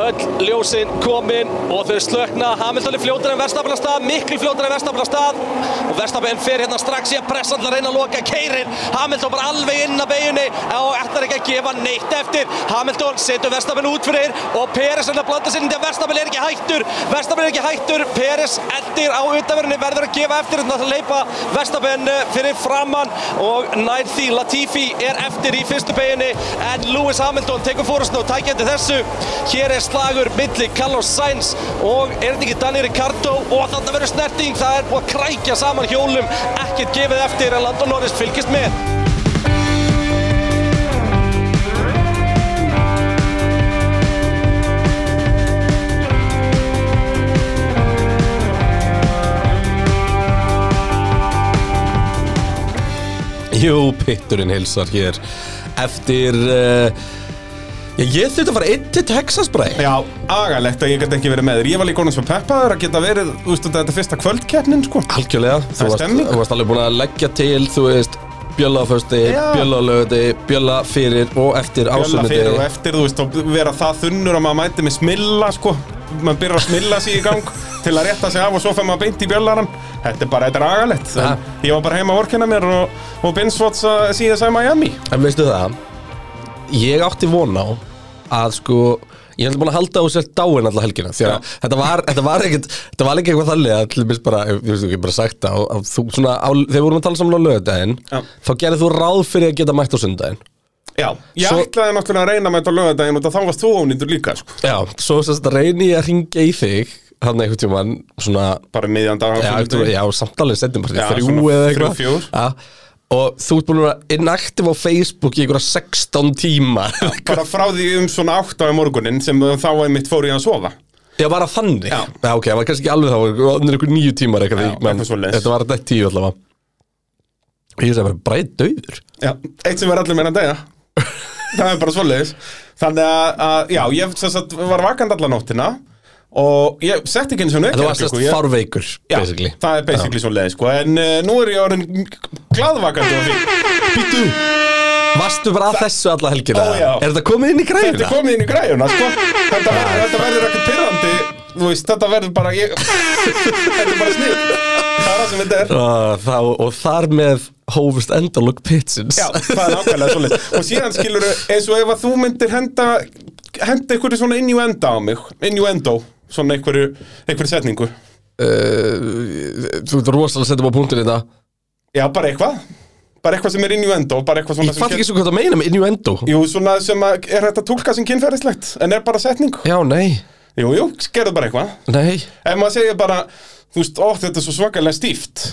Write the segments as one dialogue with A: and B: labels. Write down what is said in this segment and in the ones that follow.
A: öll ljósin komin og þau slökna. Hamilton er fljótar en Verstappen af stað, miklu fljótar en Verstappen af stað og Verstappen fer hérna strax í að pressa allar reyna að loka keirin. Hamilton bara alveg inn að beginni og ætlar ekki að gefa neitt eftir. Hamilton setur Verstappen út fyrir og Peres er að blanda sér inn því að Verstappen er ekki hættur. Verstappen er ekki hættur, Peres eldir á utanverðinni, verður að gefa eftir hérna að leipa Verstappen eh, fyrir framann og nær því Latifi er eftir í fyrstu beginni en Lewis Hamilton tekur fórhastn og tækja eftir þessu. Hér er slagur milli Carlos Sainz og er þetta ekki Daniel Ricciardo og þarna verður snerting, það er búið að krækja saman hjólum, ekkert gefið eftir en Landon Norris fylgist með.
B: Jú, pitturinn hilsar hér eftir uh, ég, ég þurfti að fara inn til Texas bræði
C: Já, agalegt að ég gæti ekki verið með þér Ég var líka honum svo peppaður að geta verið Þú veist þetta er fyrsta kvöldkeppnin sko
B: Algjörlega, þú
C: er
B: varst,
C: stemning.
B: þú varst alveg búin að leggja til þú veist, bjölla á fösti,
C: Já.
B: bjölla á lögði bjölla fyrir og eftir
C: Bjölla fyrir og
B: ásunniti
C: eftir, þú veist, og vera það þunnur að maður mæti með smilla, sko maður byrjar að smilla sig í gang til að rétta sig af og svo fer maður beint í bjöllarann Þetta er bara, þetta er agalegt
B: Ja.
C: En Ég var bara heima að vorkina mér og, og binsvots að síða sæma Miami
B: En veistu það, ég átti von á að sko Ég held búin að halda á sér dáin alla helgina því að þetta var, þetta var ekkert þetta var ekki eitthvað þannig að til mér bara ég veist ekki bara sagt það að þú svona á, þegar við vorum að tala saman á lögadaginn
C: Já.
B: þá gerðið þú ráð fyrir að geta mætt á sundaginn
C: Já, ég
B: Svo-
C: ætlaði náttúrulega að reyna með þetta lögadaginn og þá varst þú ónýndur líka, sko
B: Já, svo sérst reyni ég að ringja í þig hann einhvern tímann svona
C: bara um miðjan dag á
B: já,
C: sunnudegi.
B: eftir, já samtalið setjum bara
C: Já,
B: til þrjú
C: svona
B: eða
C: þrjú,
B: eitthvað
C: fjögur.
B: Já, og þú ert búin að vera inaktiv á Facebook í einhverja 16 tíma
C: bara frá því um svona 8 á morgunin sem þá einmitt fór ég að sofa
B: Já, bara þannig
C: Já.
B: ok, það var kannski ekki alveg þá Það var einhver nýju tímar eitthvað
C: Já,
B: því, menn
C: eitthvað svoleiðis.
B: Þetta var þetta tíu allavega Og Ég sagði bara, bræð döður
C: Já, eitt sem er allir meina degja Það er bara svoleiðis Þannig að, að já, ég sem sagt, var vakand alla nóttina Og ég setti ekki eins og
B: Það
C: nökkja
B: var sérst fárveikur,
C: Já,
B: basically
C: það er basically svoleiðis sko. En uh, nú er ég orðin glaðvakandi og fín
B: Býtu Varstu bara að þessu alla helgina?
C: Ó, já.
B: Er þetta komið inn í græðina?
C: Þetta er komið inn í græjuna sko. Þetta verður, þetta verður ekkert pyrrandi Þú veist, þetta verður bara ég... Þetta er bara snið Það er það sem þetta er
B: Og, Ah, þá, og þar með hófust endalug pitsins
C: Já, það er nákvæmlega svolítið Og síðan skilur eins og ef að þú myndir henda henda einhverju svona innuendo á mig innuendo, svona einhverju einhverju setningu
B: Eh, Þú ert rosalega að setja á hérna. punktin í þetta
C: Já, bara eitthvað bara eitthvað sem er innuendo bara eitthvað svona
B: Ég
C: sem
B: fatt ekki svo hvað það meina með innuendo
C: Jú, svona sem að, er hægt að tólka sem kynferðislegt en er bara setning
B: Já, nei,
C: Jú, jú, gerðu bara eitthvað
B: nei
C: Ef maður segir bara, þú veist, ó, þetta er svo svakalega stíft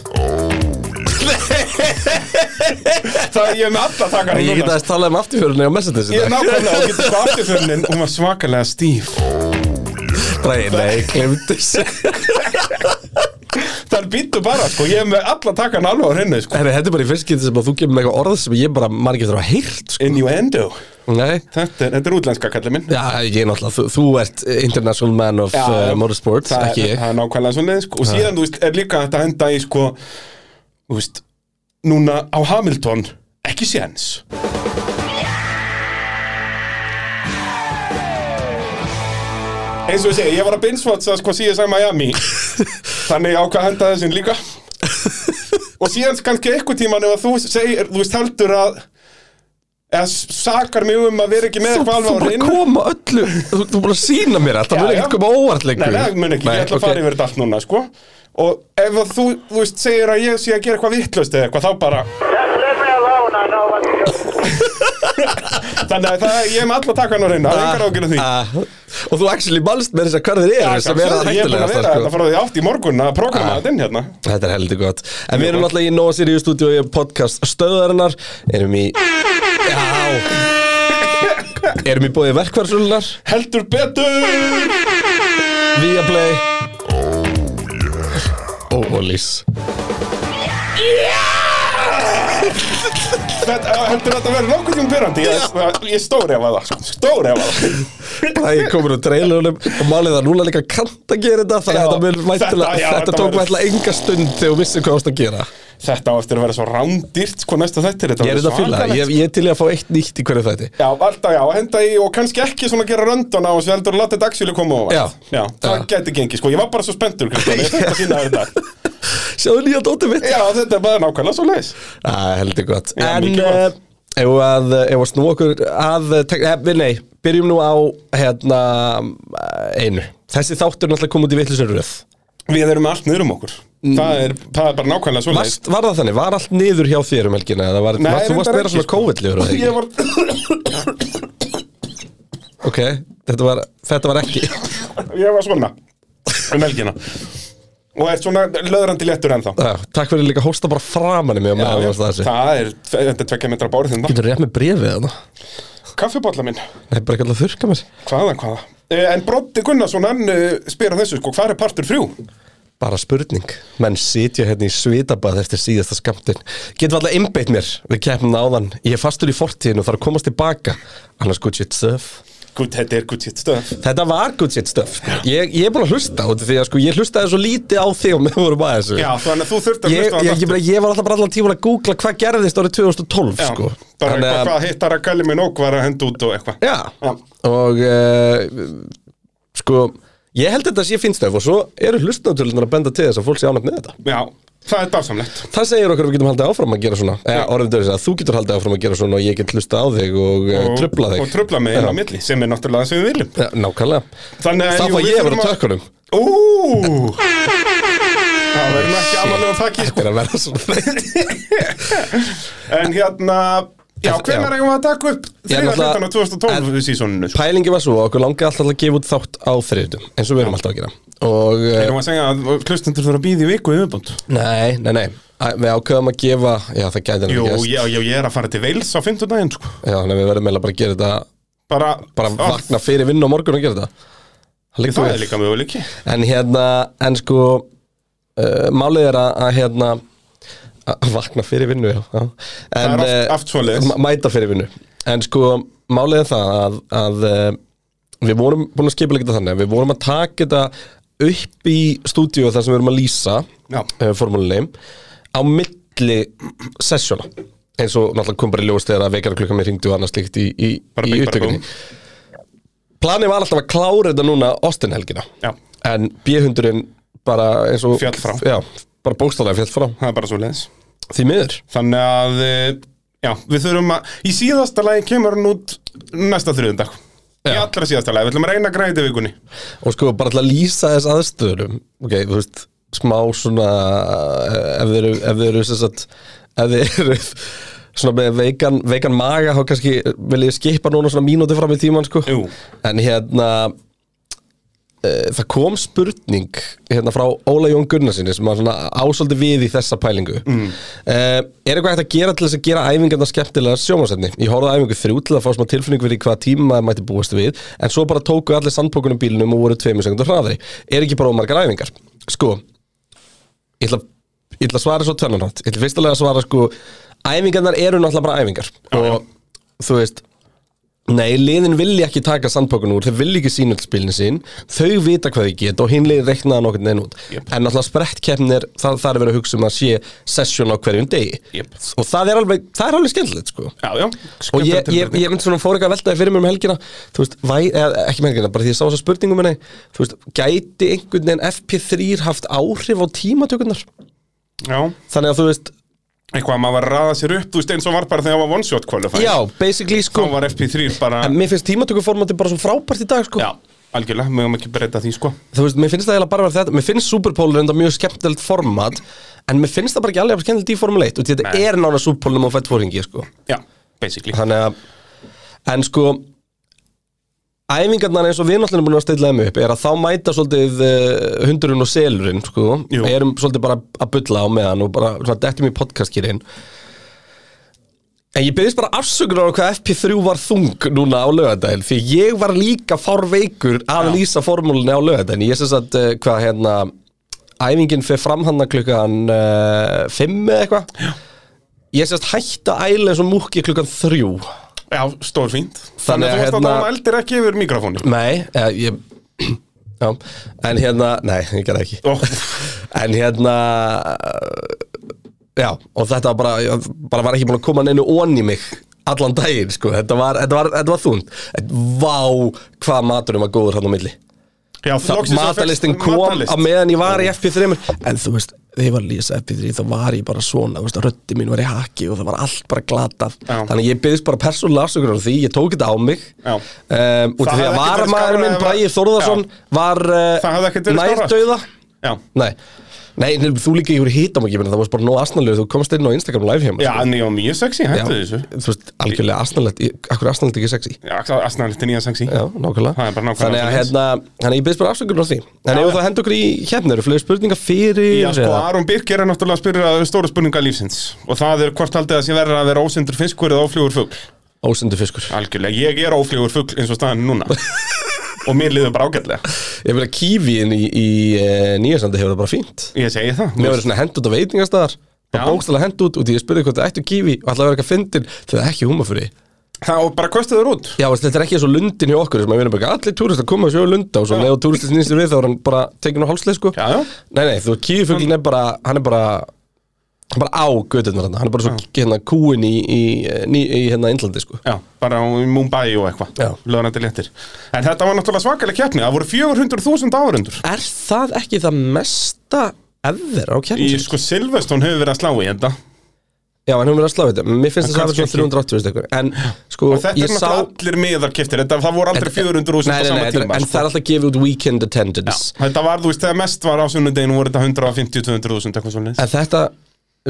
C: Það ég er með alla þakkar
B: Ég get aðeins talað um afturfjörunni á messages í
C: Ég er
B: dag.
C: nákvæmlega og getur sko afturfjörnin Hún var svakalega stíf
B: Bragi, Nei, glemdi sér
C: Það er býttu bara, sko, ég er með alla takkan alveg á hreinu, sko
B: Herri, þetta er bara í fyrst getið sem að þú gefur mig eitthvað orð sem ég bara mann getur að heyrt sko.
C: Innuendo
B: Nei,
C: Þetta er, þetta er útlenska kallið minn
B: já, ég er náttúrulega, þú, þú ert international man of
C: Já,
B: uh,
C: já.
B: motorsport,
C: það,
B: ekki ég
C: Það er nákvæmlega svona, sko Og síðan, þú veist, er líka þetta henda í, sko Þú veist, núna á Hamilton Ekki séns Eins og ég segi, ég var að binge-watcha, sko, CSI Miami Þannig ég ákvað að henda þessin líka Og síðan kannski eitthvað tíman ef að þú segir, þú veist heldur að eða sakar mig um að vera ekki með
B: Þú,
C: eitthvað
B: þú
C: alveg á
B: bara
C: hreinu
B: koma öllu, þú, þú bara sína mér allt, það
C: Já,
B: mun
C: já.
B: ekkert koma óvart lengur
C: Nei, nei, það mun ekki, ég ætla að
B: ok.
C: fara yfir þetta allt núna, sko Og ef að þú, þú veist, segir að ég sé að gera eitthvað vittlust eða eitthvað, þá bara
D: Just leave me alone. I know what you're doing.
C: Þannig að það, ég er með alla takkan á reyna, það er engar ágjörðu því
B: Ah, Og þú actually malst með þess að hverðir
C: Já,
B: eru sem er að
C: sjálfsögðu, Ég er búin
B: hættulega sko. Ah.
C: að vera hérna þetta frá því átt í morgun að prógrama þetta inn hérna
B: Þetta er heldur gott En við erum náttúrulega í Nóa Sirius stúdíu í podcast stöðarinnar Erum í Já Erum í bóði verkværsulunar
C: Heldur betur!
B: Viaplay Oh, Og Ólís
C: Þetta, eh, heldur þetta verður nokkuð tjum pyrrandi, ég, ég stóri af það, sko, stóri af það
B: Bæði komur úr trailerunum og málið að núna líka kannt að gera þetta þannig að
C: Já,
B: þetta, mun
C: þetta-
B: væntanlega-
C: já,
B: þetta
C: þetta
B: tók
C: verður-
B: mætla enga stund þegar þú vissir hvað þú ást að gera
C: Þetta á eftir að vera svo rándýrt sko næsta þettir
B: Ég er þetta að fíla, það. ég, ég er til í að fá eitt nýtt í hverju þætti
C: Já, alltaf já, henda í og kannski ekki svona gera röndun á þessu heldur að láta þetta axjóli koma á
B: Já.
C: já, það
B: Já.
C: gæti gengið sko, ég var bara svo spenntur Kristján, ég þetta sína þér þetta
B: Sjáðu nýja dótið mitt
C: Já, þetta er bara nákvæmlega svo leis
B: Æ, heldur gott
C: Já,
B: En
C: mikið
B: eh,
C: gott.
B: ef að, ef að snú okkur að eh, tek- eh, við Nei, byrjum nú á hérna eh, einu Þessi þáttur er náttúrulega kom út í vitlusur röð
C: Við erum allt niður um okkur það, er, það er bara nákvæmlega svo leis
B: Varst, Var það þannig, var allt niður hjá þér um helgina eða var, var, Þú varst meira svona COVID-ljur
C: sko. Ég var,
B: Ok, þetta var, þetta var ekki
C: ég var svona um helgina Og er svona löðrandi léttur ennþá
B: Já, Ah, Takk fyrir líka að hósta bara framan í mig á meðan þú
C: ég,
B: varst að þessu.
C: það er, þetta er tvekja metra bárið þinn
B: Getur rétt með brefið þarna?
C: Kaffibólla minn
B: Nei, bara ekki alltaf þurrka mér
C: Hvaða, hvaða? Eh, En Broddi Gunnarsson, hann eh, spyr að þessu, sko, hvað er partur þrjú?
B: Bara spurning Menn sitja hérna í svitabað eftir síðasta skamtin Getum alltaf einbeitt mér Við keppnum áðan Ég er fastur í fortíðinu og þarf að komast tilbaka Annars good shit stuff
C: Gud, þetta er good shit stuff.
B: Þetta var good shit stuff sko. ég, ég er búin að hlusta út af því að sko, ég hlustaði svo lítið á þig og með vorum að þessu
C: Já, þannig að þú þurft að
B: Ég, ég,
C: hlusta á
B: ég,
C: þetta.
B: meina, ég var alltaf bara allan tíman að googla hvað gerðist árið 2012
C: Já,
B: sko. Þannig
C: bara eitthvað
B: að-
C: hvað hittar að kalli minn okk var að henda út og eitthvað.
B: Já, og uh, sko, ég held þetta að sé finnstöf og svo eru hlustnáttúrunar að benda til þess að fólk sé ánægt með þetta.
C: Já, það er dásamlegt.
B: Það segir okkur að við getum haldið áfram að gera svona, eða orðum dörðis að þú getur haldið áfram að gera svona og ég get hlusta á þig og, og trubla þig.
C: Og trubla mig inn á milli, sem er náttúrulega það sem við viljum.
B: Já, nákvæmlega.
C: Þannig að
B: Þá
C: jú,
B: fá ég
C: við
B: að
C: þurfum
B: vera á tökkunum.
C: Ú! Það verður nú ekki amalum þakki, sko.
B: Þetta er að vera svona þreytt.
C: En hérna, já,
B: Þetta-
C: hvernig
B: já.
C: erum við að taka upp
B: Ég er
C: þriða
B: náttúrulega-
C: hlutan á 2012 sísoninu? sko?
B: Pælingi var svo að okkur langi alltaf að gefa út þátt á þriðutum, eins og við erum alltaf að gera. Og, eh,
C: Erum við að segja að hlustendur þurfa að býða í viku í viðbúnd?
B: nei, nei, nei, Æ, við ákveðum að gefa, já það gæti
C: Jú,
B: henni gerst.
C: já, já, ég er að fara til Wales á fimmtudaginn, sko.
B: Já, þannig að við verðum eiginlega bara að gera þetta
C: Bara,
B: bara
C: Á,
B: vakna fyrir vinnu á morgun og gera þetta Það liggur
C: Það
B: við.
C: er líka möguleiki.
B: En hérna, en sko uh, Málið er að, að hérna að Vakna fyrir vinnu, já, já. En,
C: Það er
B: eh,
C: oft- oft svoleiðis.
B: ma- Mæta fyrir vinnu En sko, málið er það að, að eh, Við vorum búin að skipa líka þannig að Við vorum að taka þetta upp í stúdíu þar sem við erum að lýsa
C: Já.
B: uh, formúlinni á milli sessjóna eins og náttúrulega kom bara í ljós þegar að veikara klukka mér hringdu og annars líkt í, í,
C: Bara
B: í
C: bing, bara
B: upptökunni
C: búm.
B: planið var alltaf að klára þetta núna Austin-helgina
C: Já.
B: en B-hundurinn bara eins og
C: Féll frá.
B: já, bara bókstálega fjall frá
C: Það er bara svo leiðis.
B: því miður
C: Þannig að, eh, já, við þurfum að, í síðasta lagi kemur hann út næsta þriðundag. Í
B: Já.
C: allra síðasta lagi, við ætlum að reyna að græta í vikunni.
B: og sko bara alltaf að lýsa þess aðstöðurum ok, þú veist, smá svona eh, ef þið eru, ef þið eru sem sagt, ef þið eru svona með veikan, veikan maga þá kannski vil ég skipa núna svona mínúti fram í tíman sko
C: Jú.
B: en hérna eh, það kom spurning hérna frá Óla Jón Gunnarsinni sem var svona ásaldi við í þessa pælingu mm. er eitthvað hægt að gera til þess að gera æfingarna skemmtilega sjómasefni ég horfði á æfingu þrjú til að fá smá tilfinning fyrir hvað tíma maður mætti búast við en svo bara tóku allir sandpókunum bílnum og voru tveimur sekundur hraðari er ekki bara ómargar æfingar sko, ég ætla, ég ætla að svara svo tvennanátt ég ætla fyrst alveg að svara sko æfingarnar eru náttúrulega bara æfingar og þú veist Nei, liðin vilja ekki taka sandpókun úr, þau vilja ekki sína öll spilin sín, þau vita hvað þau geta og hinn liðin reiknaða nokkurn veginn út.
C: Jep.
B: En alltaf sprettkeppnir, það, það er verið að hugsa um að sé sessjón á hverjum degi.
C: Jep.
B: Og það er alveg, það er alveg skemmtilegt, sko.
C: Já, já.
B: Og ég, ég, ég myndi svona fór eitthvað að velta því fyrir mér um helgina, þú veist, væ, eða, ekki með helgina, bara því ég sá þessa spurningu minni, þú veist, gæti einhvern veginn FP3 haft áhrif á tímatökurnar?
C: Já,
B: Þannig að þú veist,
C: eitthvað að maður var að raða sér upp, þú veist, eins og var bara þegar það var one shot qualifier.
B: já, basically,
C: Þá
B: sko,
C: var FP3 bara,
B: en mér finnst tímatökuformati bara svo frábært í dag, sko.
C: já, algjörlega, mögum ekki breyta því, sko.
B: þú veist, mér finnst það eiginlega bara verið þetta mér finnst Superpole reynda mjög skemmtilegt format en mér finnst það bara ekki alveg jafn skemmtilegt í Formule 1 og því þetta
C: Nei.
B: er nána Superpole um að fætt fóringi sko.
C: Já, basically.
B: þannig að, en sko æfingarnar eins og við náttúrulega erum búin að stilla þeim upp er að þá mæta svolítið uh, hundurinn og selurinn sko,
C: Jú.
B: erum svolítið bara að bulla á meðan og bara svona dettum í podcastkýrin En ég byrðist bara afsökunar á hvað FP3 var þung núna á lögadaginn Því ég var líka fárveikur að lýsa formúlunni á lögadaginn Ég sem sagt, uh, hvað hérna Æfingin fer fram hann klukkan uh, 5 eða eitthvað Ég sem sagt hætta æla eins og múkki klukkan 3
C: Já, stór fínt. Þannig
B: að
C: að þú varst að
B: hérna-
C: það eldir ekki yfir mikrofónu.
B: Nei, eða, ég Já, en hérna, nei, ég gerði ekki
C: Ó,
B: En hérna já, og þetta var bara, ég bara var ekki búin að koma neinu ón í mig allan daginn, sko, þetta var, þetta var, þetta var þúnd Vá, hvað maturinn var góður hann á milli
C: Já, loksins að
B: Matalistin
C: fékkst
B: kom
C: matarlist.
B: að meðan ég var í FP3 En þú veist, þegar ég var að lýsa FP3 þá var ég bara svona, þú veist, röddi mín var í haki og það var allt bara glatað
C: Já.
B: Þannig að ég byggðist bara persónulega afsökunar á því, ég tók þetta á mig
C: Já.
B: um, Út af
C: Það
B: því að
C: hefði ekki verið skárra
B: varamaður minn,
C: ef að-
B: Bræði Þórðarsson,
C: Já.
B: var
C: Það hefði ekkert
B: uh,
C: verið skárra.
B: nærdauða
C: Já,
B: Nei, nei, nei þú líka ég voru hýtam ekki, menn það varst bara nóg asnalegu, þú komst inn á Instagram live hjá mér
C: já, en ég var mjög sexy,
B: Já,
C: hættu þessu
B: þú veist, algjörlega asnalegt Akkur asnalegt ekki sexy
C: Já, asnalegt er nýja sexy
B: Já, nákvæmlega
C: Það er bara nákvæmlega
B: Þannig að
C: svoleiðis.
B: hérna, hérna ég byrðist bara afsökunar á því En
C: Já,
B: ef
C: já.
B: þú hendur okkur í hérna, eru fleiri spurningar fyrir
C: Já, sko,
B: eða?
C: Aron Birk er náttúrulega að spyrja stóra spurninga lífsins og það er hvort haldið að sé verður að vera ósendur fiskur eða ófljóður fugl
B: Ósendu fiskur
C: Algjörlega, ég er ófljóður fugl eins og staðan er núna og mér liður bara ágætlega
B: Ég vil að kífiðin í, í e, nýjasandi hefur það bara fínt
C: Ég segi það
B: Mér verður svona hend út á veitingastæðar Bara
C: Já.
B: bókstæðlega hend út og því ég spurði hvort það ættu kífi og alltaf verður eitthvað fyndin þegar það er ekki húma fyrir
C: Það og bara kostið þér út
B: Já, veist, þetta er ekki eins og lundin hjá okkur sem að við erum bara allir túristar koma að sjóðu lunda og svo
C: Já.
B: leið og túristin snýst sér við þá er hann bara tekinn á hálsleið sko
C: Já, já.
B: Nei, nei, þú kífifuglin er bara hann er bara hann er bara á gödunar hann hann er bara svo hérna kúin í, í, í, í hérna Indlandi sko
C: Já, bara á- í Mumbai og
B: Já.
C: eitthvað Löðanandi léttir En þetta var náttúrulega svakalega keppni Það voru 400.000 áhörundur
B: Er það ekki það mesta ever á
C: Í
B: kjærnins?
C: sko Silveston hefur verið að slá í þetta
B: Já, en hún verður að slá þetta Mér finnst
C: En
B: þess að það
C: kannski
B: er svona 380 veist eitthvað En sko,
C: Og þetta er
B: ég sá
C: náttúrulega allir miðar keftir þetta, Það voru aldrei
B: Nei,
C: 400.000 á
B: nei,
C: sama
B: nei, þetta er-
C: tíma
B: En
C: sko.
B: það er alltaf gefið út weekend attendance
C: Þetta var, þú veist, þegar mest var á sunnudeginu voru þetta 150-200.000 eitthvað svolítið
B: En þetta,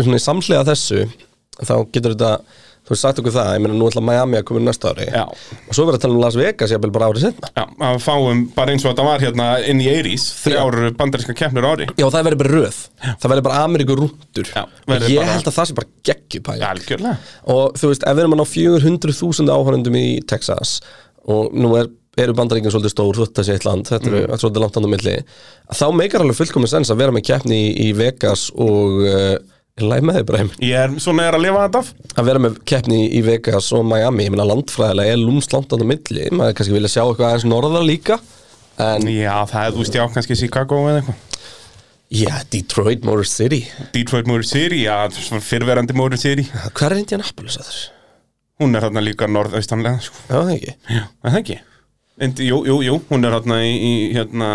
B: svona í samhlega þessu þá getur þetta, þú veist sagt okkur það ég meina nú ætla Miami að koma inn næsta ári
C: Já.
B: og svo verður að tala um Las Vegas ég bara árið setna
C: Já, að við fáum bara eins og þetta var hérna inn í Eiris Þrjár bandarinska keppnur á ári
B: Já, það verður bara röð, það verður bara Ameríku rúndur
C: Já,
B: og
C: verður
B: ég
C: bara-
B: held að það sé bara geggjupæl
C: Algjörlega
B: og þú veist, ef við erum að ná 400.000 áhörundum í Texas og nú er, eru bandaríkinn svolítið stór þú þetta sé eitt land, þetta eru mm. svolítið langt andan milli þá meikar alveg fullkomið sens að vera með keppni í, í Vegas og uh, læg með þig bara heim
C: Ég er svona er að lifa þetta af
B: að vera með keppni í Vegas og Miami ég meina landfræðilega er lúmst langt á milli maður kannski vilja sjá eitthvað aðeins norðar líka en
C: Já, það er, þú veist, já, kannski Chicago eða eitthvað
B: já, Detroit, Motor City
C: Detroit Motor City, já, svona fyrverandi Motor City
B: hvað er Indianapolis að þess?
C: Hún er þarna líka norðaustanlega, sko
B: Já, það ekki
C: Já, er það ekki Indi, Jú, jú, jú, hún er þarna í, í hérna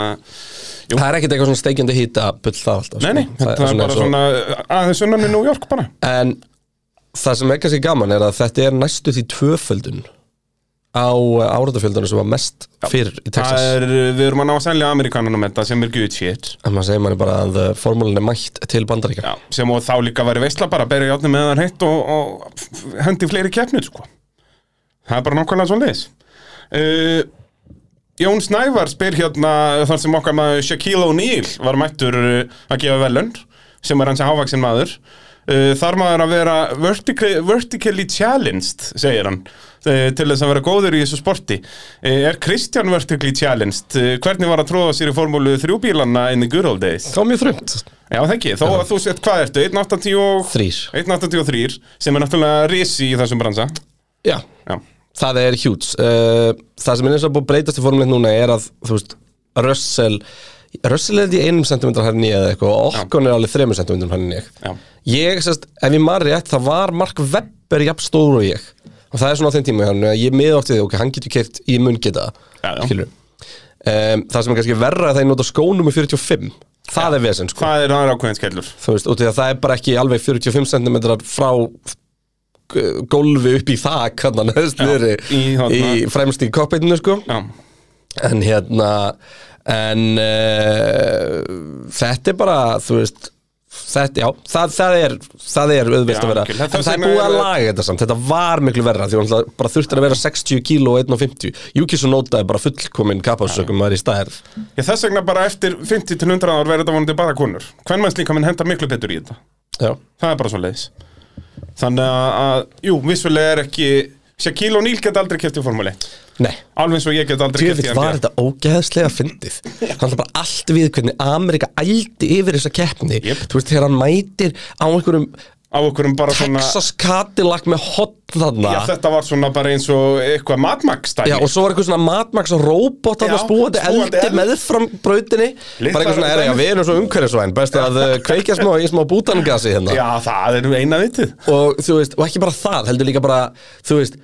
B: Það er ekkert eitthvað svona steikjandi hýta bull það alltaf
C: Nei, nei,
B: sko.
C: þetta er bara
B: eins og-
C: svona aðeins sunnan við New York bara
B: En það sem er kannski gaman er að þetta er næstu því tvöföldun á áratafjöldunum sem var mest fyrir í Texas
C: Það er, við erum að ná að selja Amerikanunum þetta sem er good shit
B: En maður segir manni bara að formúlinni mætt til bandaríkja
C: Já, sem og þá líka væri veistla bara að berja játni með þar heitt og, og f- hendi fleiri keppnir sko. Það er bara nákvæmlega svona leis uh, Jón Snævar spyr hérna þar sem okkar maður Shaquille O'Neal var mættur uh, að gefa velund sem er hans hávaksin maður uh, þar maður að vera vertically, vertically challenged segir hann uh, til þess að vera góður í þessu sporti uh, Er Kristján vertically challenged? Uh, hvernig var að tróða sér í formúlu þrjúbílanna in the good old days?
B: Það var mjög þrömt
C: Já, það ekki, þó að þú sett, hvað ertu, 1.80 og...
B: Þrýr
C: 1.83, sem er náttúrulega risi í þessum bransa
B: Já,
C: Já,
B: það er hjúts uh, Það sem er eins og búið að breytast í formúlinni núna er að þú veist, Russell Russell er því einum sentimentar hann í eða eitthvað og Okkon er alveg þremur sentimentar hann í
C: já,
B: Ég, sérst, ef ég maður rétt, það var Mark Webber jafn stóru og ég og það er svona á þeim tíma, þannig að ég miðátti því ok, hann getur kert, ég mun geta
C: Já, já.
B: skilur um, Það sem er kannski verra er það ég nota skónum í 45 það er vesend, sko
C: það er aðra ákveðin skellur
B: þú veist, út í að það er bara ekki alveg 45 cm frá g- gólfi upp í þak hann neðst
C: Já,
B: niðri í,
C: í hérna. þarna.
B: fremst í kokpeitinu, sko
C: Já,
B: en hérna en uh, þetta er bara, þú veist Þetta, já, það, það er, það er auðvist
C: Já,
B: að vera
C: ok,
B: en
C: þetta
B: það er
C: sem
B: búið
C: er-
B: að laga þetta samt, þetta var miklu verra því hann bara þurftir að vera 60 kíló og 1,50 Júkisson notaði bara fullkomin kapásökum maður í stærð
C: ég þess vegna bara eftir 50 til 100 ár verður þetta vonandi bara konur Hvern manns líka minn hendar miklu betur í þetta
B: Já,
C: Það er bara svo leis Þannig að, að, jú, vissulega er ekki Shaquille O'Neal get aldrei keft í Formule 1
B: nei
C: Alveg eins og ég get aldrei keft
B: Djöfitt
C: í
B: var þetta ógeðslega fyndið Hann ætla bara allt við hvernig Amerika ældi yfir þessa keppni
C: Jep.
B: Þú veist, þegar hann mætir á einhverjum
C: á okkurum bara svona
B: Texas Cadillac með hot þarna
C: Já, þetta var svona bara eins og eitthvað matmakkstæmi
B: Já, og svo var eitthvað svona matmaks og róbot að
C: Já,
B: spúandi
C: spúandi
B: eldi
C: eld.
B: meðfram brautinni
C: Litlar
B: bara eitthvað svona, er, já, við erum svo umhverfisvæn best að uh, kveikja smá í smá bútangasi hérna
C: Já, það er eina vitið
B: og þú veist, og ekki bara það, heldur líka bara þú veist,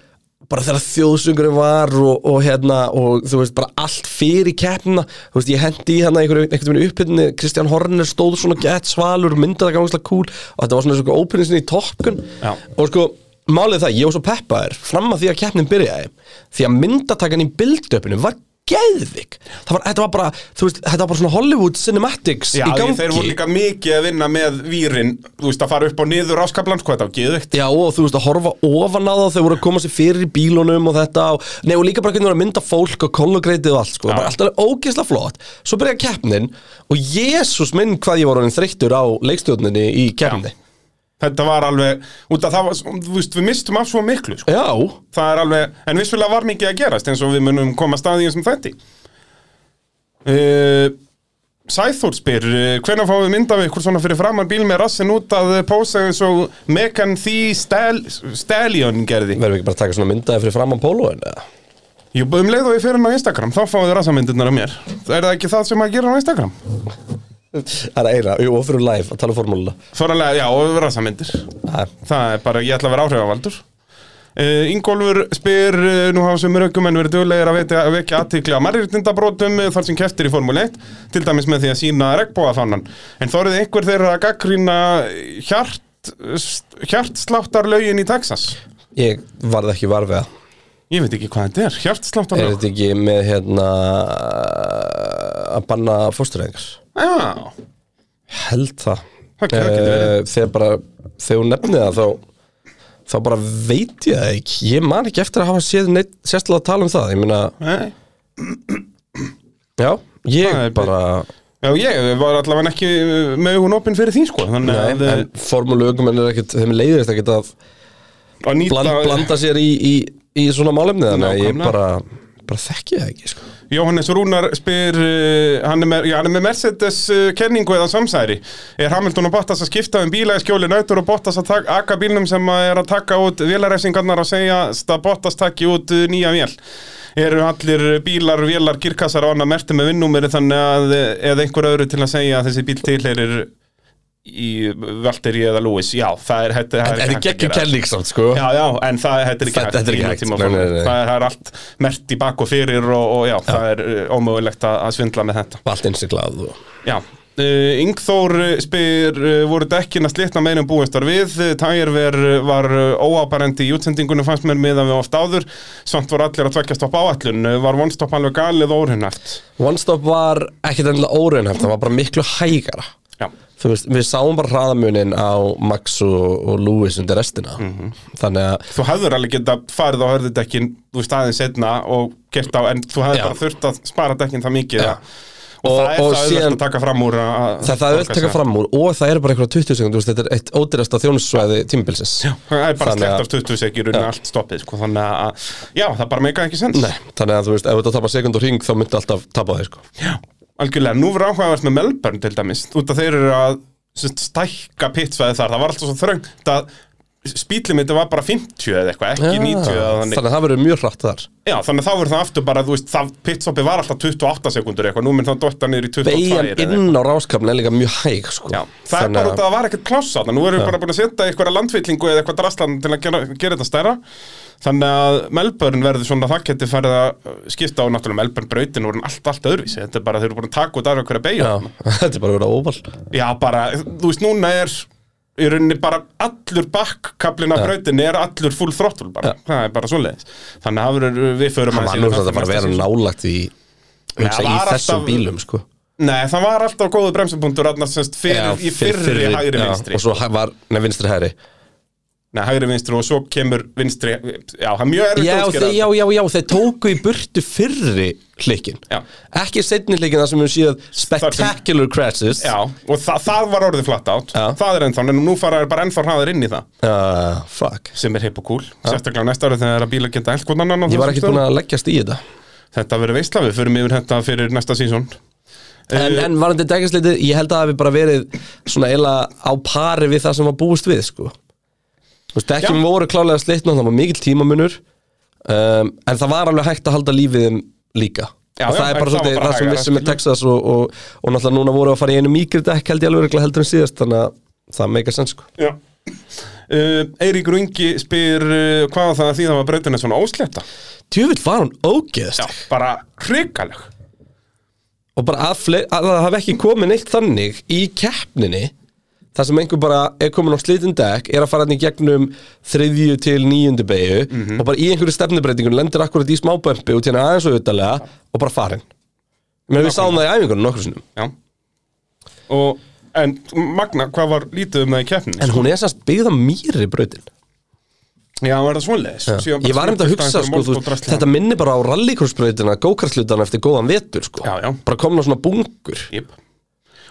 B: bara þegar þjóðsungurinn var og, og hérna, og þú veist bara allt fyrir keppnina, þú veist ég hendi í hérna einhverju, einhvern veginn upphyrni Kristján Horner stóð svona gett svalur, myndað að gangslega cool og þetta var svona svona ópinni sinni í toppkun
C: Já.
B: og sko, málið er það, ég var svo peppaður fram að því að keppnin byrjaði því að myndatakan í bildöpinu var geðvik, það var, þetta var bara þú veist, þetta var bara svona Hollywood cinematics
C: Já,
B: í
C: því
B: gangi
C: þeir voru líka mikið að vinna með vírin Þú veist, að fara upp og niður áskablan Sko, þetta var geðvikt
B: Já og þú veist að horfa ofan á það þau voru að koma sér fyrir í bílunum og þetta og, nei, og líka bara hvernig voru að mynda fólk og kollegreitið og allt sko,
C: Já.
B: bara alltaf ógeðslega flott svo byrja keppnin og Jésús minn hvað ég var orðin þreyttur á leikstjórninni í keppni
C: Þetta var alveg, út að það var, þú veist, við mistum af svo miklu sko.
B: Já,
C: Það er alveg, en vissulega var mikið að gerast eins og við munum koma staðið sem þetta uh, Sæþór spyr uh, Hvenær fáum við mynd af ykkur svona fyrir framan bíl með rassin út að eh, pósa eins og Megan Thee Stal Stallion gerði
B: verðum við ekki bara að taka svona myndaði fyrir framann pólóin eða?
C: Jú, um leið og við fyrir hann á Instagram þá fáum við rassamyndirnar af mér Er það ekki það sem að gera á Instagram?
B: Það er eiginlega, jú, og fyrir live að tala um formúluna
C: Þorralega, já, og rassamyndir
B: Það er-
C: Það er bara, ég ætla að vera áhrifavaldur Uh, Ingólfur spyr, uh, nú hafa sömur aukumenn verið duglegir að vekja, að vekja aðtikli á marrirtindabrótum uh, þar sem keftir í Formule 1, til dæmis með því að sína regnbóðafánan. En þá eruð einhver þeirra að gaggrýna hjart, hjartsláttarlaugin í Texas.
B: Ég varð ekki varfið að
C: Ég veit ekki hvað þetta er,
B: Er
C: hjartsláttarlaug.
B: þetta ekki með hérna að banna fóstureyðingar?
C: Já,
B: held það
C: Það getur- það getur verið.
B: Eh, þegar bara þegar hún nefnið það þá þá bara veit ég það ekki ég man ekki eftir að hafa séð neitt sérstilega að tala um það ég meina,
C: nei.
B: já, ég
C: Það er-
B: bara
C: Já, ég var allavega ekki uh, með hún opinn fyrir því, sko. Þannig
B: nei,
C: að,
B: en formúlu ögumenn er ekkit þeim leiðist ekkit að
C: uh, að nýta...
B: bland, blanda sér í, í, í svona málefni þannig að ég
C: Nákvæmlega.
B: bara bara þekki það ekki sko.
C: Jóhannes Rúnar spyr uh, hann, er með, já, hann er með Mercedes uh, kenningu eða samsæri er Hamilton og Bottas að skipta um bíla í skjóli nautur og Bottas að taka, aka bílnum sem að er að taka út vélarefsingarnar og segja að Bottas taki út uh, nýja vél eru allir bílar, vélar, kirkassar og annað merti með vinnúmeri þannig að eh, eða einhver öðru til að segja að þessi bíl tilherir í Valtteri eða Lewis já, það er, þetta, það
B: en
C: ekki
B: þetta
C: hægt að
B: geggjum
C: gera.
B: kenning samt sko
C: Já, já, en það þetta er ekki
B: Þetta- þetta er ekki
C: í
B: hægt,
C: nútíma
B: nei, nei, nei.
C: Það er, það er allt mert í bak og fyrir og, og já, það er uh, ómögulegt að, að svindla með þetta
B: allt innsiklað og
C: Já Uh, Ingþór uh, spyr, uh, voru dekkin að slitna meirum búistar við, uh, Tægirver uh, var uh, óaparendi í útsendingunum fannst mér miðan við oft áður, samt voru allir að tvekja stopp áallun, uh, var vonstopp alveg galið órinnægt.
B: One Stop var ekkit endilega óreunhæft það var bara miklu hægara
C: Já,
B: þú veist, við sáum bara hraðamunin á Max og, og Lewis undir restina
C: Mhm.
B: þannig að
C: þú hefður alveg geta farið á hörðu dekkin, þú veist aðeins setna og gert á, en þú hefði
B: Já.
C: bara þurft að spara dekkin það mikið
B: Já.
C: að-
B: Og-
C: og, það er
B: og
C: það auðvelt
B: síðan-
C: að taka fram úr að, að-
B: það, það er öll
C: borga
B: taka
C: sig.
B: fram úr og það eru bara eitthvað 20 sekund, þú veist, þetta er eitt ódýrasta þjónusvæði tímbilsins
C: Það er bara
B: Þannig að-
C: slegt af 20 sekjur unni allt stoppið sko, þannig að, já, það bara meika ekki sens
B: Nei, þannig að þú veist, ef þetta tapar sekund og hring þá myndi alltaf tapa þig sko.
C: Já, algjörlega, nú verður áhugavert með Melbourne til dæmis, út að þeir eru að sem sagt, stækka pittsvæði þar, það var alltaf svo þröngt að spýtlimitu var bara 50 eða eitthvað, ekki 90 eða þannig,
B: þannig að það verður mjög hratt þar
C: já, þannig að þá verður það aftur bara, þú veist, það pittsvappi var alltaf 28 sekundur eitthvað, nú minn það dotta niður í 22 eða
B: Beigjan
C: eitthvað.
B: inn á ráskapn er líka mjög hæg sko.
C: Já, það er bara út að
B: að
C: það var ekkert pláss þarna, nú erum við bara búin að setja einhverja landfyllingu eða eitthvað draslan til að gera, gera þetta stærra Þannig að Melbourne verður svona það geti farið að skipta á náttúrulega Melbourne brautin og allt, allt öðruvísi Þetta er bara þeir eru búin að taka út af einhverja beigja
B: Já,
C: þarna.
B: þetta er bara að vera óval
C: Já, bara, þú veist, núna er í rauninni bara allur bakkkablin af brautinni er allur full throttle bara, það er bara svoleiðis Þannig að það verður- við förum
B: Það
C: aðeins
B: var
C: yfir
B: nú
C: það
B: þetta
C: til
B: bara að vera
C: næsta síðan.
B: nálægt í,
C: Nei,
B: hugsa,
C: það
B: í
C: var
B: þessum
C: alltaf-
B: bílum sko.
C: Nei, það var alltaf góðu bremsupunktur annars, semst, fyrir,
B: Já,
C: í fyrri, hægri
B: já,
C: vinstri
B: Og svo hæ- var, nei, vinstri hægri
C: Nei, hægri vinstri og svo kemur vinstri Já, það er mjög erfitt
B: já,
C: að
B: þeir,
C: útskýra
B: já, já, já, þeir tóku í burtu fyrri hlikkin
C: Já.
B: Ekki setni hlikkin þar sem við séð spectacular crashes
C: já, og þa það var orðið flat out
B: Já.
C: Það er ennþá, en nú fara þær bara ennþá hraðar inn í það
B: Ah, Fuck
C: sem er hip og cool, sérstaklega næsta árið þegar að bíla geta elgt hvort annan á
B: Ég var
C: þessum
B: ekki
C: stöðum.
B: búin að leggjast í þetta
C: Þetta verður veistla, við förum yfir þetta fyrir næsta sísón
B: En,
C: Eh,
B: en varandi dækjarsleiti, ég held að það hafi bara verið svona eila á pari við það sem var búist við sko. Þú veist, ekki við voru klálega slitna, það var mikill tímamunur um, En það var alveg hægt að halda lífið þeim líka
C: Já,
B: Og
C: já,
B: það
C: en
B: er bara
C: það var
B: svolítið
C: bara
B: það sem
C: hægara,
B: vissum með
C: skilur.
B: Texas og, og, og náttúrulega núna voru að fara í einu mýkri dekk held ég alveg örugglega heldur en síðast Þannig að það meika sens sko
C: Já. Uh, Eiríkur Ungi spyr uh, hvað á það að því það var breytin er svona ósletta
B: Tjöfull var hún ógeðst
C: bara hrikaleg
B: Og bara að, fle- að það hafi ekki komið neitt þannig í keppninni Það sem einhver bara er komin á slitin dekk Er að fara hann í gegnum þriðju til níundu beigju Og bara í einhverju stefnubreitingun Lendir akkurat í smábömpi og tjána aðeins og auðvitaðlega Og bara farin Mér við sáum það í æfingunum nokkur sinnum
C: Já. og en Magna, hvað var lítið um það í keppninni
B: En hún er sannst byggð á mýri brautin
C: Já, var það svoleiðis Síðan bara
B: Ég var einmitt að
C: skipta
B: hugsa
C: einhverjum
B: sko, þú,
C: málskot drasli.
B: Þetta minnir bara á rallycrossbrautina Gókarslutana eftir góðan vetur sko.
C: Já, já.
B: Bara komna svona bungur
C: Jep.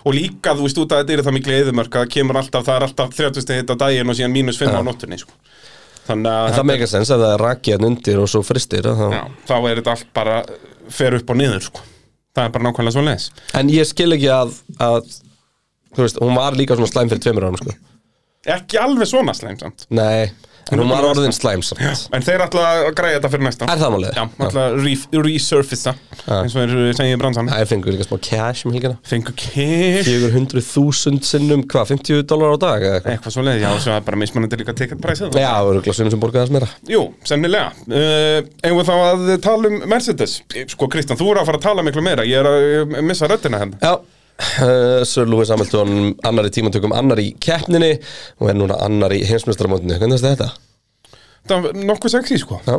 C: Og líka, þú veist út að þetta er það miklu eðumörk að það kemur alltaf, það er alltaf 30 stið hitt á daginn og síðan mínus 5 á nóttunni sko. Þannig að
B: En það meika sens að það er rakið hann undir og svo fristir að það...
C: já, þá er þetta allt bara fer upp og niður sko. Það er bara nákvæmlega svo leiðis
B: En ég skil ekki að, að Þú veist, hún var líka svona slæm fyrir tveimur árum sko.
C: Ekki alveg svona slæm samt
B: Nei, en hún var orðin slæm samt
C: En þeir ætla að græja þetta fyrir næsta
B: Er það málið?
C: Já, ætla að re- resurfacea eins og þeir segja í bransan
B: Það er fengur líka smá cash um helgina
C: Fengu kill
B: 400.000 sinnum, hvað, 50 dólar á dag eða eitthvað
C: Eitthvað svo leiðis, já, þessu er bara mismunandi líka ticket price
B: Já, það eru glasum sem borgaði þess meira
C: Jú, sennilega uh, Eigum við þá að tala um Mercedes Sko Kristján, þú eru að fara að tala miklu meira Ég er að eh, missa röddina henn
B: Já, uh, Sir Lewis Hamilton annar í tímantökum, annar í keppninni og er núna annar í heimsmyndstarmóndinu Hvernig finnst þér þetta?
C: Það er nokkuð sexy sko
B: Já.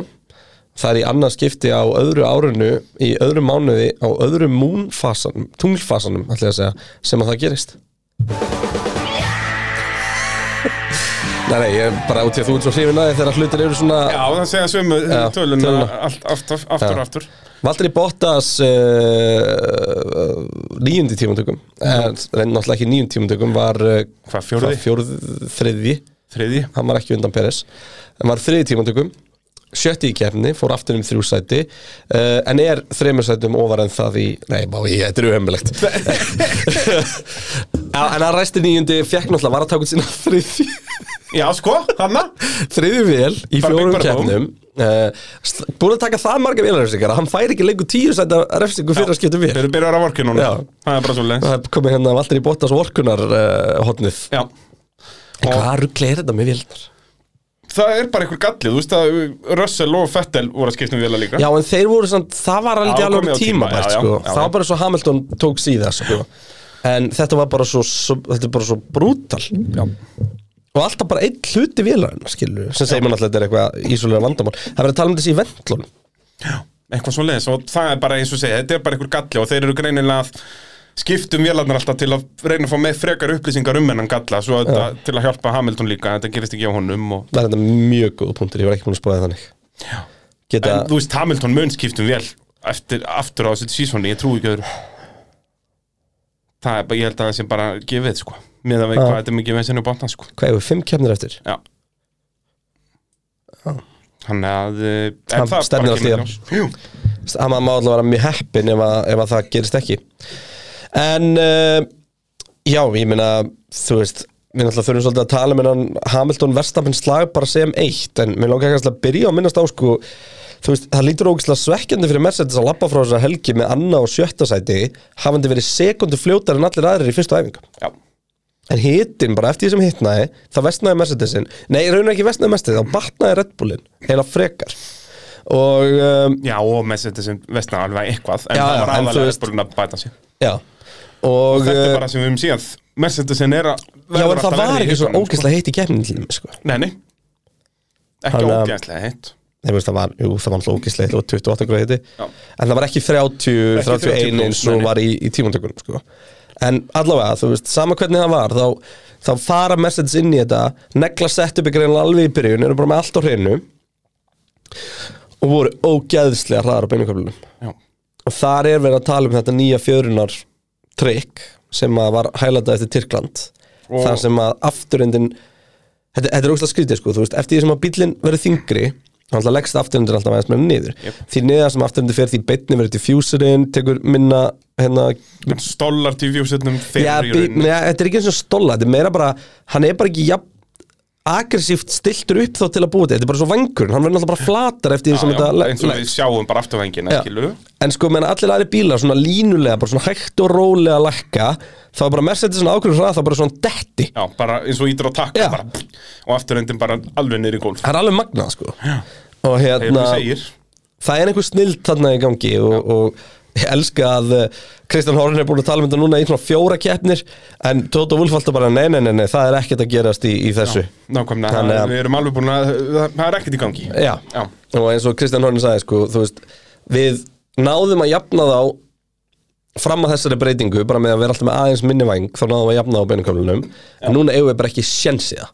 B: Það er í annað skipti á öðru árinu í öðrum mánuði á öðrum múnfasanum, tunglfasanum ætla ég að segja, sem að það gerist Nei, nei, ég er bara út í að þú ert svo hrifin að því þegar hlutir eru svona
C: Já, það segja sömu
B: Já,
C: töluna
B: töluna.
C: allt, aftur, aftur,
B: Já.
C: aftur
B: Valdur í Bottas eh, uh, nýjundi tímantökum en en náttúrulega ekki nýjundi tímantökum var uh,
C: Mhm. Hvað, fjórði?
B: fjórð, þriðji
C: Þriði
B: hann var ekki undan Peres hann var þriði tímantökum sjötti í kefni, fór aftur um þrjú sæti uh, en er þreymur sætum ofar en það í nei, má ég, þetta er uhemmilegt en hann ræsti nýjundi fekk náttúrulega var að taka út sína þriði
C: Já, sko, hanna
B: þriði vél í
C: Bara
B: fjórum
C: Big Brother.
B: kefnum uh, st- búin að taka það marga vélarefsingar að hann fær ekki lengur tíu sæta refsingu fyrir að skipta um vél
C: Þeir eru byrjar að vorki núna
B: Já.
C: Það er bara svo leiðis
B: það er komið hérna allir í Bottas orkunar uh, hotnið
C: Já
B: en
C: Og-
B: hvað ruggli er þetta með vélnar?
C: Það er bara einhver galli, þú veist að Russell og Fettel voru að skipta um vila líka
B: Já, en þeir voru samt, það var alveg
C: Já,
B: alveg
C: komið á tíma,
B: tímabært,
C: já, já,
B: sko
C: já,
B: Það
C: já.
B: var bara svo Hamilton tók síða, sko En þetta var bara svo, svo þetta er bara svo brútal Já Og alltaf bara einn hluti vélarinn, skilur Sem segir mann alltaf þetta er eitthvað ísólega vandamál Það verður að tala um þessi í vendlunum
C: Eitthvað svo leiðis og það er bara eins og segja Þetta er bara einhver galli og þeir eru greinilega að skiptum vélarnar alltaf til að reyna að fá með frekar upplýsingar um hennan galla svo að þetta, til að hjálpa Hamilton líka, þetta gerist ekki á honum og,
B: Það er þetta mjög góð punktur, ég var ekki búin að spáði þannig
C: Já.
B: Geta,
C: En þú veist, Hamilton mun skiptum vél eftir, aftur á þessu sísoni, ég trúi ekki öðru Það er bara, ég held að það sé bara gefið, sko með að veit
B: Já.
C: hvað þetta er mikið með sinni bóttan, sko
B: hvað hefur fimm kemnir eftir?
C: Já Þannig að eh, en
B: Hann
C: það
B: stefnir
C: bara
B: allt í það.
C: kemur ljós. Jú.
B: að maður má alltaf vera mjög heppin ef að, ef að það gerist ekki en uh, já, ég meina þú veist, við náttúrulega þurfum svolítið að tala með hann Hamilton Verstappen slag bara sem eitt en mér lóka kannski að byrja að minnast á sko þú veist, það lítur ógeðslega svekkjandi fyrir Mercedes að labba frá þessar helgi með annað og sjötta sæti hafandi verið sekundu fljótar en allir aðrir í fyrstu æfingu
C: Já,
B: en hittin, bara eftir því sem hittnaði það vestnaði Mercedesin, nei, raunar ekki vestnaði Mercedes, þá batnaði Red Bullin heila frekar og um,
C: Já, og með þetta sem vestna alveg eitthvað en
B: Já,
C: það
B: já,
C: var
B: en þú
C: aðalega
B: veist-
C: spurning að bæta sig
B: já Og,
C: Þetta
B: eh,
C: er bara sem við höfum síðan Mercedesin er að
B: Já,
C: verður
B: en
C: alltaf
B: það var
C: verri í
B: ekki svo
C: hitunum, sko.
B: ógeðslega heitt í keppninu til þeim, sko.
C: Nei, nei Ekki
B: Hann, eh,
C: ógeðslega hitt
B: Nei, veist, það var, jú, það var alltaf ógeðslega heitt og 28 gráði heiti.
C: Já.
B: En það var ekki 30,
C: Ekki 30
B: 31 eins
C: nei,
B: og
C: nei.
B: var í, í tímantökunum, sko. En allavega, þú veist, sama hvernig það var, þá, þá fara Mercedes inn í þetta, negla sett upp ykkur einlega alveg í byrjun, eru bara með allt á hreinu og voru ógeðslega hraðar á beinuköflunum.
C: Já,
B: og þar er verið að tala um þetta nýja fjörunar trikk sem að var hælatað eftir Tyrkland
C: Og-
B: þar sem að afturindin þetta, þetta er ógst að skrítið sko, þú veist, eftir því sem að bíllinn verður þingri þá alltaf leggst afturindin alltaf aðeins meira niður
C: Jep.
B: því neða sem afturindin fer því beinni verður diffuserinn, tekur minna hérna,
C: hann stólar tífjúsetnum
B: já, bí,
C: fyrir í rauninni
B: neða, þetta er ekki eins og stóla þetta er meira bara, hann er bara ekki jafn agressíft stiltur upp þá til að búa þetta Þetta er bara svo vangur, hann verður náttúrulega bara flatar eftir því sem
C: já,
B: þetta
C: eins og við
B: leggst.
C: sjáum bara afturvængina,
B: Já.
C: skilu
B: En sko, menn allir aðri bílar svona línulega, bara svona hægt og rólega að lækka þá er bara Mercedes svona ákveður hrað, þá bara svona detti
C: Já, bara eins og ítir á takka
B: Já.
C: bara, og afturhendin bara alveg niður í gólf
B: Það er alveg magnað, sko Já. Og
C: Þegar þú
B: hérna,
C: segir
B: það er einhver snild þarna í gangi og, og ég elska að eh, Kristján Horn er búin að tala um þetta núna í svona fjóra keppnir en Tóta Wolf alltaf bara, nei, nei, nei, nei, það er ekkert að gerast í, í þessu
C: Nákvæmlega,
B: Þannig að- Eh.
C: við erum alveg búin að það, það er ekkert í gangi
B: Já.
C: Já.
B: og eins og Kristján Hornin sagði sko, þú veist, við náðum að jafna þá fram að þessari breytingu, bara með að vera alltaf með aðeins minni væng, þá náðum við að jafna á beinuköflunum en núna eigum við bara ekki sjensiða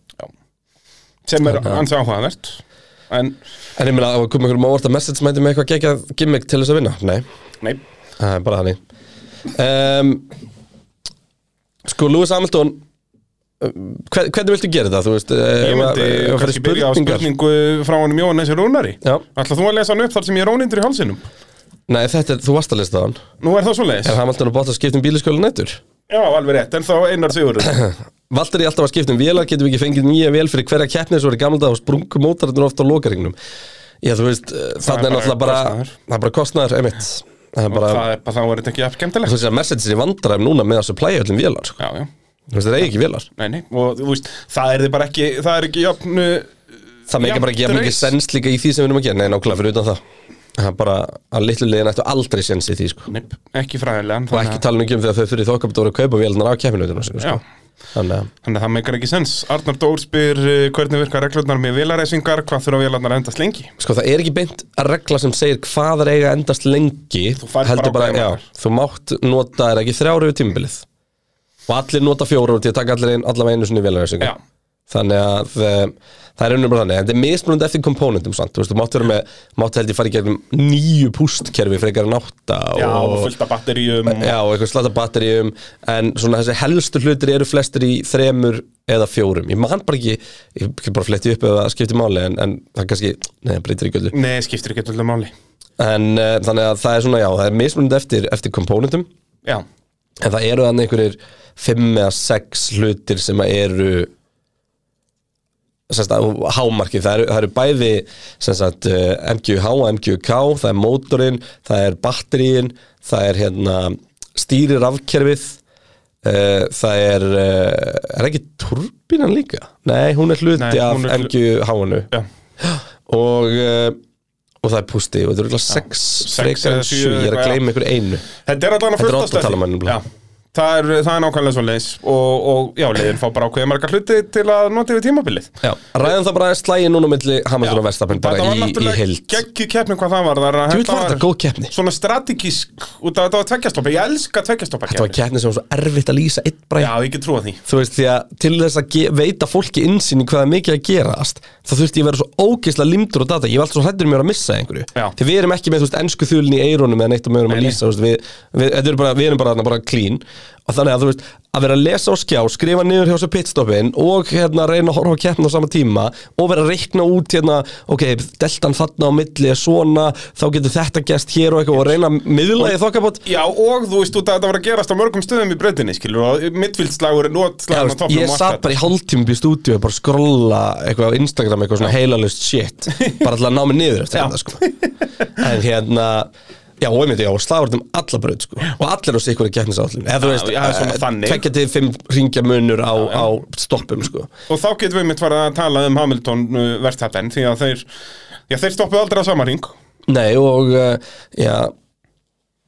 C: sem er ansi áhugavert en,
B: en ég meina, að koma einhverjum á orta message mæti með eitthvað gegja gimmick til þess að vinna nei,
C: nei,
B: það er bara þannig um, sko, Lewis Hamilton um, hver, hvernig viltu gera þetta, þú veist eh,
C: ég myndi kannski byrja á spurningu frá honum Jóhannes Rúnari
B: Já.
C: Ætla þú að lesa hann upp þar sem ég er rónindur í hálsinum
B: nei, þetta er, þú varst að lista þann
C: Nú er það svo leiðis
B: er Hamilton og Bottas skipt um bíliskjölu nættur
C: Já, alveg rétt, en þá Einar Sigurður
B: Valtteri alltaf að skipta um vélar, getum við ekki fengið nýja vél fyrir hverja keppni svo er gamla dag og sprungu mótarinn ofta á lokaringnum Já, þú veist, eh,
C: er
B: þarna er
C: bara
B: náttúrulega bara
C: kostnaður.
B: það er bara kostnaður, einmitt það er
C: og
B: bara,
C: það er bara, þá er þetta ekki jafn
B: þú
C: skemmtilegt
B: veist, að Mercedes er í vandræðum núna með að supplya öllum vélar, sko.
C: Já, já,
B: þú veist, það er ekki vélar
C: nei, nei, og þú veist, það er þið bara ekki, það er ekki jafn uh,
B: það meikir bara ekki jafn
C: Jafnt
B: mikið
C: race.
B: sens líka í því sem við erum að gera, nei, nákvæmlega fyrir utan það það er bara að litlu liðin ættu aldrei sens í því, sko,
C: Nei, ekki fræðilegan
B: og ekki tala nú ekki um þegar þau fyrir þokkabdóri að kaupa vélarnar á keppinautunum,
C: Já.
B: sko, þannig að
C: Þannig að það meikar ekki sens Arnar Dór spyr uh, hvernig virka reglurnar með vélaræsingar hvað þurfa vélarnar að endast lengi
B: sko það er ekki beint að regla sem segir hvað er eiga að endast lengi þú
C: færð bara ákveðið
B: já,
C: maður.
B: þú mátt nota er ekki þrjára yfir tímbilið og allir nota fjóra til að taka allir ein, allavega einu sinni
C: Já,
B: vélaræsingar þannig að eh, það er unnum bara þannig en þetta er mismunandi eftir komponentum sant? þú veist, þú mátt vera með, mátt held ég fara í gegnum nýju pústkerfi frekar en átta
C: já og
B: og,
C: fullt af batteríum
B: já, og eitthvað slata batteríum en svona þessi helstu hlutir eru flestir í þremur eða fjórum ég man bara ekki, ég get bara fletti upp ef það skiptir máli en, en það kannski, nei, það breytir ekki öllu
C: Nei, skiptir ekki alltaf máli
B: En uh, þannig að það er svona, já, það er mismunandi eftir, eftir komponentum
C: Já,
B: En það eru þannig einhverjir fimm eða sex hlutir sem að eru semst að hámarkið, það eru, það eru bæði semst að uh, MQH og MQK, það er mótorinn, það er batteríin, það er hérna stýri rafkerfið uh, það er uh, er ekki turbínan líka? Nei, hún er hluti
C: Nei,
B: af
C: hún er hlu-
B: MQH-unu
C: já
B: og uh, og það er pústi og þetta eru eitthvað sex frekar
C: eða
B: en sjö, ég
C: sjö,
B: er að
C: eitthvað,
B: gleyma ykkur einu
C: Þetta er allan að
B: Þetta er
C: fulltast
B: Oddur Talamann,
C: Já,
B: nefnilega.
C: það er, það er nákvæmlega svo leiðis og, og já, leiðin fá bara ákveðið marga hluti til að nota yfir tímabilið
B: Já, ræðum það bara aðeins slægin núna milli Hamilton og Verstappen bara
C: Þetta var
B: í, í
C: náttúrulega
B: heild
C: geggju keppni hvað það var þar að
B: Djúvill var þetta góð keppni.
C: Svona strategísk, út af þetta var tveggjastoppa Ég elska tveggjastoppa
B: Þetta var keppni sem var svo erfitt að lýsa eitt
C: Já,
B: bræð
C: ég get trúa því
B: Þú veist því að til þess að ge- veita fólki innsýn í hvað er mikið að gerast þá þurfti ég að vera svo ógeislega limdur og data ég var alltaf svo hrættur um ég var að missa einhverju
C: Já.
B: því við erum ekki með þú veist ensku þulin í eirónum eða neitt og við erum
C: Nei,
B: að
C: nei.
B: lýsa þú veist, við, við, þetta er bara, við erum bara, þarna bara clean og þannig að þú veist að vera að lesa á skjá skrifa niður hjá sér pitstoppin og hérna reyna að horfa á keppna á sama tíma og vera að reikna út hérna ok, deltan þarna á milli er svona þá getur þetta gest hér og eitthvað og reyna að miðla í þokkabót
C: Já, og þú veist út að þetta var að gerast á mörgum stöðum í breytinni, skilur, og mittfíldslagur,
B: Já,
C: nótslagur á
B: veist,
C: toppnum
B: ég
C: og
B: satt
C: allt
B: bara
C: þetta.
B: í hálftími upp í stúdíu bara að skrolla eitthvað á Instagram eitthvað svona heilalust shit bara til að ná mig niður eftir
C: Já.
B: þetta sko. en hérna já, og einmitt, já, og slagur um alla braut sko. og allir á sig ykkur í keppnisállin eða þú
C: Já,
B: veist,
C: já, svona þannig.
B: tvekja til fimm ringja munur á, á stoppum sko.
C: Og þá getum við mitt farið að tala um Hamilton uh, verðtappen, því að þeir, já, þeir stoppuðu aldrei á sama ring.
B: nei, og uh, já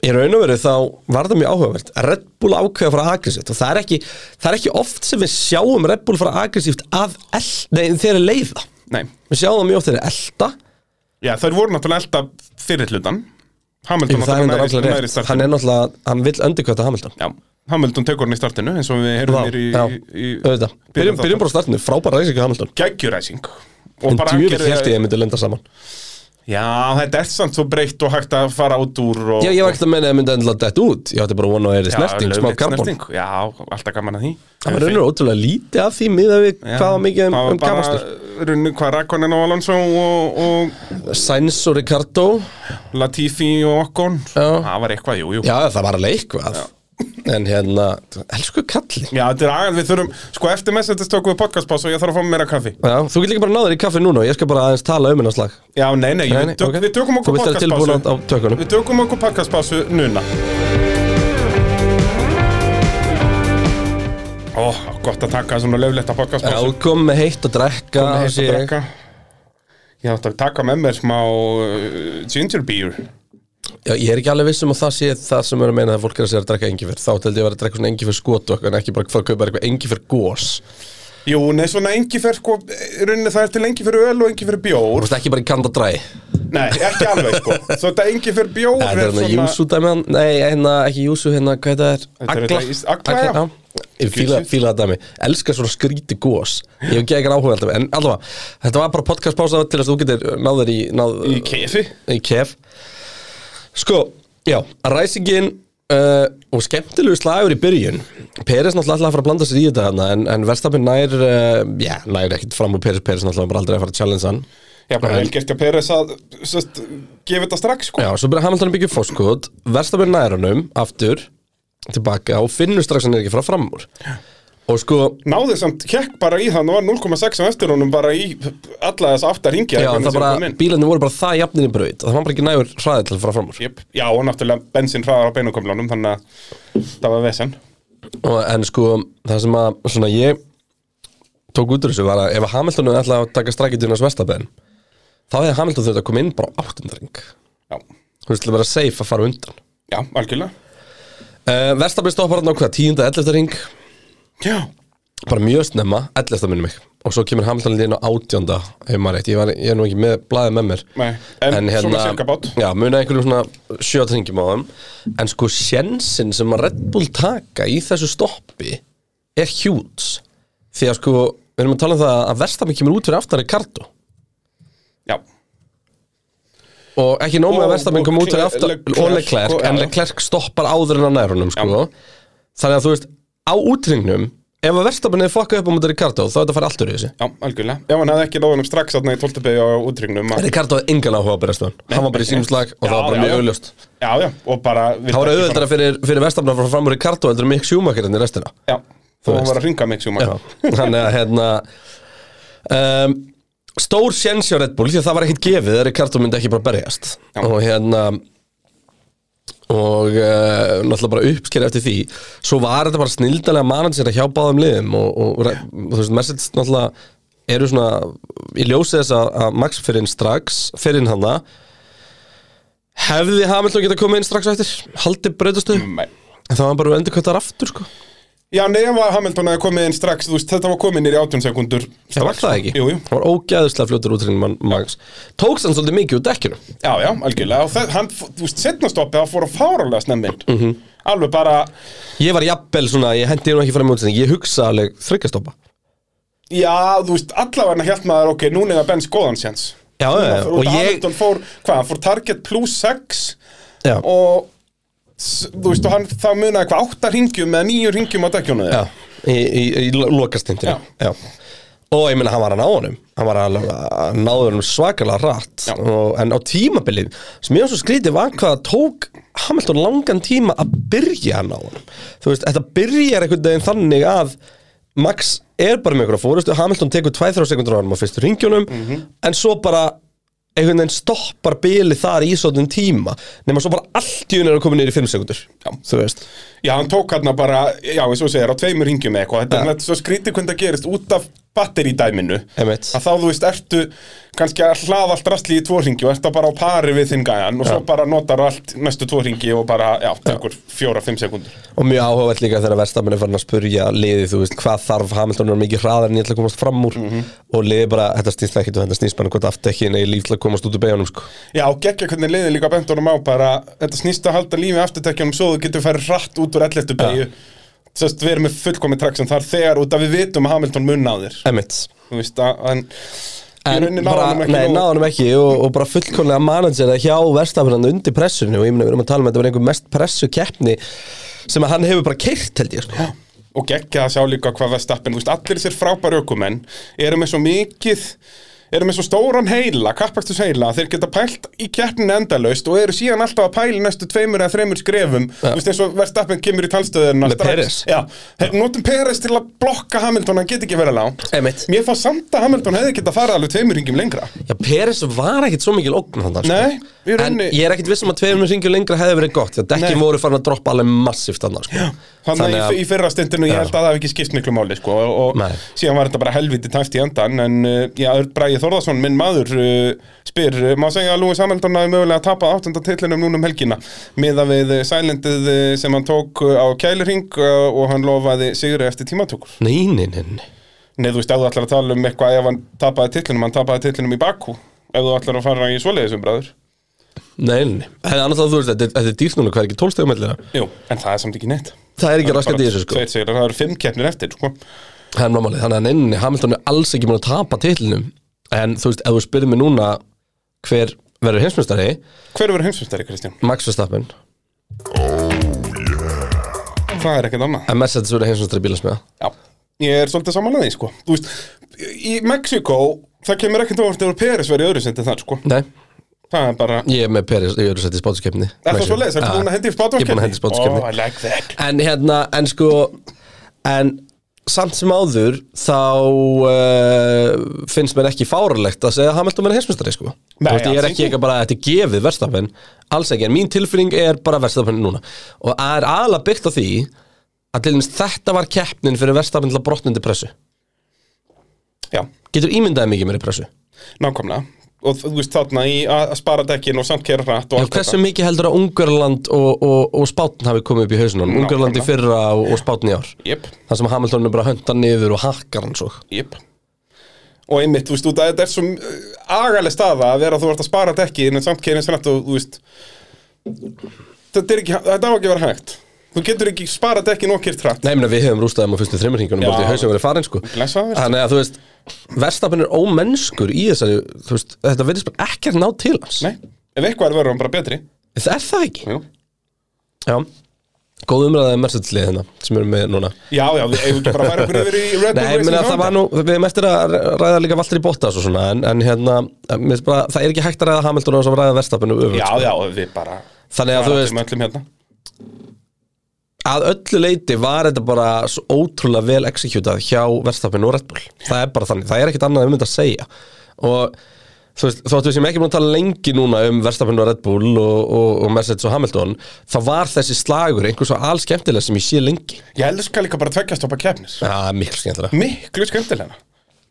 B: í raun og veru þá var það mjög áhugavert Red Bull ákveða frá agressíft og það er, ekki, það er ekki oft sem við sjáum Red Bull frá agressíft að el, nei, þeir eru leiða
C: Nei,
B: við sjáum það mjög oft þeir eru elda
C: já, þeir voru náttúrulega elda fyrir hlutan. Hamilton
B: Jú, það er
C: náttúrulega
B: reyndar allir
C: næri, næri
B: rétt
C: startinu.
B: Hann er náttúrulega, hann vill öndikvæta Hamilton
C: Já, Hamilton tekur hann í startinu, eins og við heyrum
B: Já,
C: hér í...
B: já,
C: í, í
B: auðvitað Byrjum, byrjum bara á startinu, frábæra reysing á Hamilton
C: Gægjuræsing.
B: En djúvill held ég að myndi lenda saman
C: Já, þetta er samt svo breytt og hægt að fara út úr og...
B: Já, ég var ekkert að meina að ég myndi endilega dett út Ég átti bara að vona að það er
C: Já,
B: snerting, smá
C: lögleitt
B: karbon
C: snerting. Já, alltaf gaman að því.
B: Það var raunur ótrúlega lítið af því miðað við
C: Já,
B: hvað var mikið um,
C: það var
B: um
C: bara
B: kapastur
C: runnu hvað Rakonin og Alonso og, og
B: Sainz og Ricardo
C: Latifi og Okkon
B: Já.
C: það var eitthvað, jú, jú
B: Já, það var alveg eitthvað en hérna, elsku kalli
C: Já, þetta er agan, við þurfum, sko eftir messendist tókum við podcastpás og ég þarf að fá mér meira kaffi
B: Já, þú getur líka bara náður í kaffi núna og ég skal bara aðeins tala um hennar slag
C: Já, nei, nei, nei,
B: Nei, nei,
C: tök,
B: ok.
C: við tökum
B: Þú
C: okkur
B: vilt vera tilbúin á- á tökunum.
C: Við tökum okkur podcastpásu núna Ó, gott að taka svona löfletta
B: Já,
C: podcastpásu
B: þú kom með heitt að drekka
C: Komið
B: sé
C: heitt að
B: ég.
C: drekka Ég átti að taka með mér smá uh, ginger beer
B: Já, ég er ekki alveg viss um að það sé það sem er að meina að fólk er að segja að drekka engifir Þá teldi ég að vera að drekka svona engifir skot og eitthvað en ekki bara að fara að kaupa eitthvað engifir gós
C: Jú, nei, svona engi fyrir sko í rauninni það er til engi fyrir öl og engi fyrir
B: Þú
C: bjór
B: veist ekki bara í kanda dræ
C: Nei, ekki alveg sko Svo þetta engi fyrir bjór
B: Þetta er hérna júsu dæmi hann Nei, hérna, ekki júsu, hérna, hvað þetta er?
C: Þetta er
B: Agla
C: þetta í- Agla, já.
B: já. Ég fíla, fíla það dæmi Elskar svona skríti gós Ég hef ekki eitthvað áhuga alltaf En allavega, þetta var bara podcastpása til þess að þú getur náður í náð,
C: Í kefi
B: í kef Sko, já, ræsingin uh, og skemmtilegu slagur í byrjun Peres náttúrulega ætlaði að fara að blanda sér í þetta hana, en, en Verstapin nær uh, já, nær ekkit fram úr Peres Peres náttúrulega bara aldrei að fara að challenge hann
C: Já, bara vel gert hjá Peres að sest, gefa þetta strax sko
B: Já, svo byrja Hamilton að byggja upp fórskot Verstapin nær honum, aftur tilbaka og finnur strax að hann er ekki frá fram úr og sko,
C: Náði samt hekk bara í hann og var 0,6 á eftir honum bara í alla þess aftar hingja
B: já, það bara bílarnir voru bara það jafnir í braut og það var bara ekki nægur hraði til að fara fram úr
C: Jep. Já, og náttúrulega bensin hraðar á beinukömlunum þannig að það var vesen
B: og, en sko, það sem að svona ég tók út úr þessu var að ef að Hamilton hefði ætlaði að taka strækjutinn á Svestabenn þá hefði Hamilton þurft að koma inn bara á áttundring
C: Já,
B: þú veist, til að vera safe að fara á undan
C: já algjörlega
B: uh, Verstabenn stoppar hann á hvað, tíunda, ellefta ring
C: Já,
B: bara mjög snemma, ellefta minnum mig og svo kemur Hamilton líðin á átjönda ef maður rétt, ég, var, ég er nú ekki með blaðið með mér
C: Nei, en svona cirka bát.
B: hérna- já, muna einhverjum svona sjöta ringjum á þeim en sko, sjensin sem að Red Bull taka í þessu stoppi er hjúts því að sko, við erum að tala um það að Verstappen kemur út fyrir aftan Ricardo
C: já
B: og ekki nóma
C: Og-
B: að Verstappen
C: og
B: kom út fyrir
C: Cle-
B: aftan
C: Leclerc
B: og Leclerc,
C: og-
B: en
C: já.
B: Leclerc stoppar áður en á nærunum sko. þannig að þú veist, á útringnum ef að Verstappen hefði fokkað upp á mútið Ricardo þá er þetta að fara allt úr í þessu
C: Já, algjörlega. Já, hann hefði ekki náðunum strax þarna í 12. beigja á útryggnum. að-
B: Ricardo hafði engan áhuga á Bergstón Hann var bara í sínum slag og
C: Já,
B: það var bara
C: já,
B: mjög
C: já.
B: auðljóst
C: Já, já, og bara...
B: Það var auðvitað fyrir, fyrir Vestafna frá framur Ricardo heldur en Mick Schumacher en í restina
C: Já, þú
B: veist.
C: var að ringa mig, Sjúmar.
B: Já, Þannig að hérna um, Stór sjens hjá Red Bull því að það var ekkit gefið að Ricardo myndi ekki bara berjast
C: Já.
B: og hérna og uh, náttúrulega bara uppsker eftir því svo var þetta bara snildalega manager hjá báðum liðum og, og, og þú veist, Mercedes náttúrulega eru svona í ljósi þess að að Max fyrir inn strax fyrir inn hana hefði Hamilton geta komið inn strax á eftir haldið breytastu mm.
C: Nei.
B: en það var bara endurkvættar aftur sko
C: Já, nei, ef að Hamilton hefði komið inn strax, þú veist, þetta var komið nýri 18 sekundur strax.
B: Það var það ekki,
C: Jú, jú.
B: það var ógæðislega fljótur útrinn mann Max Tókst hann svolítið mikið úr dekkinu
C: Já, já, algjörlega. Og það, hann, þú veist, setna stoppið, það fór að fárálega snemmin. Mm
B: Mhm.
C: -hmm. Alveg bara,
B: Ég var jafnvel svona, ég hendi nú ekki fram í útsinni Ég hugsa alveg þryggjastoppa
C: já, þú veist, allavega held maður, ok, núna er að Benz góðan séns.
B: Já, já, já,
C: Og
B: og ég
C: Hamilton fór, hvað, hann fór target plus 6
B: já,
C: og, s- þú veist, og hann, það munaði hvað, 8 ringjum eða 9 ringjum á dekkjónu
B: já, í, í, í lokastindinu
C: Já.
B: já. Og ég meina, hann var að ná honum Hann var að að náður honum svakalega rætt
C: Já.
B: og, En á tímabilið sem ég var svo skrítið var hvað það tók Hamilton langan tíma að byrja að ná honum Þú veist, þetta byrjar einhvern veginn þannig að Max er bara með einhverja fórustu Hamilton tekur 2-3 sekundur á honum á fyrstu ringjónum En svo bara einhvern veginn stoppar bilið þar í svona tíma nema svo bara allt í unni er að koma niður í 5 sekundur
C: Já.
B: Þú veist
C: Já, hann tók hérna bara, já, eins og þú segir, á tveimur ringjum eða eitthvað, þetta er
B: Ja.
C: nætt svo skrítið hvernig það gerist út af batterídæminu
B: Einmitt.
C: að þá, þú veist, ertu kannski að hlaða allt rastli í tvo ringi og ertu bara á pari við þinn gæjan og svo bara notar allt næstu tvo ringi og bara, já, tekur fjóra, fimm sekundur
B: Og mjög áhugavert líka þegar verðstafmenn er farin að spurja liðið, þú veist, hvað þarf Hamilton að vera mikið hraðar en ég ætla að komast fram úr
C: Mhm.
B: og liðið bara, þetta snýst ekkert og þetta snýst bara um hvort aftekkin eða líf til að komast út úr beigjónum, sko.
C: Já, og geggja hvernig leiðin líka bent honum á bara, þetta snýst að halda lífi afturtekjunum svo þú getur færi hratt út úr 11. beigju Sest, við erum með fullkomið traksum þar þegar út að við vitum að Hamilton munnaðir
B: Emmitt.
C: Þú veist að, en, Í
B: En
C: rauninni náði
B: bara,
C: honum ekki
B: nei,
C: nógu-
B: náðanum ekki og, og bara fullkomlega managerða hjá verðstafmenn undir pressunni og ég meina, við erum að tala um að þetta var einhver mest pressu keppni sem að hann hefur bara keirt, held ég, sko.
C: og geggja að sjá líka hvað Verstappen, þú veist, allir þessir frábæri ökumenn eru með svo mikið eru með svo stóran heila, kappakstus heila þeir geta pælt í keppninu endalaust og eru síðan alltaf að pæla í næstu tveimur eða þreimur skrefum, þú veist eins og verðstappin kemur í talstöðuna
B: Með Perez.
C: Já, þeir notum Peres til að blokka Hamilton, hann get ekki verið langt
B: Einmitt.
C: Mér fá samt að Hamilton hefði geta farið alveg tveimur ringjum lengra
B: Já, Peres var ekkit svo mikil ógn þannig
C: Nei, í
B: sko. En
C: rauninni-
B: ég er ekkit vissum að tveimur ringjur lengra hefði verið gott Já, dekkin
C: Nei.
B: voru farin að droppa alveg massíft þannig sko.
C: Þannig að í fyrra stundinu ég held að það hef ekki skipt miklu máli sko, og,
B: Nei.
C: og síðan var þetta bara helviti tæft í endan en uh, já, Örn Bræði Þórðarsson, minn maður uh, spyr, uh, má segja að Lúi Samhaldon hafi mögulega tapað áttunda titlinum núna um helgina miða við uh, sælendið uh, sem hann tók uh, á kæluring uh, og hann lofaði sigri eftir tímatökur
B: Nei, nei, nei, nei
C: Nei, þú veist, ef þú ætlar að tala um eitthvað ef hann tapaði titlinum, hann tapaði titlinum í Bakú ef þú ætlar að fara í svoleiðisum bræður
B: Nei, nei, nei. en annars að þú veist, þetta er- þetta er dýrt núna, hvað er ekki 12 stegum mellina?
C: Jú, en það er samt ekki neitt
B: Það er ekki raskat í
C: Bara
B: þessu sko
C: tveir sigrar, Það eru fimm keppnir eftir sko.
B: Það er námálið, þannig að neyninni, Hamilton er alls ekki múin að tapa titlinum En þú veist, ef þú spyrir mig núna hver verður heimsmyndstari
C: Hver verður heimsumstæri, Kristján?
B: Max Verstappen,
C: Það er ekkert annað
B: en Mercedes verður heimsmyndstari bílasmiða
C: Já, ég er svolítið samanlega því, sko Þú veist, í Mexiko það kemur ekkert óvart ef Peres verið öðru sendið þar, sko
B: Nei,
C: Það er bara,
B: ég er með Peris, ég eru sett í spátuskeppni
C: er það svo leiðis, er það búin að hendi í spátumkeppni?
B: Ah. Ég er búin að hendi í spátuskeppni
C: Oh, I like that
B: En hérna, en sko En samt sem áður Þá uh, finnst mér ekki fáralegt Að segja að Hamilton verið heimsmyndstari sko
C: Nei,
B: Þú veist, Ég
C: alls
B: er ekki
C: ekki.
B: eitthvað bara að þetta er gefið verstafinn Alls ekki, en mín tilfinning er bara verstafinn núna Og það er aðalega byggt á því Að til dæmis þetta var keppnin Fyrir verstafinn til að brotna undir pressu
C: Já,
B: Getur ímyndaði mikið mér í pressu
C: nákvæmlega Og þú veist, þarna í að að spara dekkin og samt kera hratt og
B: Já,
C: allt
B: Hversu mikið heldur að Ungarland og, og, og Spátn hafi komið upp í hausunum Ungarland í
C: Nákvæmlega.
B: fyrra og, og Spátn í ár
C: Jep,
B: Það sem Hamilton er bara að hönda niður og hakkar hann svo
C: jep Og einmitt, þú veist, út að þetta er svo uh, agaleg staða að vera að þú ert að spara dekkin en samt kera hratt og, þú veist Þetta er ekki, þetta á ekki að vera hægt Þú getur ekki spara dekkin og kert hratt
B: Nei, ég meina, við hefum rústaðum á fyrstu þreymur hringunum
C: Já.
B: bara því hausum verið farin sko
C: Blessaður.
B: Þannig að þú veist, verstafinn er ómennskur í þessari þú veist, Þetta verðist bara ekkert ná til hans
C: Nei, ef eitthvað er verður hann bara betri
B: Það er það ekki
C: Jú.
B: Já, góð umræðaði Mercedes-lið hérna sem erum með núna
C: Já, já, við eigum ekki bara að fara okkur yfir í Red Bull
B: Nei, ég
C: Racing
B: meina, það
C: Honda.
B: var nú, við hefum eftir að ræða líka Valtteri Bottas og svona En, en hérna, mér finnst bara, það er ekki hægt að ræða Hamilton og þess að ræða verstafinn og
C: Já,
B: öfugt
C: já, við bara
B: Þannig að þú
C: bara
B: veist,
C: með öllum hérna.
B: að öllu leiti var þetta bara svo ótrúlega vel executað hjá Verstappen og Red Bull það er bara þannig, það er ekkert annað um þetta að segja og þú veist, þóttu við sem ekki búin að tala lengi núna um Verstappen og Red Bull og, og, og Mercedes og Hamilton þá var þessi slagur einhver svo allskemmtilega sem ég sé lengi
C: Ég elska líka bara tveggjast opa keppnis
B: Já, ja, miklu skemmtilega
C: Miklu skemmtilega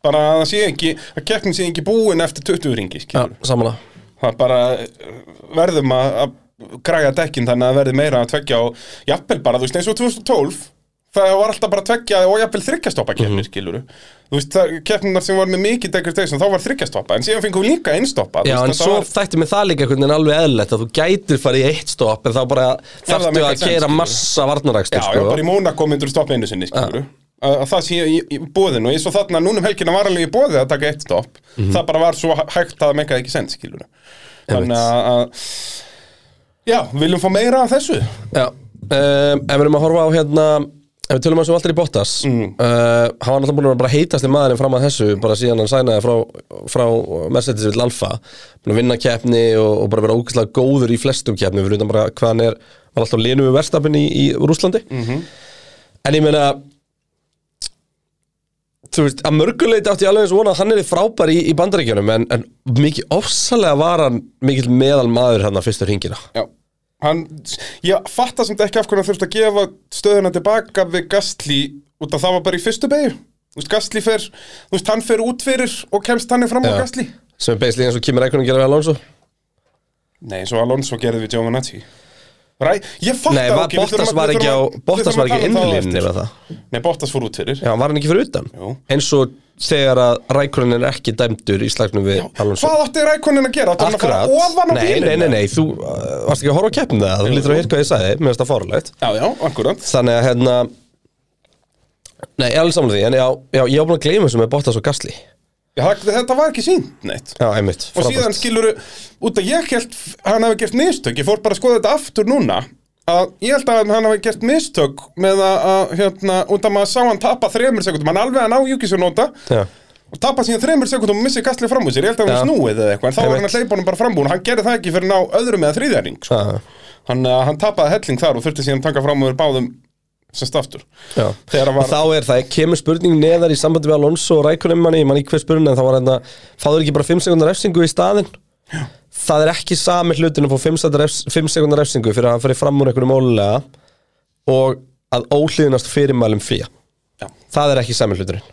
C: Bara að það sé ekki, að keppnin sé ekki búin eftir 20 ringi
B: Já,
C: ja.
B: samanlega
C: Það er bara uh, verðum að, að græja dekkin þannig að það verði meira að tveggja og jafnvel bara, þú veist, eins og 2012 Það var alltaf bara tveggja og jafnvel
B: Mhm.
C: þryggjastoppa keppnir, mm Þú veist, það- keppnirnar sem var með mikið degradation, þá var þryggjastoppa En síðan fengum við líka einstoppa þú
B: Já,
C: veist,
B: en
C: þetta
B: svo
C: var-
B: þætti mig það líka einhvern veginn alveg eðlilegt að þú gætir farið í eitt stopp en þá bara
C: það
B: þarftu
C: make
B: að
C: sense,
B: keira
C: skilur.
B: massa sko. varnarækstur
C: Já, já, bara í Mónakó myndur stoppa einu sinni, skilur að að það sé í, í bóðinu eins og þarna núna um helgina var alveg í bóði að taka eitt stopp það bara var svo hæ- hægt að það mekaði ekki send skilur þannig að að- já, viljum fá meira af þessu
B: Já, um, ef við erum að horfa á hérna Ef við tölum að sem Valtteri Bottas mm. Hann var náttúrulega búin að vera bara heitast í maðurinn fram að þessu Bara síðan hann sænaði frá, frá Mercedes vill Alfa Búin að vinna keppni og, og bara vera ógæslega góður í flestum keppni Fyrir utan bara hvað hann er Var alltaf lénu við verstafinn í, í Rúslandi En ég meina Þú veist, að mörguleiti átti ég alveg eins og vona að hann er í frábær í, í bandaríkjunum en, en mikið ofsalega var hann mikill meðal maður hann að fyrstu hringina
C: já Hann, ég fatta samt ekki af hvernig hann þurfti að gefa stöðuna tilbaka við Gastli út að það var bara í fyrstu beigju Þú veist, Gastli fer, þú veist, hann fer út fyrir og kemst hann fram á
B: Já.
C: Gastli
B: sem er basically eins og Kimi Rækunum gera við Alonso
C: Nei, eins og Alonso gerði við Giovanazzi Ræ, ég fattar
B: Nei, var, Bottas var ekki á Bottas var ekki innlýnni með það
C: um Nei, Bottas fór út fyrir
B: Já, var hann ekki fyrir utan
C: Jú.
B: eins og þegar að Rækunin er ekki dæmdur í slagnum við Alonso
C: Hvað átti rækonin að gera? Átti hann að fara ofan á
B: nei,
C: bílinn?
B: nei, nei, nei, þú uh, varst ekki að horfa á keppnum það þú lítur að hirka hvað ég sagði, mér finnst það fórulegt
C: Já, já, akkurat
B: Þannig að hérna Nei, ég er alveg saman því, en já, já ég var búin að gleyma þessu með Bottas og Gasly Já,
C: já, það- Þetta var ekki sínt neitt
B: einmitt,
C: Og síðan skilur út að ég held hann hafi gert mistök Ég fór bara að skoða þetta aftur núna að ég held að hann hafi gert mistök með að, að hérna, út að maður sá hann tapa þremur sekundum hann alveg að ná Júkisjónóta
B: Já,
C: og tapa síðan þreymur sekundum og missi kastlega fram úr sér, ég held að
B: Já.
C: hann snúið eða eitthvað en þá var hann
B: Einmitt.
C: að hleypa honum bara frambúin og hann gerði það ekki fyrir ná öðrum eða þriðjaring sko.
B: Já,
C: hann, eh, hann tapaði helling þar og þurfti síðan að taka fram úr báðum sem staftur
B: já.
C: Þegar hann
B: Og
C: var-
B: þá er það, kemur spurning neðar í sambandi við Alonso og Rækunen manni, ég man ekki hver spurning en þá var hérna, fáður ekki bara 5 sekundar refsingu í staðinn það er ekki sami hlutin að fá 5 sekúndna refs- 5 sekundar refsingu fyrir að hann fyrir fram úr einhverjum ólega og að óhlýðinast fyrirmælum fía
C: Já.
B: það er ekki sami hluturinn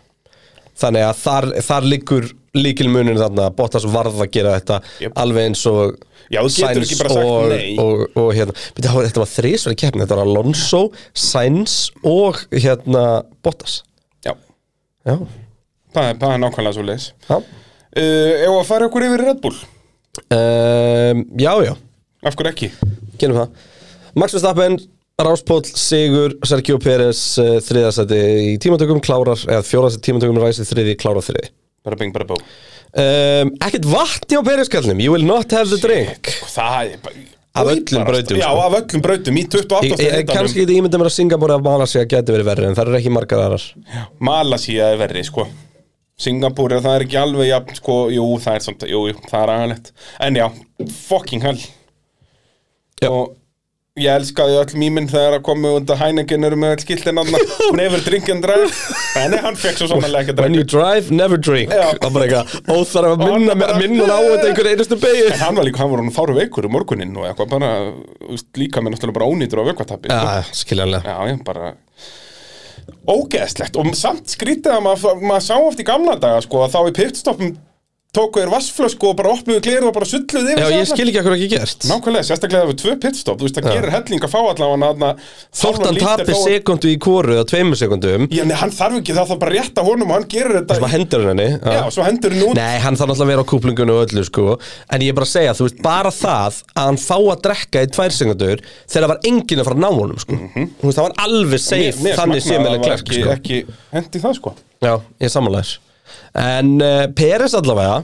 B: þannig að þar, þar liggur líkilmunin þarna, Bottas varð að gera þetta
C: Jep.
B: alveg eins og
C: Já, þú getur
B: Sainz
C: ekki bara sagt
B: og,
C: nei.
B: og, og hérna, Bíddu, það var- þetta var þrísverði keppni þetta var Alonso, Sainz og hérna Bottas
C: Já,
B: já,
C: það er, það er nákvæmlega svo leis
B: já,
C: uh, Ef að fara okkur yfir í Red Bull,
B: um, já, já
C: af hverju ekki?
B: gerum það Max Verstappen, Ráspóll, Sigur Sergio Pérez, uh, þriðasæti í tímatökum, klárar, eða fjórasæti tímatökum ræsið þriði, klárar þriði
C: Bara bing, bara bó
B: um, ekkert vatni á Pérez kallnum, you will not have the drink
C: Það er bara
B: Af öllum brautum,
C: Já,
B: sko.
C: af öllum brautum, í
B: Ég,
C: 28.
B: ég, ég
C: hitanum.
B: kannski geti ímynda mér að Singapore eða Malasía geti verið verri en það eru ekki margar aðrar
C: Malasía er verri, sko Singapúri, það er ekki alveg jafn, sko Jú, það er samt, jú, jú, það er aðalegt En já, fucking hell
B: Já.
C: Og ég elskaði öll mýminn þegar að komu undan Heineken eru með öll skiltin annar Never drink and drive En hann fekk svo samanlega ekki að
B: When you
C: drekka
B: drive, never drink
C: Já.
B: Það er bara eitthvað óþarf að minna,
C: bara-
B: minna á þetta einhver einustu begi
C: En hann var líka, hann var hann fáru veikur um morguninn og eitthvað bara, þú veist, líka með náttúrulega bara ónýtur á vökkvatappi sko.
B: Já, Ah, skiljanlega
C: Já, ég bara Ógeðslegt og samt skrítið að maður mað sá oft í gamla daga sko að þá í pitstoppum tóku þér vassflösku og bara opnuðu gleru og bara sulluðu yfir
B: Já,
C: sig
B: ég
C: allar.
B: skil ekki að hverju ekki gert
C: Nákvæmlega, sérstaklega ef við tvö pitstopp, þú veist, það
B: Já.
C: gerir helling að fá allavega hann að
B: Þótt hann tapir sekundu í kóru eða tveimur sekundum
C: Já, nei, hann þarf ekki, það þarf bara að rétta honum og hann gerir
B: sem að
C: þetta
B: hendur henni ah.
C: Já, svo hendur hann út
B: Nei, hann þarf náttúrulega að vera á kúplingunni og öllu sko En ég er bara að segja, þú veist, bara það að hann fá að drekka í tvær sekundur þegar það var enginn að fara að ná honum sko Þú veist, það var alveg safe
C: Mhm. Mér- mér
B: þannig
C: smakknaði
B: sé
C: að
B: með
C: það var
B: klerk
C: ekki,
B: sko
C: ekki hendi það sko
B: Já, ég samanlægir En uh, Peres allavega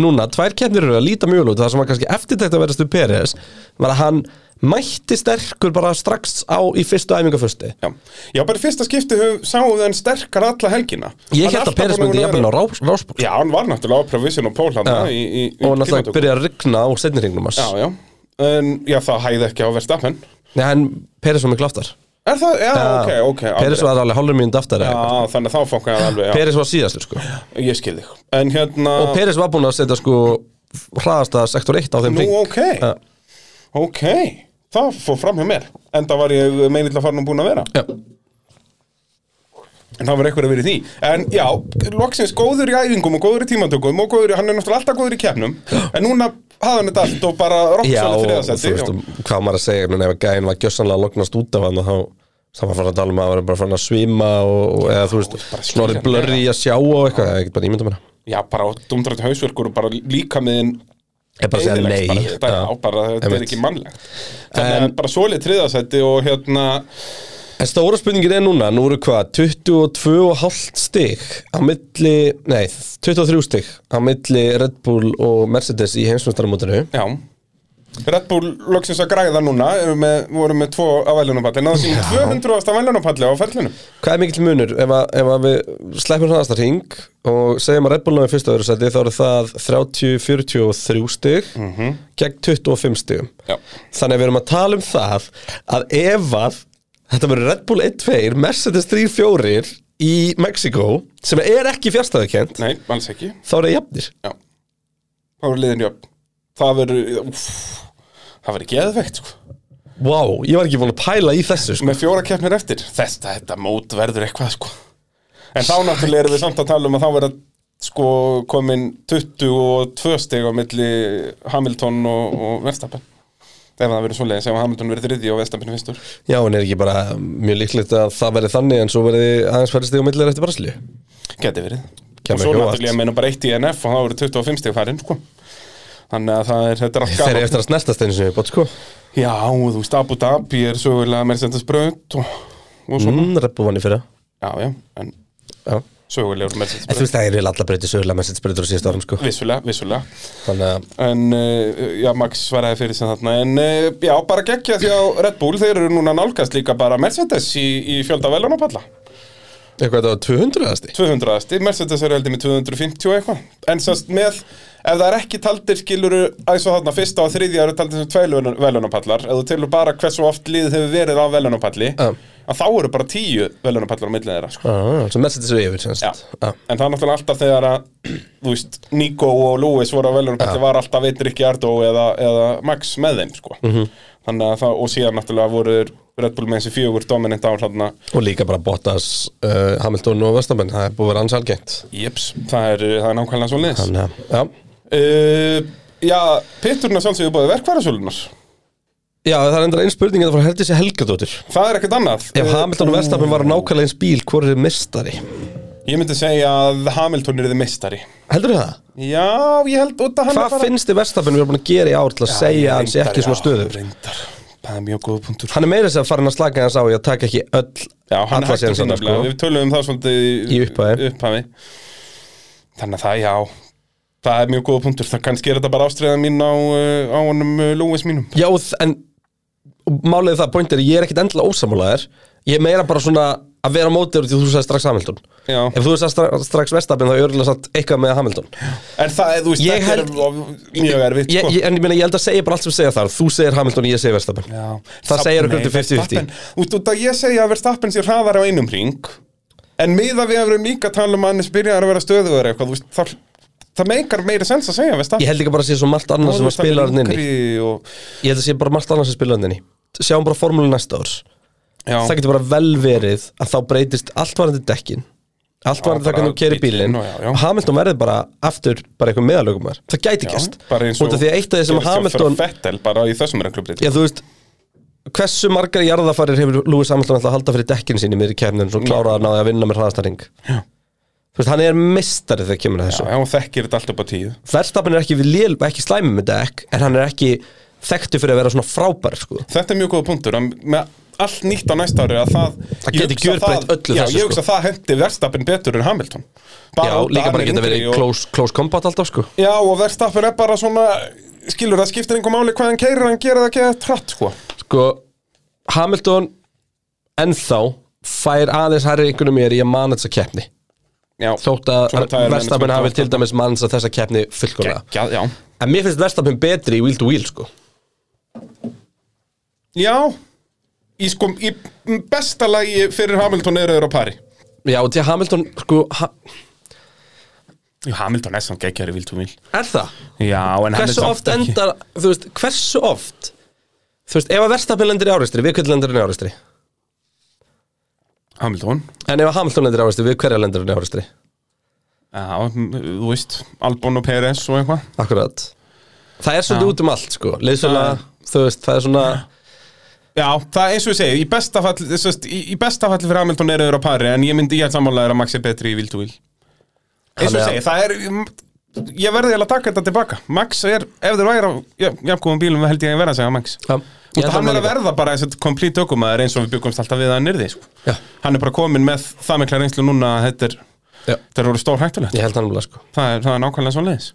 B: Núna, tvær keppnir eru að líta mjög vel út Það sem var kannski eftirtækt að vera stuð Peres Var að hann mætti sterkur bara strax á í fyrstu æfingafusti
C: Já, já bara í fyrsta skipti höfum- sáum við hann sterkar alla helgina
B: Ég
C: Hann er
B: held
C: alltaf
B: að Peres
C: búinn
B: myndi
C: vera-
B: jafnvel á rás, ráspól
C: Já, hann var náttúrulega á Provision og Pól hann í, í, í
B: Og náttúrulega
C: tímatökum.
B: byrja að rigna á setni hringnum hans
C: Já, já, en já, það hæði ekki á Verstappen
B: Nei, hann Peres var miklu aftar
C: Er það, já, ok, ok
B: Peres var alveg hálfur mínund aftar
C: Já,
B: ja.
C: þannig að þá fokkaði það alveg, já,
B: Peres var síðastur sko
C: ég skil þig En hérna,
B: Og Peres var búinn að setja sko hraðasta sektor 1 á þeim
C: nú,
B: hring
C: ok,
B: Já.
C: ok Það fór fram hjá mér, enda var ég meinill að fara nú búin að vera
B: Já.
C: En það var eitthvað að vera í því En já, loksins góður í æfingum og góður í tímantökum og góður í, hann er náttúrulega alltaf góður í keppnum En núna hafði hann þetta allt og bara
B: Já,
C: roksóli
B: og þú
C: þriðasetti
B: veist, um- og hvað maður að segja menn ef að gæinn var gjössanlega að lognast út af hann þá það var farin að tala um að það var bara farin að svima og, og eða þú veist,
C: bara
B: snorri
C: skiljanlega.
B: blurri í að sjá og eitthvað, ég get bara ímynda mér
C: Já, bara dumdrætt hausverkur og bara líka miðin
B: Ég bara segja
C: Eyðilegst bara,
B: nei
C: þetta er, á, bara, þetta er
B: einmitt.
C: ekki mannlegt Þannig að bara svolít þriðasætti og hérna
B: En stóra spurningin er núna, nú eru hvað 22,5 stig á milli, nei, 23 stig á milli Red Bull og Mercedes í heimsmyndstarumótinu
C: Já Red Bull loksins að græða núna eru með, voru með tvo af velunapalli náðu sín 200. velunapalli á ferlinu
B: Hvað er mikill munur ef að, ef að við sleppum hraðasta hring og segjum að Red Bull náði fyrst og öðru seti þá eru það 30-43 stig gegn 25 stigum
C: Já.
B: Þannig að við erum að tala um það að ef að þetta verður Red Bull 1-2 Mercedes 3-4 í Mexiko sem er ekki fjárstæðukent
C: Nei, alls ekki
B: þá eru það jafnir
C: Já Þá voru liðin jöfn Það verður úff, Það verður geðveikt sko
B: Vá, ég var ekki búin að pæla í þessu sko.
C: með fjóra keppnir eftir þetta, þetta mót verður eitthvað sko en þá náttúrulega erum við samt að tala um að þá verða sko komin 22 stig á milli Hamilton og, og Verstappen ef það verður svoleiðis, ef Hamilton verður þriði og Verstappen fyrstur
B: Já, en er ekki bara mjög líklegt að það verði þannig en svo verði aðeins færri stig og millir eftir Brasilíu
C: geti verið
B: Kæmi ekki
C: og svo
B: á óvart.
C: náttúrulega ég meina bara eitt í NF og þá verður 25 stig farin sko þannig að það er, þetta er allt
B: Þeir eru
C: gaman
B: eftir að snertast einu sinni, bótt sko
C: já, og þú veist, Abu Dhabi er sögulega Mercedes braut og, og svona
B: mm, Red Bull vann í fyrra
C: já, já, en
B: Já
C: sögulegur Mercedes
B: En þú
C: braut
B: veist, það er eiginlega allar breytið sögulega message-breytur á síðast árum, sko.
C: vissulega, vissulega
B: Þannig að,
C: En, uh, já, Max svaraði fyrir sem þarna En, uh, já, bara geggja því á Red Bull Þeir eru núna nálgast líka bara Mercedes í, í fjölda velunapalla
B: Eitthvað þetta var 200 eðasti
C: 200. Mercedes eru heldur með 250 og eitthvað en semst með, ef það er ekki taldir skiluru aðeins og þarna fyrsta og þriðja eru taldir sem tveil velunapallar ef þú telur bara hversu oft lið hefur verið á velunapalli
B: Já.
C: að þá eru bara 10 velunapallar á millið þeirra sko.
B: ah, Svo Mercedes er yfir sem
C: Já.
B: sagt. Já.
C: en það er náttúrulega alltaf þegar að þú veist, Nico og Lewis voru á velunapalli var alltaf eitt Rikki Ardó eða, eða Max með þeim sko.
B: Mhm.
C: þannig að það, og síðan náttúrulega voru þeir Red Bull með þessi fjögur dominant á hlanna
B: Og líka bara Bottas, uh, Hamilton og Vestamenn Það er búið að vera ansalgengt
C: Jeps, það er, eh, það er nákvæmlega svo liðs
B: Þannig að, já
C: Uh, já, pitturinn að sjálfsögðu búið verkværasölunar
B: Já, það er endur einn spurning hérna að það fara að herdi sér Helgadóttir
C: Það er ekkert annað
B: Ef
C: Uh,
B: Hamilton og Verstappen var nákvæmlega eins bíl, hvor er mistari?
C: Ég myndi segja að Hamilton er þið mistari
B: Heldur það?
C: Já, ég held út að hann
B: Hvað finnst þið Verstappen við erum búin að gera í ár til að segja að hann sé ekki svona stöður?
C: Reyndar, það er mjög góð punktur
B: Hann er meira sem farin að slaka hans á í að taka ekki öll
C: Já, hann
B: alla
C: hættur
B: sénsana,
C: sína sko. Við tölum um það svolítið
B: Í upphafi.
C: upphafi. Þannig að það, já Það er mjög góð punktur, það kannski er þetta bara ástriða mín á, uh, á honum uh, Lewis mínum
B: Já, þ- en málið er það, point er, ég er ekkit endilega ósamálaðir Ég er meira bara svona að vera á móti þér út í því þú sagði strax Hamilton
C: Já.
B: Ef þú sagði stra strax Verstappen þá er örgulega satt eitthvað með Hamilton
C: En það, er, þú veist,
B: Ég
C: þetta er mjög erfitt
B: ég,
C: sko.
B: ég, En ég meina, ég held að segja bara allt sem segja þar Þú segir Hamilton, ég segir Verstappen
C: Já.
B: Það segir okkur
C: Nei,
B: til 50-50
C: Verstappen- Út út að ég segja að Verstappen sé hraðar á einum ring En miða við að við erum líka að tala um að hann byrjar að vera stöðuður eitthvað þú veist, það, það meikar meiri sens að segja
B: Ég
C: Verstappen
B: held ekki bara að sé svo margt annað sem að spila hann inn í
C: og,
B: Ég held að sé bara margt annað sem spila hann inn í Sjáum bara formúlu næsta árs
C: já,
B: Það getur bara vel verið að þá breytist allt varandi dekkin Allt varandi það
C: bara
B: hvernig þú keri
C: bíllinn
B: bílinn
C: og já, já.
B: og Hamilton verði bara aftur bara eitthvað meðalögum Það gæti gæst
C: bara eins og
B: Út af því að eitt af því sem
C: gerðist hjá
B: Hamilton
C: Fettel bara í þessum reglubrit
B: Já, þú veist Hversu margar jarðafarir hefur Lewis Hamilton ætlað að halda fyrir dekkin sín í miðri kefnin svo kláraði að náði að vinna með hraðasta ring
C: Já.
B: Þú veist, hann er mistari þegar kemur að þessu
C: Já, og þekkir þetta allt upp á tíu
B: Verstapin er ekki við lél, ekki slæmi með dekk en hann er ekki þekktu fyrir að vera svona frábær sko.
C: Þetta er mjög góða punktur að með allt nýtt á næsta ári að það
B: Það
C: ég
B: geti
C: hugsa
B: gjörbreytt
C: það-
B: öllu
C: Já,
B: þessu,
C: ég
B: sko.
C: hugsa að það hendi Verstappen betur en Hamilton
B: Já,
C: út af
B: líka bara
C: hann er
B: geta verið
C: yngri og-
B: close, close combat alltaf sko.
C: Já, og Verstappen er bara svona skilur, það skiptir einhver máli hvað hann keirir hann gerir það ekki að tratt, sko
B: sko Hamilton ennþá fær aðeins hærri einhvernum mér í að manatsa keppni
C: Já,
B: þótt
C: Svona
B: að
C: tire
B: Verstapin
C: management
B: hafi
C: og
B: til dæmis manatsa þessa keppni fullkomlega
C: já, já
B: en mér finnst Verstapin betri í wheel to wheel sko.
C: Já, í sko, í besta lagi fyrir Hamilton er öður á pari
B: já og til að Hamilton sko, ha
C: Jú, Hamilton er samt geggjari vilt og vil
B: er það?
C: Já, en hann er
B: hversu oft endar þú veist, hversu oft þú veist, ef að Verstapin lendir í áristri við hverju lendir hann í áristri
C: Hamilton,
B: en ef að Hamilton lendir í áristri við hverja lendir hann í áristri
C: já, m- þú veist Albon og Perez og eitthvað
B: akkurat það er svolítið
C: Já.
B: út um allt sko. Liðsvöla,
C: Já.
B: þú veist, það er svona
C: Já, það er eins og ég segi, í besta fall þessast, í, í besta fall fyrir Hamilton er öður á pari en ég myndi, ég er sammálaður að Max er betri í vilt og vil eins og
B: Þannig
C: ég
B: að-
C: segi, það er mm, ég verði eiginlega að taka þetta tilbaka Max er, ef þeir væri á jafnkóðum bílum held ég að vera að segja Max
B: Já. Ég held
C: Út,
B: að
C: af hann er að
B: líka.
C: verða bara eins og komplít ökumæður eins og við byggumst alltaf við að hann yrði sko.
B: Já.
C: hann er bara komin með það mikla reynslu núna að þetta er,
B: Já.
C: þetta er orðið stór hættulegt
B: Ég held hann alveg sko
C: það, er, það er nákvæmlega svo leiðis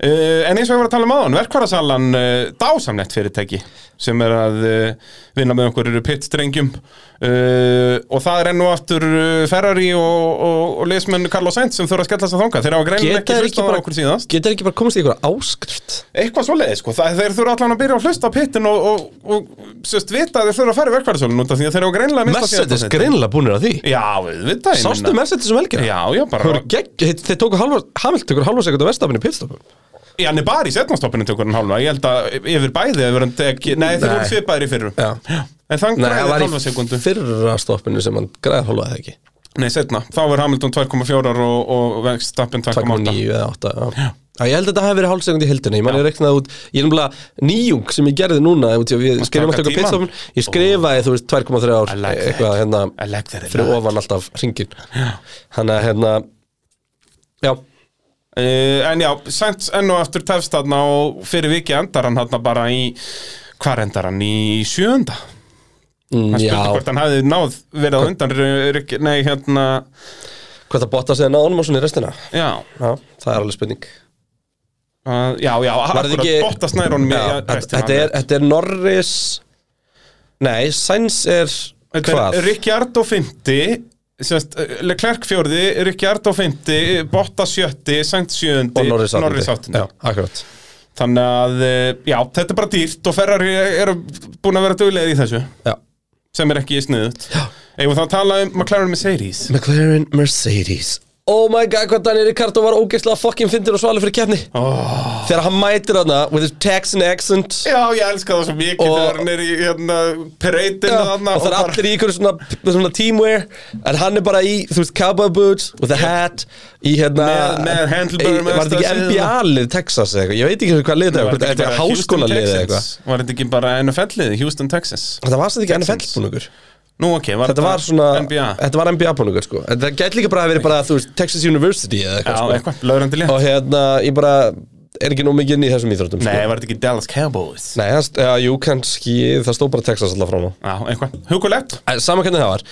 C: Uh, en eins og ég var að tala um áðan, verkvarasalan uh, dásamnett fyrirtæki sem er að uh, vinna með okkur pittstrengjum uh, og það er enn og aftur uh, Ferrari og, og, og liðsmenn Carlos Sainz sem þurfa að skella sig þangað þeir hafa
B: Geta
C: greinilega ekki
B: þeir ekki,
C: hlustað á okkur
B: bara,
C: síðast
B: geta þeir ekki bara komast í einhverja áskrift?
C: eitthvað svo leiði sko, það, þeir þurfa allan að byrja að hlusta á pittin og, og, og sérst vita að þeir þurfa að fara í verkvarasölun út af því að þeir hafa greinlega
B: Mercedes greinlega búinir að því
C: Já, auðvitað ég
B: Sástu
C: meina.
B: Mercedes sem helgina?
C: Já, já,
B: Þeir,
C: bara
B: gegg, þeir, þeir tóku halva, Hamilton tekur halva sekund á verstafinu í pitstopum
C: Já, hann er bara í setnastoppinu tökur hann hálfa Ég held að yfir bæði hefur hann ekki Nei, þeir
B: Nei.
C: voru svipaðir í fyrru
B: Já.
C: En þann
B: Nei, það
C: græði
B: var
C: hálfa sekundu
B: í fyrra stoppinu sem hann græði halva eða ekki
C: Nei, setna, þá er Hamilton 2,4 og, og Verstappen
B: 2,9
C: 2,8
B: eða 8 já. Já, Ég held að þetta hafi verið halva sekund í heldinu Ég man ég reiknaði út, ég er nefnilega nýjung sem ég gerði núna út í að Við skrifum
C: taka
B: alltaf
C: tímann.
B: pitstopum Ég skrifaði, þú veist, 2,3 ár
C: I like that.
B: Eitthvað hérna,
C: I like that a
B: fyrir
C: lot.
B: ofan alltaf ringin Þannig að hérna Já,
C: uh, En já, Sainz enn og aftur tefst þarna og fyrir vikið endar hann þarna bara í Hvar endar hann? Í sjöunda?
B: Mm,
C: Hann spurði
B: já.
C: hvort hann hefði náð verið á undan Rick- Nei, hérna
B: Hvað það bóta að segja náðunum og svona í restina?
C: Já,
B: Já, það er alveg spurning
C: uh, já, já
B: Var þetta
C: akkurat,
B: ekki-
C: Bottas nær honum í-
B: Já,
C: í-
B: þetta-
C: restina.
B: Þetta er, þetta er Norris Nei, Sainz er
C: Þetta
B: hvað?
C: er Ricciardo 50 semst, eh, Leclerc fjórði, Ricciardo fymti Bottas sjötti, Sainz sjöndi
B: og Norris áttundi.
C: áttundi
B: Já, akkurat
C: þannig að, eh, já, þetta er bara dýrt og Ferrari eru búin að vera duglegir í þessu
B: Já
C: sem er ekki sniðut eigum við þá að tala um McLaren Mercedes
B: McLaren Mercedes Oh my god, hvað Daniel Ricardo var ógeðslega fucking fyndir og svalið fyrir keppni oh. Þegar hann mætir þarna with his Texan accent
C: já, ég elska það svo mikið
B: Og-
C: þegar hann er í hérna,
B: Já,
C: pereitin
B: og það er allir í ykkur svona, svona teamwear en hann er bara í, þú veist, cowboy boots with a hat í hérna
C: Með- með handlebar-
B: í- var þetta ekki
C: með-
B: NBA-lið Texas eða eitthvað, ég veit ekki hvað lið það er hvort þetta er háskóla lið eða eitthvað
C: Var þetta ekki bara NFL-lið, Houston, Texas
B: þetta var þetta ekki NFL
C: Texans.
B: búningur
C: Nú ok, var
B: þetta var svona,
C: NBA
B: þetta var NBA búningur sko en það gæti líka bara að vera bara, þú veist, Texas University eða
C: Já,
B: eitthvað, sko.
C: eitthvað, lögrandi létt
B: og hérna, ég bara er ekki nóg mikið inn í þessum íþróttum
C: Nei,
B: sko.
C: var þetta ekki Dallas Cowboys
B: Nei, það, ja, jú, kannski, það stóð bara Texas alltaf frá nú
C: Já, eitthvað, hugulegt
B: Eh, Sama hvernig það var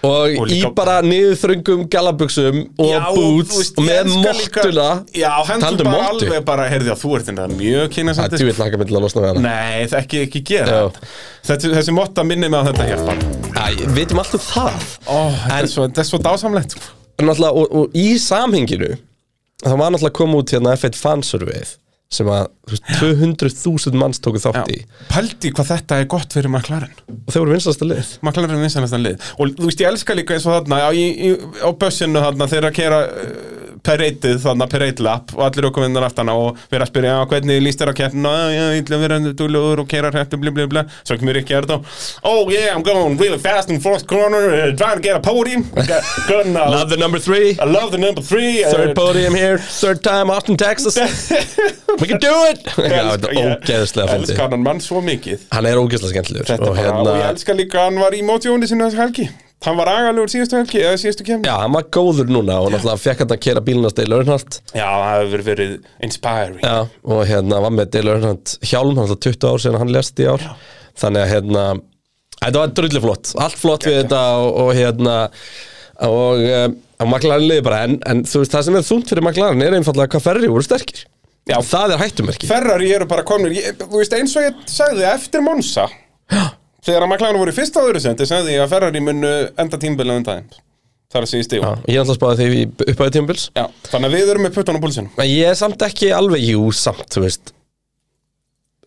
B: Og,
C: Og
B: í
C: líka-
B: bara niðurþröngum galabuxum og
C: Já, þú
B: boots
C: veist,
B: og
C: ég
B: með
C: elska líka-
B: mottuna
C: Já, hendur
B: Talandi um
C: bara
B: mottu.
C: alveg bara, heyrði að þú ert þetta mjög
B: Það
C: kynasandi
B: er djúvill langa myndið að losna við hana
C: Nei, það ekki, ekki gera
B: Já.
C: þetta. þetta Þessi motta minni mig á þetta hér bara
B: Æ, við veitum allt um það
C: Ó, þetta
B: En-
C: er svo, þetta er svo dásamlegt sko.
B: En náttúrulega, og, og í samhenginu Það var náttúrulega að koma út hérna F1 fansurveið sem að þú veist, 200.000 manns tóku
C: Já.
B: þátt í
C: Pældi hvað þetta er gott fyrir McLaren
B: og þeir voru vinstasta lið
C: McLaren er vinsanastan lið og þú veist ég elska líka eins og þarna á, í, í, á bussinu þarna þegar að kera uh, pereitið þarna pereitlap og allir okkur vinnar aftana og vera að spyrja "Já, hvernig líst þér á keppnina "Já, já, ég ætla að vera dúlugur og kera hrættu bli bli bli svo ekki mér ekki er þetta oh yeah I'm going really fast in fourth corner uh, trying to get a podium Got- gonna,
B: Love the number three
C: I love the number three uh,
B: Third podium here, third time Austin, Texas We can do it Já, þetta er
C: ég-
B: ógeðslega fyndi
C: elska hann mann svo mikið
B: Hann er ógeðslega skemmtilegur
C: þetta
B: og
C: bara
B: hérna-
C: og ég elska líka að hann var í mótjóni sinna þessi helgi hann var agalegur síðustu helgi eða síðustu kemni
B: Já, hann var góður núna og náttúrulega fekk hann að kera bílina Dale Earnhardt
C: Já, það hefur verið verið inspiring
B: Já. og hérna var með Dale Earnhardt hjálm, hann var 20 ár síðan hann lest í ár þannig að hérna þetta var drullu flott, allt flott við þetta og, og hérna og, um, og McLaren liði bara en, en þú veist, það sem er þungt fyrir McLaren er einfallega hvað ferri voru sterkir Já. það er hættumerki
C: Ferrari eru bara komnir, ég, þú veist eins og ég sagði eftir Monza Þegar að McLaren voru í fyrsta og öðru sendi sagði ég að Ferrari munu enda tímbilið undan þeim Það er að segja í stíu
B: Já, ég ætla að spáði því í upphæðu tímabils
C: Já, þannig að við erum með puttan á púlsinu
B: en ég er samt ekki alveg jú samt, þú veist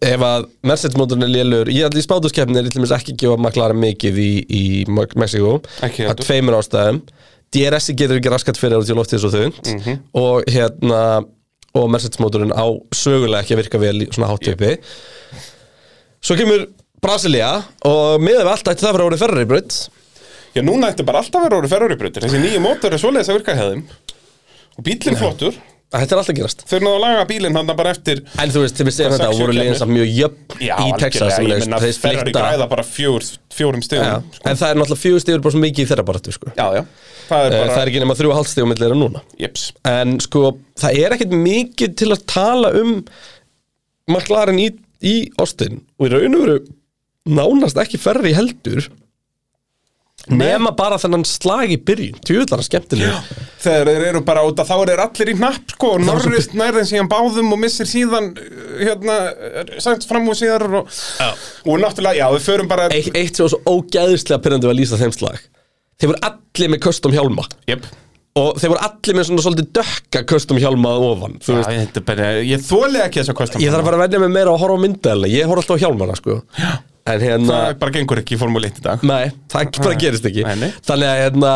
B: ef að Mercedes-mótorinn er lélur ég ætla í spátuskeppni er ítlumis ekki að gefa McLaren mikið í, í Mexiko
C: Ekki
B: að
C: heldur.
B: tveimur ástæðum DRS-i getur ekki raskat fyrir út í loftið svo þund
C: Mhm.
B: og hérna og Mercedes-mótorinn á sögulega ekki að virka vel í svona háttöpi svo kemur Brasilia og miðað við allt ætti það fyrir árið ferri braut
C: Já, núna ætti bara alltaf að vera orðið Ferrari breytir Þessi nýju mótor er svoleiðis að virka hefðum Og bílinn flottur
B: þetta er alltaf að gerast
C: Þeir náðu að laga bílinn hann bara eftir
B: en þú veist, til við segjum
C: Hvað,
B: þetta,
C: sex, sjö
B: voru liðin
C: keppnir?
B: samt mjög jöfn
C: Já,
B: í Texas sem
C: algjörlega,
B: leist,
C: ég menna
B: þeir
C: Ferrari
B: splitta-
C: græða bara fjór, fjórum
B: Já,
C: stigum sko.
B: en það er náttúrulega fjögur stigur bara svo mikið í þeirra baratu sko.
C: Já, já, það er
B: Eh,
C: bara
B: Það er ekki nema þrjú og halvt stigur millir þeirra núna
C: Jeps
B: En sko, það er ekkert mikið til að tala um McLaren í, í Austin og í raun og veru nánast ekki ferri heldur nema bara þennan slag í byrjun tjóðlar að skemmtilega
C: þegar þeir eru bara út að þá eru þeir allir í hnapp sko, og
B: Það var svo
C: Norris nærðin síðan báðum og missir síðan uh, hérna, uh, sænt fram úr síðar og, og náttúrulega, já, við förum bara
B: Eitt, eitt sem var svo ógæðislega pyrrandi var að lýsa þeim slag Þeir voru allir með custom hjálma
C: yep.
B: og þeir voru allir með svona svolítið dökka custom hjálma að ofan þú
C: já,
B: veist,
C: þetta er bara, ég þóli ekki þess að kostum
B: Ég þarf að fara að venja mig meira að horfa á myndaðalega Ég horf alltaf á hjálmana sko En hérna,
C: það bara gengur ekki í formúli 1 í dag
B: nei, það bara gerist ekki
C: Nei, nei.
B: Þannig að hérna,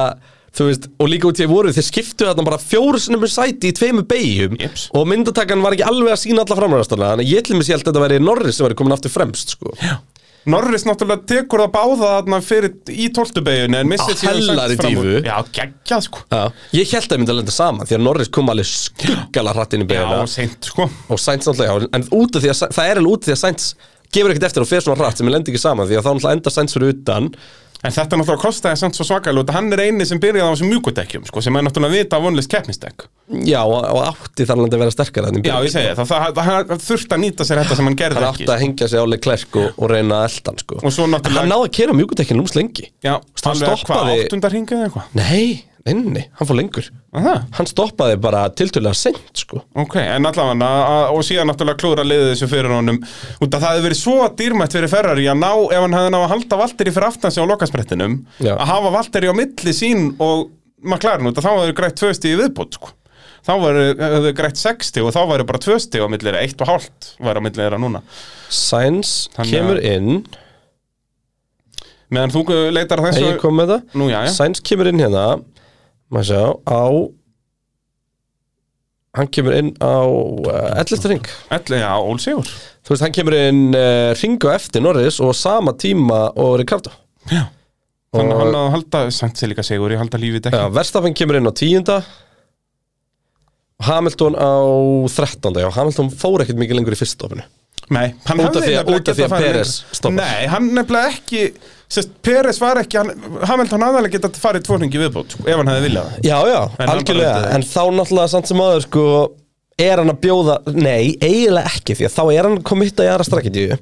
B: þú veist Og líka út í að voru, þeir skiptu þarna bara fjóru sinni með sæti í tveimu beigjum
C: Jeps.
B: Og myndatakan var ekki alveg að sína alla framræðastana Þannig að ég til mér sé held að þetta væri Norris sem væri komin aftur fremst sko Já,
C: Norris náttúrulega tekur það báða þarna fyrir í tóltubeginu en
B: Á
C: missir síðan Sainz
B: hellari
C: fram úr.
B: dýfu.
C: já, geggjað sko
B: Ég held að ég myndi að lenda saman Því að Norris kom alveg skuggala hratt inn í
C: já,
B: beigjuna
C: seint sko
B: og Sainz náttúrulega, já, en út af því að Sainz- það er alveg út af því að Sainz gefur ekkert eftir og fer svona hratt sem er lendi ekki saman því að þá náttúrulega endar Sainz fyrir utan
C: En þetta náttúrulega kostaði samt svo svakalega Hann er eini sem byrjaði á þessum mjúkudekkjum sko, sem er náttúrulega vita vonlist keppnisdekk
B: Já, og og átti þar landi að vera sterkar
C: Já, ég segi það, það, það, það þurfti að nýta sér þetta sem hann gerði
B: Hann
C: ekki sko.
B: átti að hengja sig á Leclerc og, og reyna að elda hann sko
C: Og svo
B: En
C: náttúrulega-
B: Hann náði að kera mjúkutekkin lúms lengi
C: Já,
B: hann
C: alveg, hvað,
B: stoppaði-
C: áttundar hringið eða eitthvað
B: Nei, neini, hann fór lengur
C: Aha,
B: Hann stoppaði bara tiltölulega seint, sko
C: ok, en allavega að- og síðan náttúrulega klúra liðið þessu fyrir honum út að það hefði verið svo dýrmætt fyrir Ferrari að ná, ef hann hefði ná að halda Valtteri fyrir aftan sig á lokasprettinum
B: Já.
C: að hafa Valtteri á milli sín og maklarinn út að þá hefði greitt tvö stíð viðbútt sko. þá væri- hefði greitt 60 og þá væri bara tvö stíð á milli þeirra, eitt og hálft væri á milli þeirra núna
B: Sainz
C: Þannig
B: kemur
C: að-
B: inn
C: meðan þú leitar að
B: En
C: þessu
B: ég kom með það
C: Nú, já, já.
B: Sainz kemur inn hérna Maður sjá, á Hann kemur inn á uh, 11. ring
C: Elli, já, ólsigur
B: Þú veist, hann kemur inn uh, ringu eftir Norris og sama tíma og Ricardo
C: Já. Þannig að
B: Og-
C: hann að halda, samt sér líka sigur, ég halda lífið ekki.
B: Já, Verstafinn kemur inn á 10. Hamilton á 13. Já, Hamilton fór ekkert mikið lengur í fyrsta stopinu
C: Nei, hann
B: Út af því
C: hefði
B: að-
C: nefnilega
B: út af því
C: getað
B: að
C: farið
B: Perez
C: lengra.
B: stoppar.
C: Nei, hann nefnilega ekki, sérst, Peres var ekki, hann, Hamilton aðalega getað farið tvorningi viðbót, sko, ef hann hefði viljað. það.
B: Já, já,
C: En hann bara
B: algjörlega
C: vildi-
B: En þá náttúrulega samt sem aður sko Er hann að bjóða, nei, eiginlega ekki Því að þá er hann komitt að jara strakkidíu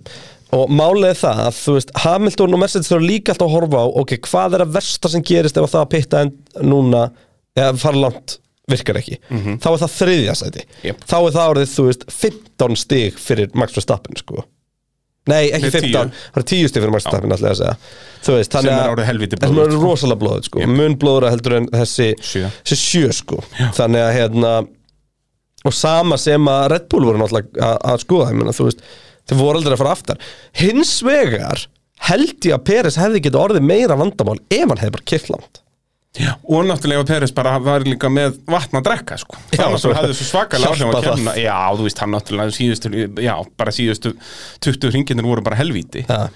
B: Og málið er það að þú veist Hamilton og Mercedes þurfa líka alltaf að horfa á Ok, hvað er að versta sem gerist ef að það að pitta en núna Eða fara langt virkar ekki Þá er það þriðja sæti
C: Mhm. Jep.
B: Þá er það orðið, þú veist, 15 stig fyrir Max Verstappen sko Nei, ekki
C: Nei,
B: 15,
C: 10.
B: það er 10 stig fyrir Max Verstappen ætla ég að segja Þú veist,
C: Sem
B: þannig
C: er
B: að
C: orðið helviti
B: Sem er
C: blóðugt, sko.
B: rosalega blóðið sko, mun blóðra heldur en þessi
C: Sjö.
B: þessi sjö sko þannig að hérna og sama sem að Red Bull voru náttúrulega að, að skoða ég meina, þú veist, þeir voru aldrei að fara aftar hins vegar held ég að Peres hefði getið orðið meira vandamál ef hann hefði bara kyrkt langt
C: Og náttúrulega ef Peres bara var líka með vatn að drekka, sko.
B: Já,
C: Þannig
B: svo-
C: að hefði svo svakalega áhrif
B: hjálpa
C: að
B: það.
C: kemna. Já, þú veist, hann náttúrulega síðustu, já, bara síðustu 20 ringinir voru bara helvíti.
B: ja.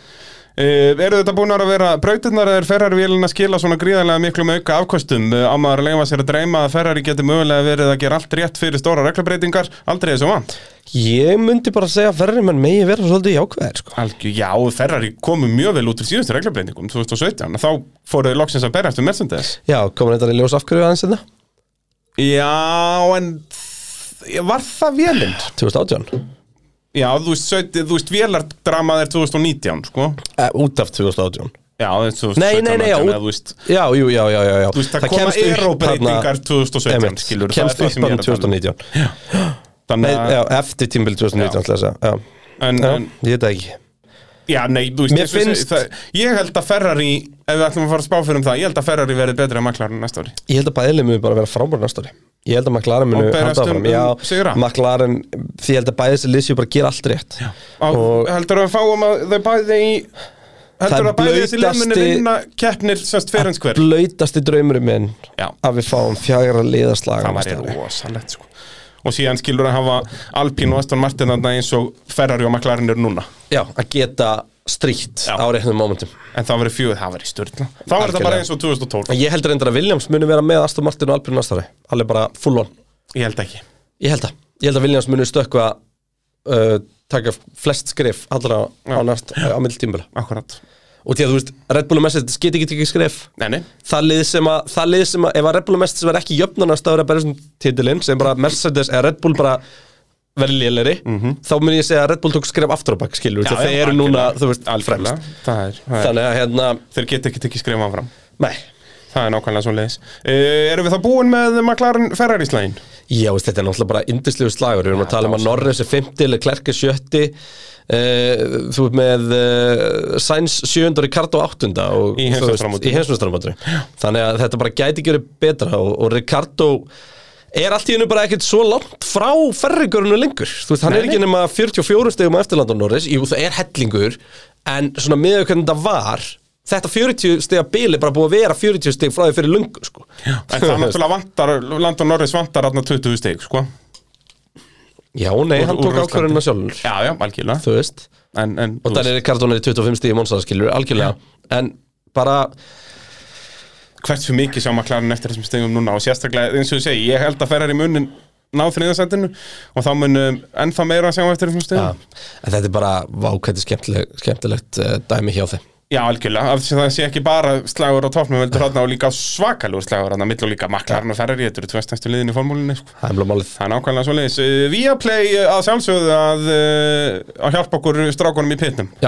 C: Uh, eru þetta búin að vera brautirnar eða er ferrarvélin að skila svona gríðarlega miklum auka afkostum uh, á maður að leifa sér að dreyma að ferrari geti mögulega verið að gera allt rétt fyrir stóra reglubreitingar aldrei þessu vant
B: ég myndi bara segja að verður mann megi vera svolítið jákvæðir sko.
C: Algjör, já, ferrari komu mjög vel út til síðustu reglubreitingum 2017 þá fóruðu loksins að berjast um Mercedes
B: já, komin þetta í ljós af hverju aðeins hérna? þetta
C: Já, en þ- var það vélind?
B: 2018
C: Já, þú veist, 17 þú veist vélardrama er 2019, sko
B: eh, út af 2018
C: Já, það er 2017
B: Nei, nei, nei, já,
C: eða
B: út-
C: þú veist
B: já, jú, já, já, já, já.
C: Þú veist, það, koma
B: kemst upp
C: aeróbreytingar
B: þarna-
C: 2017,
B: Einmitt,
C: skilur
B: kemst upp bara 2019 Nei,
C: um. Þannig að
B: já, eftir tímbil 2019
C: Já.
B: ætla ég að segja já.
C: En,
B: Já,
C: en,
B: ég veit það ekki
C: já, nei, þú veist
B: Mér
C: eins og ég
B: finnst-
C: segi, það, Ég held að Ferrari, ef við ætlum að fara að spá fyrir um það Ég held að Ferrari verði betri að maklarinn næsta ári
B: Ég held að bæðileg muni bara vera frábæri næsta ári Ég held að McLaren muni
C: Og berjast
B: halda
C: um-
B: áfram
C: um
B: Já,
C: sigra.
B: McLaren, því ég held að bæðið sér liðsjú bara gera allt rétt Já,
C: Á,
B: Og-
C: Heldur að við fáum að þau bæði í Heldur
B: Það
C: að bæði þessi lemmunni
B: blautasti-
C: vinna keppnir semst fyrir eins hver
B: Blautasti draumurinn minn
C: Já.
B: að við fáum fjagra liðaslaga
C: Það
B: næsta
C: væri
B: ári
C: rosalegt sko Og síðan skilur að hafa Alpín og Aston Martin þarna eins og Ferrari og maklarinn eru núna
B: Já, að geta stríkt
C: Já.
B: á réttum momentum
C: En það verið fjögur, það verið störtna Þá verið
B: Algjörlega.
C: þetta bara eins og 2012
B: Ég held reyndar að Williams muni vera með Aston Martin og Alpine næsta ári Alveg bara full on
C: Ég held ekki
B: Ég held að, ég held að Williams muni stökkva uh, taka flest skrif allra á, næst, á milli tímbila
C: Akkurat
B: og því að þú veist, Red Bull og Mercedes geti ekki tekið skref
C: Nei, nei
B: það lið sem að, það lið sem að ef að Red Bull og Mercedes verð ekki jöfnarnast að vera bara þessum titilinn sem bara Mercedes eða Red Bull bara verði lélegri þá mun ég segja að Red Bull tók skref aftur á bak skilur,
C: Mhm.
B: því
C: Já,
B: að
C: já,
B: þeir eru núna,
C: algjörlega.
B: þú veist,
C: Algjörlega.
B: fremst
C: Það er, það er.
B: þannig að hérna,
C: Þeir geta ekki tekið skrifa fram
B: nei
C: Það er nákvæmlega svo leiðis uh, Erum við þá búin með McLaren Ferrari slægin?
B: Já, veist, þetta er náttúrulega bara indislegu slagur Við erum að tala um að Norris er 50, eller Klerk er 70 uh, Þú ert með uh, Sainz 7. og Ricardo 8. Og,
C: Í
B: þú veist,
C: heimsmeistaramótinu.
B: Í heimsmeistaramótinu. Þannig að þetta bara gæti ekki verið betra og, og Ricardo er allt í hennu bara ekkert svo langt frá ferringurinu lengur Þú veist, hann
C: Nei,
B: er ekki
C: nei.
B: nema 44 stegum eftirland á Norris Jú, það er hellingur En svona miðað hvernig þetta var Þetta 40 stega bil er bara búið að vera 40 steg frá því fyrir lungu sko.
C: En það náttúrulega vantar, Landon Norris vantar aðna 20 stig, sko
B: Já, nei, hann
C: úr
B: tók
C: Rússlandi.
B: ákvörðunna sjálfur
C: Já, já, algjörlega
B: þú veist
C: En, en,
B: og
C: þú veist,
B: Daniel Ricardo er í 25 stíði mónsaðaskilur algjörlega, en bara
C: hversu mikið sjá McLaren eftir þessum stigum núna Og sérstaklega, eins og ég segi, ég held að Ferrari munin ná þriðasættinu Og þá munum ennþá meira að sjá eftir þessum
B: ja,
C: stigum
B: en þetta er bara vákætti skemmtileg, skemmtilegt uh, dæmi hjá þeim
C: Já, algjörlega, af því að það sé ekki bara slagur á toppnum heldur þarna og líka svakalur slagur þarna mill og líka McLaren og Ferrari, þetta eru tvöstæstu liðin í formúlinni, sko
B: það er mjög málið
C: Það er nákvæmlega svo leiðis. Viaplay eh, að sjálfsögðu að, eh, að hjálpa okkur strákunum í pitnum.
B: já,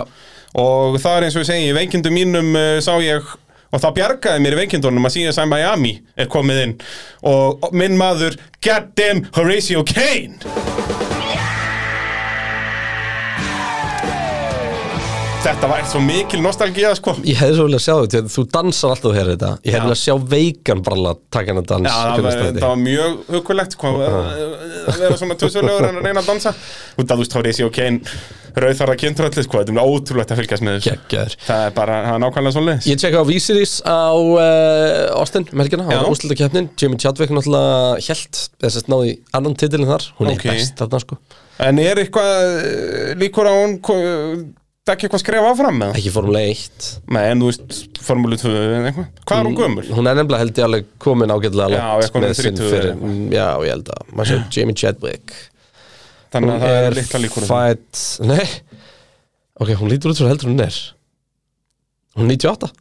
C: Og það er eins og ég segi, í veikindum mínum eh, sá ég og það bjargaði mér í veikindunum að síðan sem Miami er komið inn og og minn maður goddamn Horatio Kane Þetta var svo mikil nostalgía sko
B: Ég hefði svo viljað sjá þetta, því að þú dansar alltaf hér þetta Ég hefði
C: Já.
B: viljað sjá veikan bralla taka hennar dans
C: Já, það var, það var mjög hugulegt sko, að
B: Ah.
C: að vera svona tussulegur en að reyna að dansa Út að þú veist, Horatio Kane rauðþarða kynntröldi, sko, þetta er ótrúlegt að fylgjast með þessu
B: Gekkjaður
C: Það er bara, það er nákvæmlega svoleiðis
B: Ég tjekka á Vísiris á uh, Austin, merkina, á
C: Já.
B: úrslita keppnin Jimmy Chadwick náttúrulega held eða sérst náði annan titilin þar Hún
C: Ok.
B: er best þarna sko
C: En er eitthvað eh, líkur á hún dekki eitthvað skref áfram með það?
B: Ekki formulega eitt
C: Nei, en þú veist, Formúlu 2 eða eitthvað Hvað er hún gömul?
B: Hún er nefnilega held ég alveg komin ágætlega
C: Já,
B: langt
C: ég komin
B: með
C: í hérna.
B: sinn
C: 30
B: fyrir- Mm,
C: eða eitthvað.
B: Já, ég held að maður sér Jimmy Chadwick
C: Þannig að það er litla líkur á því.
B: fætt Nei Ok, hún lítur út svo heldur en hún er Hún er 98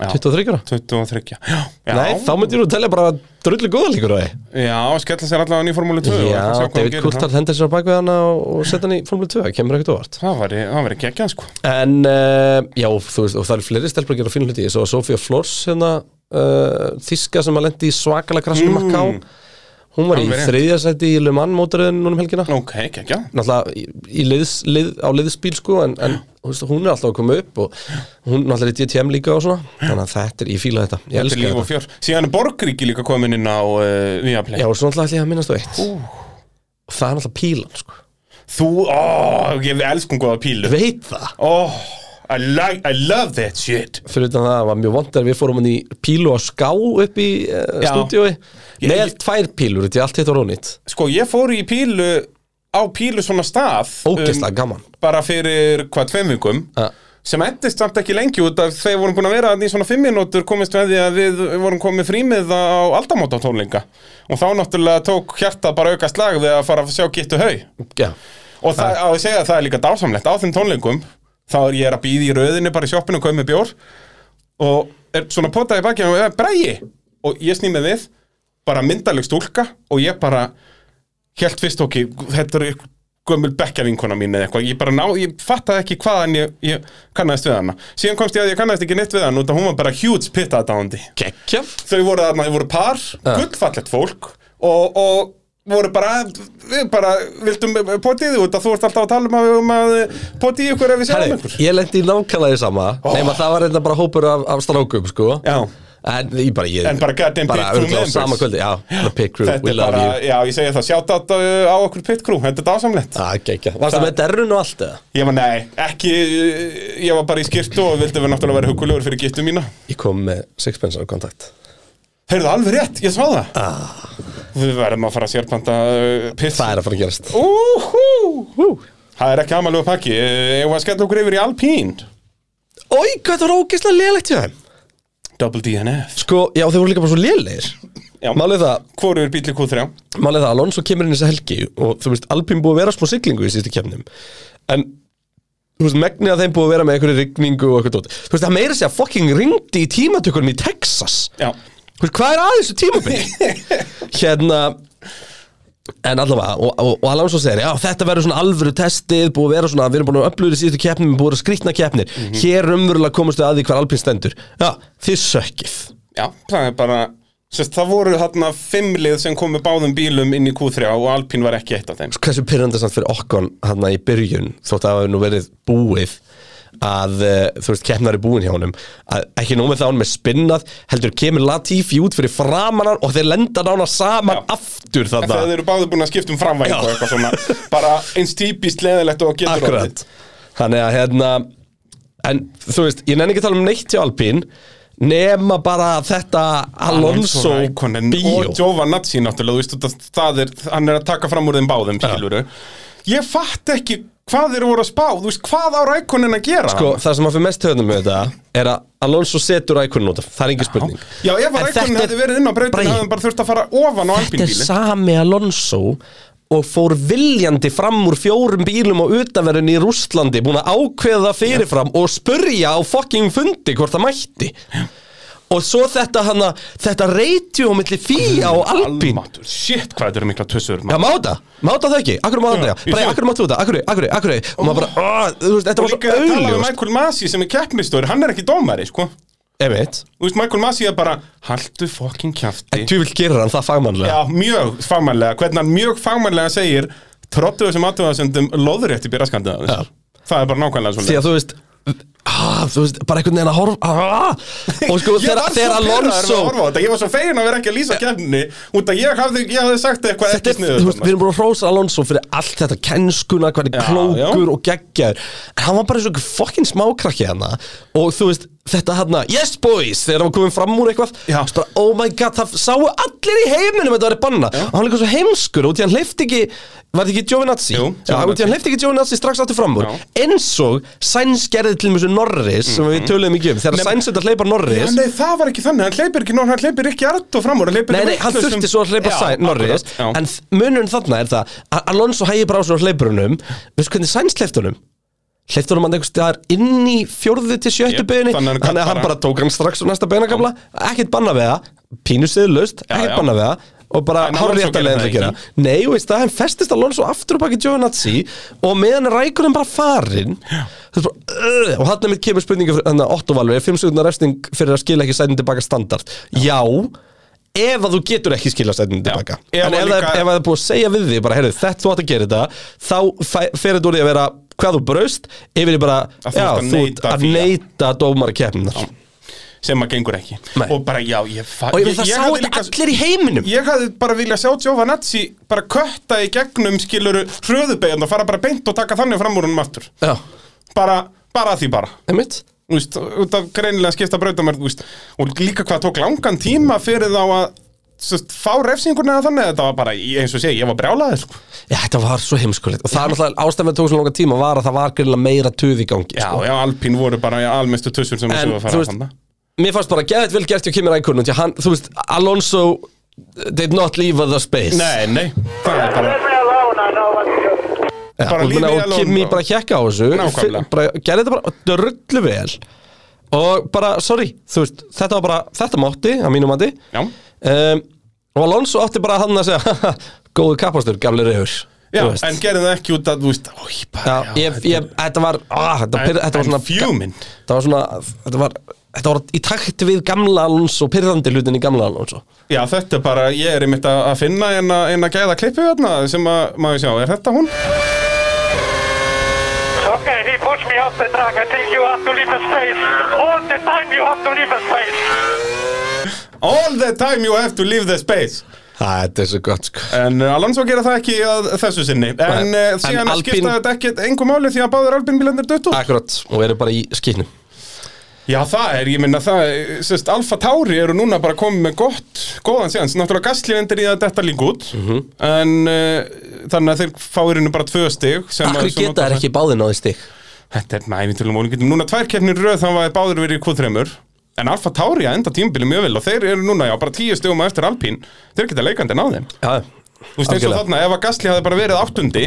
C: Já.
B: 23 ára
C: 23, já, já
B: Nei, þá myndir þú telja bara drullu góða líkur á því
C: Já, skella sér allavega ný Formúlu 2
B: Já,
C: og eitthvað sjá hvað hún
B: David
C: gerir
B: Coulthard
C: þá.
B: hendur sér á bak við hana og, og setja hann í Formule 2, það kemur ekkert óvart
C: Það væri, það væri geggjað, sko
B: En, uh, já, þú veist, og það eru fleiri stelpur að gera fínu hluti, ég svo að Sofía Flors hérna, uh, þíska sem að lendi í svakalega krassinu mm. Makká hún var í
C: Alveg rétt.
B: þriðja sæti í Le Mans mótaröðin núna um helgina
C: Ok, geggjað
B: náttúrulega í, í liðs, lið, á liðsbíl sko, en, en þú veist, hún er alltaf að koma upp og hún náttúrulega er í DTM líka og svona þannig að þetta er, ég fíla þetta, ég
C: Þetta er
B: elska
C: líf og
B: þetta
C: fjör Síðan er Borgríki líka komin inn á uh, Viaplay
B: Já, og svo náttúrulega ætla ég að minnast á eitt og það er náttúrulega pílan, sko
C: Þú, ó, ég elskum góða pílu
B: veit það
C: Ó, I, like, I love that shit
B: fyrir utan það var mjög vond þegar við fórum hann í pílu á ská upp í uh,
C: Já.
B: stúdiói
C: Ég-
B: með tvær pílur, þetta er allt hitt var rónit
C: Sko, ég fór í pílu á pílu svona stað Um,
B: ógeðslega gaman
C: Bara fyrir hvað tveim vikum
B: Ja.
C: sem endist samt ekki lengi út af þeir vorum búin að vera þarna í svona fimm mínútur komist við að því að við vorum komið frímið á aldamóta og þá náttúrulega tók hjartað bara auka slag við að fara að sjá gittu haug
B: já,
C: og það, á að segja að það er líka dásamlegt á þeim tónleikum þá er ég að býða í röðinu bara í sjoppinu og kaupa með bjór og er svona potaði baki og er bræði og ég sný með við bara myndaleg stúlka og ég bara held fyrst okki þetta er gömul bekkjavinkona mín eða eitthvað ég bara ná, ég fattaði ekki hvaðan ég, ég kannast við hana síðan komst ég að ég kannast ekki neitt við hana út að hún var bara huge pitta dándi
B: gekkja
C: þau voru þarna, þau voru par, gullfallegt fólk og, og voru bara, við bara vildum potið út að þú ert alltaf að tala um að við um að potið ykkur ef við sjáum ykkur
B: ég lendi í nákvæmlega því sama
C: Ó.
B: nema það var reynda bara hópur af, af strákum sko.
C: Já.
B: en ég bara, ég,
C: En bara goddamn pit crew
B: örugglega á
C: members.
B: sama kvöldi, já, the pit crew,
C: Þetta
B: we
C: er
B: love
C: bara,
B: you
C: já ég segja það, sjátt á, á okkur pit crew, þetta er dásamlegt
B: ah, gekkja, varstu
C: Það-
B: með derrun og allt eða?
C: Ég var, nei, ekki, uh, ég var bara í skirtu og vildi við náttúrulega vera hugulegur fyrir gittu mína
B: ég kom með sixpensar kontakt
C: Heyrðu alveg rétt, ég sá það ah. Við verðum að fara að sérpanta uh, pit
B: það er að fara að gerast
C: Úhú Það er ekki amalegu pakki, ég var að skella okkur yfir í Alpine
B: oi, hvað þetta var ógeðslega lélegt hjá þeim
C: Double DNF
B: sko, já, þeir voru líka bara svo lélegir
C: Já.
B: málið það,
C: Hvor er bíli Q3?
B: Málið það, Alonso kemur inn í þessa helgi og þú veist, Alpín búið að vera smá siglingu í síðustu kemnum en þú veist, megnið að þeim búið að vera með einhverju rigningu og eitthvað tótt þú veist, það meira sig að fucking ringdi í tímatökunum í Texas
C: Já
B: þú veist, hvað er að þessu tímabili? hérna en allavega, og, og, og Alonso segir já, þetta verður svona alvöru testið búið að vera svona, við erum búin að upplöðu í síðustu kemnum búið að vera skrýtna kemnir, hér umverulega komast við að því hvar Alpín stendur já, þið sökkið
C: Já, það er bara Sest, það voru þarna fimm lið sem komu báðum bílum inn í Q3 og Alpine var ekki eitt af þeim
B: hversu pyrrandi samt fyrir okkon hann í byrjun, þótt að það hafi nú verið búið að, eh, þú veist, keppnar í búin hjá honum að ekki nómið það honum er spinnað heldur kemur Latifi út fyrir framanar og þeir lenda nána saman
C: Já.
B: aftur
C: En þegar
B: þarna,
C: þeir eru báðir búin að skipta um framvæg og eitthvað svona Bara eins típist leðilegt og getur
B: akkurat þannig að hérna en þú veist, ég nenni ekki að tala um neitt hjá Alpín nema bara þetta Alonso
C: Raikkonen
B: bíó
C: Og Giovanazzi náttúrulega, þú veist, það, það er, hann er að taka fram úr þeim báðum, skiluru Ég fatt ekki hvað þeir voru að spá, þú veist, hvað á Raikkonen að gera
B: Sko, það sem að fyrir mest höfnum með þetta er að Alonso setur rækunin út af, það er engin spurning
C: Já,
B: En
C: ef að Raikkonen
B: þetta er-
C: hefði verið inn á breytin
B: Bragi,
C: hefði hann bara þurft að fara ofan á
B: Þetta er
C: Alpine bílinn
B: sami Alonso og fór viljandi fram úr fjórum bílum og utanverðin í Rússlandi búin að ákveða fyrirfram og spurja á fucking fundi hvort það mætti og svo þetta hana þetta reytjú á milli fíja og alpín
C: Almatur, shit hvað þetta eru mikla tussur
B: Já,
C: maður.
B: máta, máta það ekki, akkur máta
C: Já,
B: það
C: ég
B: bara,
C: sé.
B: akkur máta það, akkur, akkur, akkur og maður bara, "Ah, þú veist, þetta
C: Og
B: var svo
C: líka að tala um
B: auðljóst
C: Michael Masi sem er keppnistóri, hann er ekki dómari, sko
B: Einmitt
C: Þú veist, Michael Masi er bara Haltu fokkin kjafti
B: En tjúvill gerir hann það fagmannlega
C: Já, mjög fagmannlega, hvernig hann mjög fagmannlega segir Trottu þessum aðtöðasöndum loðrétt í byrjaskandið
B: Já.
C: Það er bara nákvæmlega
B: Því
C: svona
B: að þú veist Ah, þú veist, bara einhvern veginn að horfa ah, og sko þegar, þegar Alonso
C: Ég var svo fegin að vera ekki að lýsa kjafni Út að ég hafði, ég hafði sagt eitthvað
B: þetta
C: ekki
B: er,
C: sniður
B: þú veist, við erum búin að hrósa Alonso fyrir allt þetta kenskuna, hvernig
C: Já,
B: klókur
C: já.
B: og geggjar en hann var bara eins og einhver fokkin smákrakki hana og þú veist, þetta hana yes boys, þegar hann var komin fram úr eitthvað
C: Já.
B: þú veist bara, oh my god, það sáu allir í heiminum að þetta var banna, og hann var líka svo heimskur út í hann hleyfti ekki, var þetta ekki Giovinazzi?
C: Jú,
B: já,
C: Giovinazzi.
B: út í hann hleyfti ekki Giovinazzi strax aftur fram úr
C: Já.
B: eins og Sainz gerði til mjög Norris, sem
C: Mhm.
B: við töluðum ekki um þegar Sainz þetta hleypar Norris
C: Nei, það var ekki þannig, hann hleypir ekki nóg, hann hleypir ekki artt og framúr hann hleypir
B: Nei,
C: ekki
B: nei, hann
C: vitlausum-
B: þurfti svo að hleypa
C: Já,
B: Sainz, Norris
C: akkurat, já.
B: En þ- munurinn þarna er það að Alonso hægir bara á svo hleypurunum Veistu hvernig Sainz hleypt honum? Hleypt honum hann einhvers staðar inn í fjórðu til sjöttu
C: Jep,
B: beginni
C: þannig að hann
B: Þannig
C: gat
B: að hann
C: bara-
B: bara tók hann strax úr næsta beginakabla Ekkert banna við það, pínusiðu löst,
C: já.
B: ekkert banna við það Og bara
C: En
B: hár
C: Alonso
B: rétt að
C: gerir
B: leiðin
C: það
B: að gera Nei, þú veist það, hann festist Alonso aftur og baki Giovinazzi Og meðan rækurinn bara farin þú veist bara, uh, Og þarna mitt kemur spurninga Þannig að Otto Valveri, 5 sekundar refsting Fyrir að skila ekki sætin tilbaka standart Já, ef að þú getur ekki skila sætinu tilbaka
C: Ef
B: en
C: að
B: ef,
C: líka-
B: það, ef það er búið að segja við þig bara, heyrðu, þetta þú átt að gera þetta þá fæ- fer þetta úr því að vera hvað þú braust yfir í bara,
C: Að þú
B: já,
C: ert að
B: þú
C: neita
B: ert að
C: því, já.
B: neita dómar keppnar
C: sem að gengur ekki
B: Nei.
C: og bara já, ég fa-
B: og ég veit það sá
C: hafði
B: þetta allir í heiminum
C: ég hafði bara viljað sjá Giovanazzi bara kötta í gegnum skiluru hröðubeginn og fara bara beint og taka þannig fram úr húnum aftur
B: já,
C: bara, bara að því bara
B: einmitt
C: Þú veist, út af greinilega skipta brautamörð og líka hvað tók langan tíma fyrir þá að sest, fá refsingurna eða þannig þetta var bara, ég- eins og sé, ég var brjálaði sko.
B: Já, þetta var svo heimskulegt og það er náttúrulega ástæðan við tók svo langa tíma var að það var greiðlega meira tuð í gangi
C: já,
B: sko.
C: já, Alpín voru bara ja, almestu tussur sem
B: En,
C: þessu var
B: þú
C: að fara
B: veist-
C: þannig
B: Mér fannst bara geðið vel gert hjá Kimi Rækun Þú veist, Alonso did not leave the space
C: nei, nei, það er bara
D: Leave me alone, I know what to do.
B: Já,
C: Bara
B: og,
C: leave
B: meina,
C: me
B: og
C: alone,
B: Kimi
C: bara.
B: bara hjekka á þessu
C: Nákvæmlega.
B: fyr- bara, gerði þetta bara drullu vel og bara, sorry, þú veist þetta var bara, þetta mátti, að mínum mati
C: Já.
B: um, og Alonso átti bara hann að segja, góðu kapastur gamli reyður
C: Já, en gerði það ekki út að, þú veist, ói, bara,
B: Já, ég, ég, þetta var, ah, þetta,
C: En-
B: pyrr, þetta var
C: en
B: svona
C: fuming.
B: Þetta var svona, þetta var, þetta var í takt við gamla Alonso, pyrrandi hlutin í gamla Alonso
C: Já, þetta er bara, ég er einmitt að að finna en að, en að gæða klippu hérna sem að, maður sjá, er þetta hún?
D: Okay, he pushed me off the track. I think you have to leave a space. All the time you have to leave a space.
C: All the time you have to leave the space
B: Það, þetta er svo gott, sko
C: En uh, Alonso gera það ekki að þessu sinni En
B: Nei.
C: uh,
B: En
C: síðan
B: Alpine-
C: skipta þetta ekkert engum máli því að báður albinbílandir döttu
B: Akkurat, og eru bara í skýtnum
C: Já, það er, ég minna það, er- sérst, Alfa Tauri eru núna bara komið með gott, góðan séans Náttúrulega Gasly endur í að detta líka út
B: Mhm.
C: En uh, þannig að þeir fáir hennu bara tvö stig sem að-
B: Akkur
C: sem
B: geta
C: að-
B: þær ekki báðin á því stig
C: Þetta er næmi til um ólíkindum. Núna tvær keppnir í röð þannig að báður verið í Q3-mur. En Alfa Tauri að enda tímabili mjög vel og þeir eru núna, já, bara tíu stegum á eftir Alpín. Þeir geta leikandi en á þeim.
B: Já,
C: Þú veist eins og þarna, ef að Gasly hafi bara verið áttundi,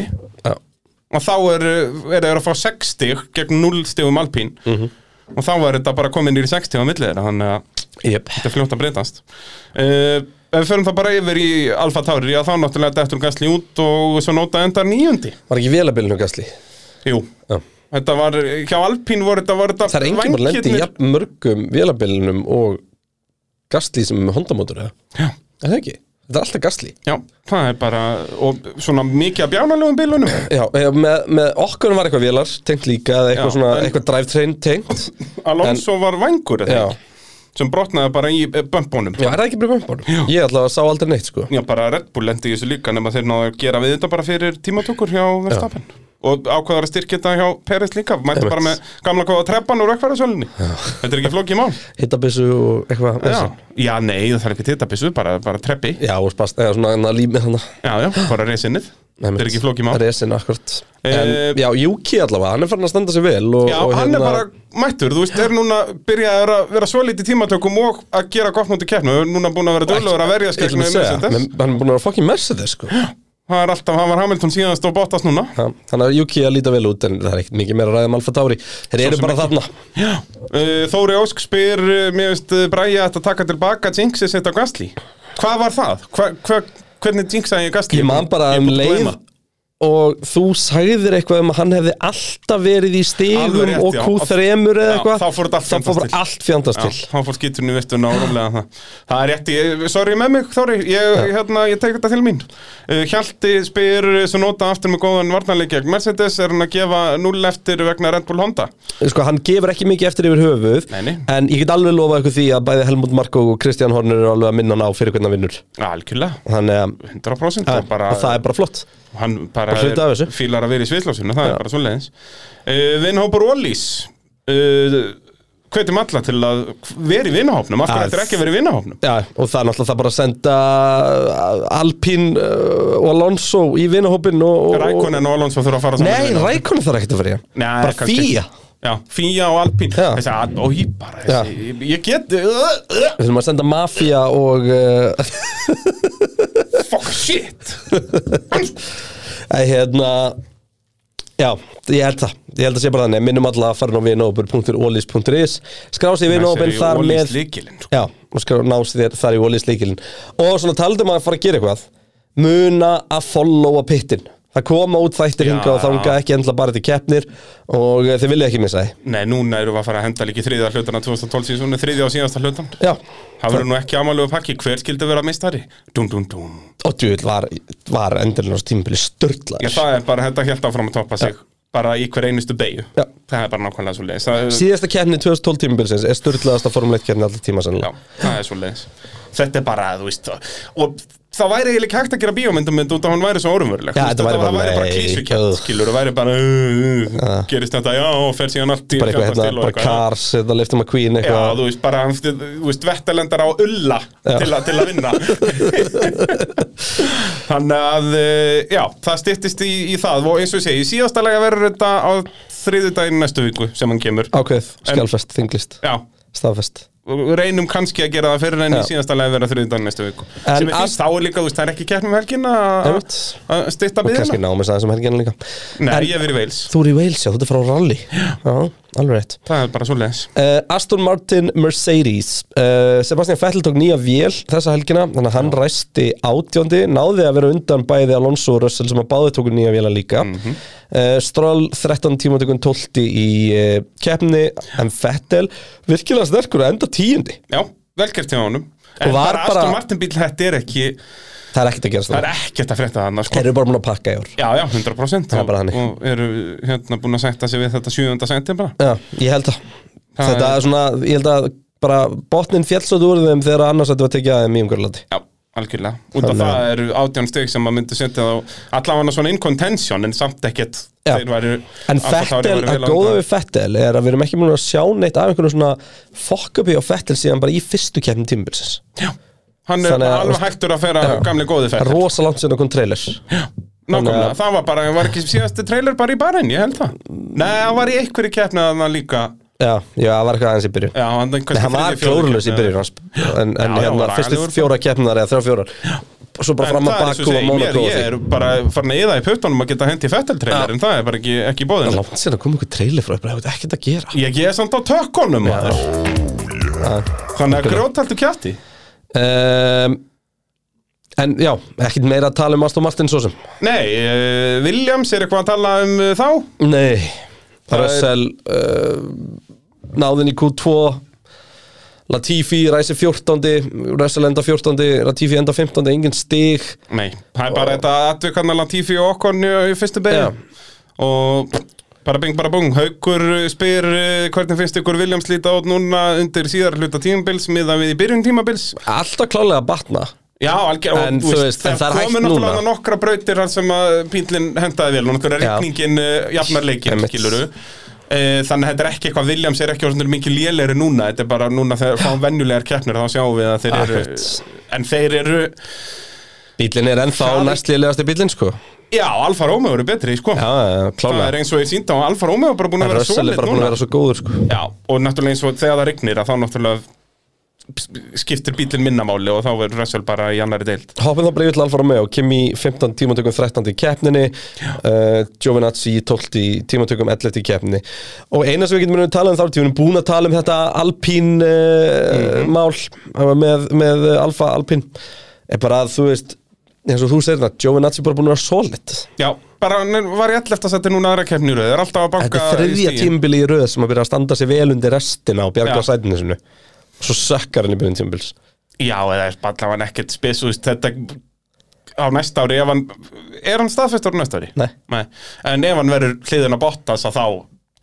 B: Já.
C: og þá er, er þeir að fá 6 stig gegn 0 stegum Alpín. Og þá er þetta bara komin í 6 stegum millið þeirra, þannig að
B: Jep.
C: þetta er fljótt að breytast uh, Ef við förum það bara yfir í Alfa Tauri, já, þá náttúrulega dettur Gasly út og svo nota endar níundi.
B: Var ekki vélabilinu gasli?
C: Jú.
B: Já.
C: Þetta var, hjá Alpín voru þetta, voru þetta
B: Það er enginn bara lendi í jafn mörgum vélabilinum og gasli sem er með hondamótur eða?
C: Já.
B: Er það ekki? Þetta er alltaf gasli.
C: Já, það er bara, og svona mikið að bjánalegum bílunum
B: Já, eh, með, með okkur var eitthvað vélar, tengt líka, eða eitthvað
C: Já,
B: svona,
C: en-
B: eitthvað drivetrain tengt.
C: Alonso var vangur, eða
B: Já.
C: ekki sem brotnaði bara í eh, bömbunum
B: Já, er það ekki bara bömbunum? Ég ætla að sá aldrei neitt, sko.
C: Já, bara Red Bull lendi í þessu líka nema þeir náðu að gera við þetta bara fyrir tímatökur hjá Verstappen og ákvaðar að styrkja þetta hjá Peres líka mætti
B: Einmitt.
C: bara með gamla góða treppan úr rekvarðasölunni Þetta er ekki flókið mál
B: Hittabissu og eitthvað.
C: Já,
B: þessu.
C: já nei, það er ekki tittabissu, bara, bara treppi
B: Já, og spast, eða svona enna límið hana.
C: Já, já, bara reysinnið Þetta er ekki flókið mál
B: Resin, akkurat. En,
C: Eh,
B: já, Juki allavega, hann er farin að standa sér vel og,
C: Já,
B: og hérna-
C: hann er bara mættur, þú veist, er núna byrjaður að vera svolítið í tímatökum og að gera gott mútið keppnum, er núna búin að vera dölur að verja
B: Ég ætla
C: skegna
B: að
C: um
B: segja, menn-
C: Mercedes
B: hann er búin að vera fucking Mercedes, sko.
C: Það er alltaf, hann var Hamilton síðast og bóttast núna
B: Já, þannig að Juki að líta vel út en það er ekkert mikið meira að ræða um Alfa Tauri þeir eru bara þarna
C: Já uh, Þóri Ósk spyr, uh, mér veist, uh, Bræja ætti að taka tilbaka Jinxi sitt á Gastli Hvað var það? Hva, hva, hvernig Jinxaði ég Gastli?
B: ég man bara um leið og þú sagðir eitthvað um að hann hefði alltaf verið í
C: Alveg
B: stigum
C: rétt,
B: og
C: já.
B: Q3 eða
C: Já,
B: eitthvað
C: þá fór þetta allt
B: Þá fór
C: fjandast
B: bara
C: til.
B: allt fjandast til
C: Já, hann fór skíturinn í vittun á rómlega um það. Það er rétt, ég, sorry með mig, Þóri, ég, hérna, ég tek þetta til mín. Uh, Hjalti spyr eh, sem nota aftur með góðan varnarleik gegn Mercedes, er hann að gefa 0 eftir vegna Red Bull Honda?
B: sko, hann gefur ekki mikið eftir yfir höfuð
C: Nei, nei.
B: en ég get alveg lofað ykkur því að bæði Helmut Marko og Kristján Horner eru alveg að minna hann á fyrir hvernig hann vinnur
C: Algjörlega,
B: þannig að ja,
C: 100% það er bara,
B: og það er bara flott
C: hann bara,
B: bara hluti af þessu.
C: fílar að vera í sviðslásinu, það er bara svoleiðins. Uh, Vinhópur Ólís, uh, hvetum alla til að vera í vinahópnum, af
B: Já,
C: hverju þetta er ekki að vera í vinahópnum?
B: Já, og það er náttúrulega það bara að senda uh, Alpín uh, og Alonso í vinahópin og, og, og
C: Rækonen og Alonso þurfa að fara saman í
B: Nei,
C: vinahópnum.
B: Rækonin þarf ekkert að fara í hann
C: Nei,
B: Bara
C: kannski
B: fýja
C: ekki. Já, fýja og alpín
B: Já.
C: Þessi að, og ég bara þessi, ég- Ég get uh, uh,
B: Við þurfum að senda Mafia og uh,
C: Fuck shit
B: að, hérna, Já, ég held það Ég held að sé bara þannig Minnum alla að fara inn á vinahópur.olis.is Skrá sig í vinahópin þar með
C: líkilinn sko.
B: Já, og skal nási þér þar í Wallis líkilinn Og svona taldum að fara að gera eitthvað Muna að followa pittin Það koma út þættir
C: Já.
B: hinga og þanga ekki endla bara til keppnir Og eh, þið vilja ekki missa því
C: Nei, núna erum við að fara að henda líki þriðja hlutana 2012 síðan, þriðja og síðasta hlutan
B: Já,
C: Það verður nú ekki amalegu pakki, hver skildi vera mistari? Dún, dún, dún
B: og djúvill var, var endurinn á tímpili störtlaður
C: Já, það er bara, þetta held áfram að toppa sig Bara í hver einustu beigju
B: Já.
C: Það er bara nákvæmlega svo leiðis
B: Síðasta keppni 2012 tímabilsins er störtlaðasta formuleitt keppni alltaf tíma
C: Já,
B: sennilega
C: það er svo leiðis Þetta er bara, þú veist það- Og það væri eiginlega ekki hægt að gera bíómyndum út af hún væri svo orumveruleg
B: Já, þetta væri bara-
C: það væri bara
B: nei,
C: klísukjöld
B: ugh.
C: Skilur, það væri bara uh, uh, Gerist þetta, já, og fer síðan allt í
B: Bara eitthvað,
C: fjandans
B: hérna,
C: til og
B: bara Cars, hérna, Lifta McQueen
C: Já,
B: eitthvað
C: þú veist, bara, þið- þú veist, vettalendar á ulla til, að- til að vinna Þannig að, eh, já, það styttist í, í það Og eins og ég segi, í síðasta lega verður þetta á þriðudaginn næstu viku sem hann kemur
B: Ákveð, skjálfest, þinglist,
C: Já,
B: staðfest
C: reynum kannski að gera það fyrir en í
B: Já.
C: síðasta leið vera þriðdagen næstu viku
B: En
C: sem er
B: að-
C: fyrst þá er líka, þú veist, það er ekki keppnum helgin að
B: Einmitt.
C: að stytta
B: Og kannski
C: byggðina
B: námið sæðan sem helgina líka
C: Nei,
B: En
C: ég hef verið í Wales,
B: Þú eru í Wales, já, þú ert frá rally Já, alveg rétt
C: það er bara svo leis
B: Uh, Aston Martin Mercedes uh, Sebastian Vettel tók nýja vél þessa helgina þannig að hann ræsti átjóndi náði að vera undan bæði Alonso og Russell sem að báði tóku nýja véla líka mm
C: Mhm.
B: Stroll 13 tíma tökum 12 í uh, keppni en Vettel virkilega sterkur að enda tíundi
C: Já, velkert til honum En
B: Og var
C: bara
B: bara-
C: Aston Martin bíl, þetta er ekki
B: það er ekkert að gera
C: það
B: svona
C: er ekkert að frétta þarna,
B: þeir
C: sko
B: eru bara múin að pakka í ár
C: Já, já, 100%
B: Það er bara
C: og,
B: þannig.
C: og eru hérna búin að sætta sig við þetta 7. senti bara
B: Já, ég held að
C: Það
B: þetta
C: er-
B: er svona ég held að bara botnin fjallsótt úr þeim þegar annars að þetta var tekið aðeim í umhverjulandi
C: Já, algjörlega, út af
B: Þannig að-
C: það eru átján stygg sem maður myndi setja þá allavega svona in contention en samt ekkert
B: Já.
C: þeir væru
B: En
C: Alfa Tauri
B: Fettel,
C: væru
B: að
C: vel á
B: góða
C: undan.
B: við Fettel er að við erum ekki múin að sjá neitt af einhverjum svona fokkapi á Fettel síðan bara í fyrstu keppnum tímabilsins.
C: Já, hann er
B: Þannig að-
C: alveg hættur að færa
B: Já.
C: gamli góði
B: Það er
C: fættur
B: rosa langt síðan okkur trailer. þannig
C: Nákvæmlega,
B: að-
C: það var bara, var ekki síðasti trailer bara í barinn, ég held það Nei, það var í einhverju keppni að hann líka
B: Já, já, það var eitthvað aðeins í byrjun.
C: Já, hann,
B: Nei, hann var glórulös í byrjun, hans, en, en
C: Já, já,
B: hérna,
C: var
B: fyrstu
C: agalegur.
B: fjóra keppnar eða þrjá fjórar. Svo bara fram
C: En
B: að
C: það er svo
B: Bakú og
C: segi, mér,
B: Monaco og
C: ég
B: því.
C: er bara farin að yða í puttunum að geta hendi fettel trailer En það er bara ekki,
B: Það
C: ekki
B: er
C: bóðin
B: langt síðan að koma einhver trailer frá, ég bara, ég veit ekkert að gera.
C: Ég, ég er samt á tökkunum maður. Þannig að grjóthaldu kjátti
B: Um, en já, ekkert meira að tala um Aston Martin svo sem.
C: Nei, uh, Williams er eitthvað að tala um uh, þá
B: Nei
C: er-
B: Russell uh, náðin í Q2 Latifi ræsi 14 Russell enda 14 Latifi enda 15 engin stig
C: Nei, það er bara þetta atvikarna Latifi og Okkon í í fyrstu beigja og bara bing bara bung Haukur spyr eh, hvernig finnst ykkur Williams líta át núna undir síðar hluta tímabils miðan við í byrjun tímabils
B: alltaf klálega að batna
C: Já, algjörlega
B: En þú veist, en það er hægt
C: komu náttúrulega
B: núna.
C: þarna nokkra brautir þar sem að pílinn hendaði vel og náttúrulega
B: Já.
C: regningin uh, jafnar leikin
B: Einmitt.
C: skiluru Þannig að þetta er ekki eitthvað Williams er ekki orðinlega mikið lélegri núna Þetta er bara núna þegar fáum venjulegar keppnir þá sjáum við að þeir
B: Ah,
C: eru
B: Akkurat.
C: En þeir eru,
B: bílinn er ennþá
C: Það-
B: næstlilegasti bílinn sko já,
C: já, Alfa Romeo eru betri sko
B: já,
C: Það er
B: klálega
C: eins og ég sínda á Alfa Romeo bara búin að vera
B: Russell
C: solid
B: er bara búin að
C: núna
B: vera svo góður sko
C: Já, og náttúrulega eins og þegar það regnir að þá náttúrulega skiptir bílinn minnamáli og þá verður Russell bara í annari deild
B: Hoppum þá bara yfir til Alfa Romeo, Kim í 15 tímatökum 13 í keppninni, uh, Giovinazzi í 12 í tímatökum 11 í keppninni og eina sem við getum munið að tala um þá er tímanum búin að tala um þetta Alpín uh, mál uh, með, með uh, Alfa Alpín er bara að þú veist eins og þú segir það, Giovinazzi er bara búin að vera solid
C: Já, bara nei, var ég alltaf að setja núna aðra keppni í röð, er alltaf að banka
B: Þetta er þriðja
C: í stigin.
B: tímbili í röð sem að byrja að standa sér vel undir restina og bjarga
C: Já.
B: sætinu sinu Svo sökkar hann í byrjun tímbils
C: Já, eða er bara allavega ekkert spes, þú veist, þetta á næsta ári, ef hann, er hann staðfestur á næsta ári?
B: Nei.
C: En ef hann verður hliðin að botta, þá,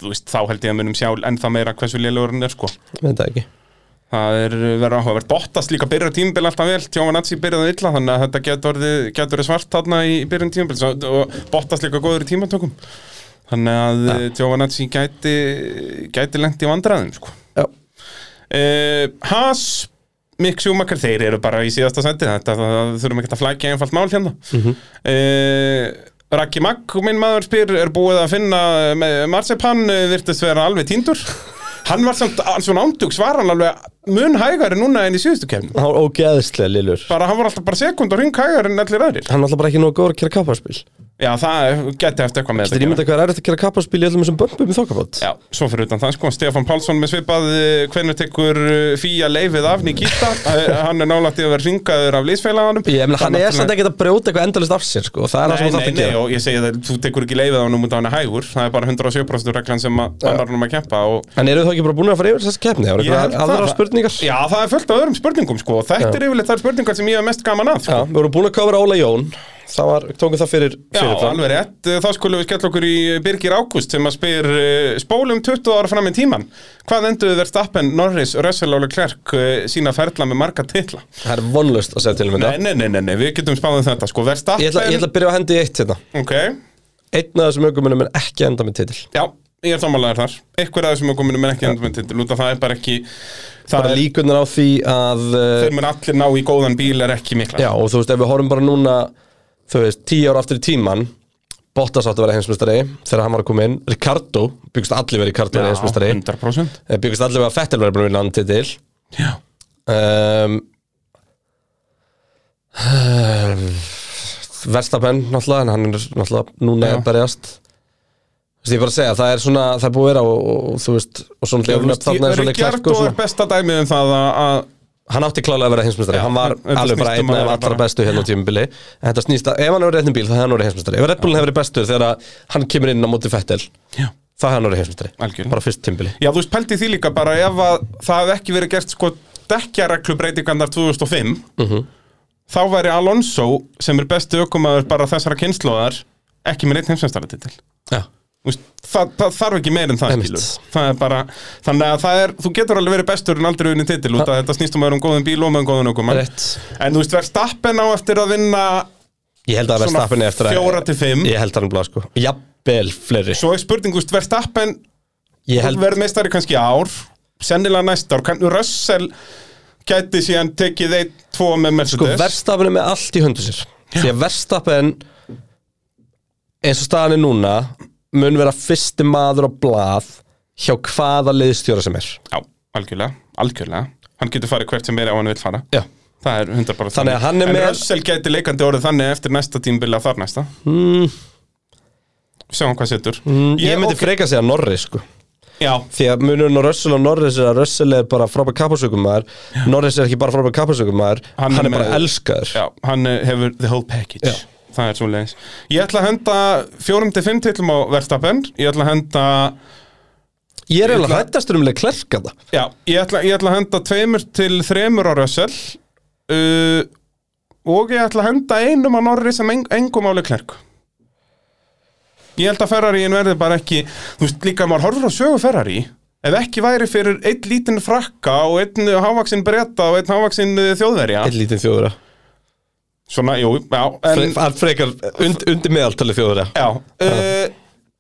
C: þú veist, þá held ég að munum sjá ennþá meira hversu lélugur hann er, sko.
B: Ég veit það ekki
C: Það er eh, verið áhugavert. Bottas líka byrjar tímabil alltaf vel, Tjómanatsi byrjaði illa þannig að þetta getur orðið, getur orðið svart þarna í byrjun tímabil Svo- og Bottas líka góður í tímatökum. Þannig að ja. Tjómanatsi gæti, gæti lengt í vandræðum sko.
B: Já,
C: Uh, Haas, Mick Schumacher, þeir eru bara í síðasta sendi þetta, það, það þurfum ekki að flækja einfalt mál hérna mm -hmm. Raki Magg, minn maður spyr, er búið að finna eh, Marzipan eh, virtist vera alveg tíndur Hann var samt, hann svona ándugs var hann alveg mun hægari núna en í síðustu kefnum
B: hann var ógeðslega lillur
C: Bara hann var alltaf bara sekund og ring hægari en allir aðrir
B: Hann er alltaf bara ekki nóg góður að gera kapparspil
C: Já, það geti eftir eitthvað með
B: Þetta er
C: gera.
B: ímynda hvað er erfitt að gera kapparspil í öllum þessum bömpum í þokkabót
C: Já, svo fyrir utan það sko, Stefán Pálsson með svipað eh, hvenær tekur eh, fía leifið af Nikita, Eh, hann er nálægt í að vera ringaður af liðsfélaganum
B: Ég meina, hann er samt
C: Náttúrulega-
B: ekkert að brjóta eitthvað endalist af sér sko og Það er það
C: Nei,
B: sem það
C: nei,
B: þarf að
C: nei,
B: gera
C: og ég segi það, þú tekur ekki leifið á hann um að hann er hægur, það er bara 107% reglan sem að bannar hann að keppa og
B: En eru þau ekki bara búin að fara yfir þessi keppni? Það eru
C: Ég held
B: eitthvað
C: það.
B: aðra spurningar
C: Já, það er fullt af öðrum spurningum sko, og þetta er yfirleitt þær spurningar sem ég hef mest gaman að sko.
B: Já, við vorum búin að kofra Óla Jón Það var, tókum það fyrir,
C: Já,
B: fyrir
C: alveg rétt. Eh, Þá skulum við skella okkur í eh, Birgir Ágúst sem að spyr eh, spólum 20 ára fram í tíman. Hvað endur Verstappen, Norris, Russell og Leclerc eh, sína ferla með marga titla?
B: Það er vonlust að segja til um þetta
C: Nei, nei, nei, nei, nei, við getum spáðið þetta sko. Verstappen,
B: Ég ætla, ég ætla að byrja á hendi í eitt hérna
C: ok,
B: Einn af þessum aukumunum er ekki að enda með titil
C: já, ég er sammálaður þar. Einhver aðeins sem er komin með ekki endur með titil, út af það er bara ekki, það
B: Bara
C: er,
B: líkunar á því að uh,
C: þeir mun allir ná í góðan bíl er ekki mikla.
B: Já, og þú veist, ef við horfum bara núna Þú veist, tíu ára aftur í tíman Bottas átti að vera heimsmyndstari þegar hann var að koma inn Ricardo, byggust allir verið Ricardo verið heimsmyndstari
C: 100%.
B: Byggust Eh, allir verið að Fettel verið búin að vinna hann titil
C: Já.
B: um, Verstapen, náttúrulega en hann er náttúrulega núna
C: Já.
B: að berjast Þú veist, ég er bara að segja, það er svona, það er búið að vera og, og, og þú veist, og svona hljóðum upp þarna er svona klerk og
C: Ríkjardó er
B: svona
C: besta dæmið um það að, að
B: Hann átti klálega að vera heimsmyndstari,
C: Já,
B: hann var
C: þetta
B: alveg bara
C: snýst um
B: einn af
C: að vera
B: allra
C: bara-
B: bestu hérna á tímubili En Þetta snýst að, ef hann hefur réttin bíl, það hefði hann verið heimsmyndstari Ef Red Bullin hefur verið bestur þegar að hann kemur inn á móti Fettel
C: Já.
B: Það hefði hann verið heimsmyndstari,
C: Algjörlega.
B: bara fyrst tímubili
C: Já, þú veist, pældi því líka bara ef að það hefði ekki verið gert sko dekkjareglubreitingarnar 2005
B: Mhm.
C: þá væri Alonso sem er bestu ökumæður bara þessara kynnslóðar ekki með neitt heimsveimstaratitil
B: Já,
C: það, það þarf ekki meir en það
B: Einmitt.
C: skilur það er bara, þannig að það er, þú getur alveg verið bestur en aldrei unni titil út að þetta snýst um að vera um góðum bíl og með um góðan ökumæð
B: Ah. rétt
C: en þú veist, verð stappen á eftir að vinna
B: Ég held að
C: Svona
B: Verstappen er eftir að
C: fjóra til fimm.
B: Ég held að hann blá sko Jafnvel fleiri
C: svo er spurning, þú veist, verð stappen
B: Ég held
C: verð meistari kannski í ár sennilega næsta ár, kannski Russell gæti síðan tekið einn, tvo með
B: sko
C: Mercedes
B: Verstappen er með allt í höndu sér Því að Verstappen eins og staðan er núna mun vera fyrsti maður á blað hjá hvaða liðstjóra sem er
C: Já, algjörlega, algjörlega Hann getur farið hvert sem er ef hann vil fara
B: Já
C: Það er 100% bara
B: Þannig að hann er
C: En
B: með-
C: Russell gæti leikandi orðið þannig eftir næsta tímbil að þar næsta mm. Sjáum hvað setur mm,
B: Hmm. Ég myndi
C: okay.
B: freka segja Norris sko
C: Já,
B: Því að munurinn á Russell og Norris er að Russell er bara frábær kapasökumæður Norris er ekki bara frábær kapasökumæður
C: Hann
B: Hann,
C: er
B: er bara
C: með-
B: elskaður
C: já, hann eh, hefur the whole package
B: Já.
C: Það er svo leiðis Ég ætla að henda fjórum til fimm titlum á Verstappen Ég ætla að henda
B: Ég er eiginlega
C: ætla-
B: hættastur um leik klerka það
C: Já, ég ætla, ég ætla að henda tveimur til þremur á Russell uh, og ég ætla að henda einum á Norris sem en, engum áli klerk Ég held að Ferrari verði bara ekki, þú veist líka ef maður horfur á sögu Ferrari ef ekki væri fyrir einn lítinn frakka og einn hávaksinn bretta og einn hávaksinn þjóðverja
B: Eitt lítið þjóðura
C: Svona, jú, já, en,
B: Fre- Hann frekar und, undir meðaltali þjóðura
C: já uh,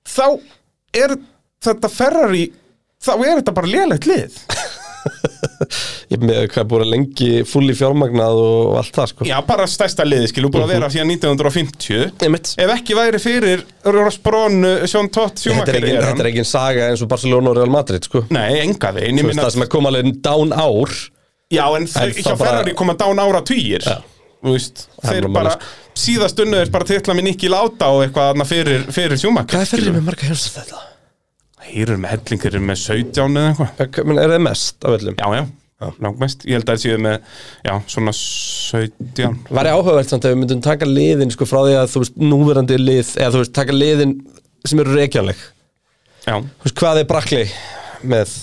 C: Þá er þetta Ferrari þá er þetta bara lélegt lið
B: Ég er með hvað er búin að lengi fulli fjármagnað og allt það sko
C: Já, bara stærsta liði, skilur, búin að vera síðan 1950
B: Einmitt.
C: Ef ekki væri fyrir eh, Rosbrón, Sjón Tótt,
B: Þetta
C: Sjúmakar
B: er engin, þetta er engin saga eins og Barcelona og Real Madrid sko
C: Nei, enga veginn, ég
B: Þú veist,
C: minna
B: Það sem er koma alveg down ár
C: Já, en þau,
B: En það
C: hjá
B: bara-
C: Ferrari koma dán ára týjir
B: Já.
C: Þú veist,
B: Það er sko.
C: þeir
B: nú
C: bara
B: málið,
C: Síðast unnu er bara titla með Nikki Láta og eitthvað þarna fyrir, fyrir Sjúmakar
B: með marga hins að þetta?
C: Þeir eru með hellingur, þeir eru með 17 eða eitthvað
B: Er það mest af öllum?
C: Já, já, langmest Ég held að það séu með, já, svona 17
B: Væri áhugavert samt að við myndum taka liðin sko frá því að þú veist núverandi lið eða þú veist taka liðin sem eru reykjanleg Þú
C: Já,
B: veist hvað er brakli með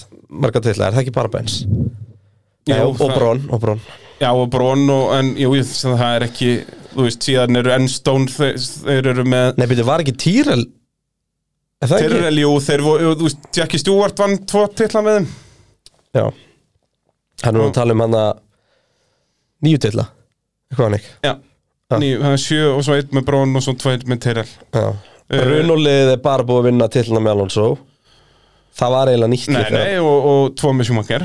B: marga titla, er það ekki bara Benz? Nei, og, og
C: það-
B: Brón, og Brón
C: Já, og Brón og, en jú, ég- það er ekki Þú veist, síðan eru Enstone þeir, þeir eru með
B: Nei, byrju, var ekki Týrel? Er það
C: Þeir eru,
B: ekki?
C: jú, þeir voru, þú veist, Jackie Stewart vann tvo titla með þeim
B: Já Hann er nú að tala um hann að nýju titla Eitthvað hann ekki
C: Já,
B: Ah.
C: Ný, það er sjö og svo einn með Brón og svo tveir með Tyrell
B: Já.
C: Eh.
B: Runulið er bara búið að vinna tillina með Alonso Það var eiginlega nýtt
C: Nei,
B: lið þegar-
C: nei, og, og tvo með Schumacher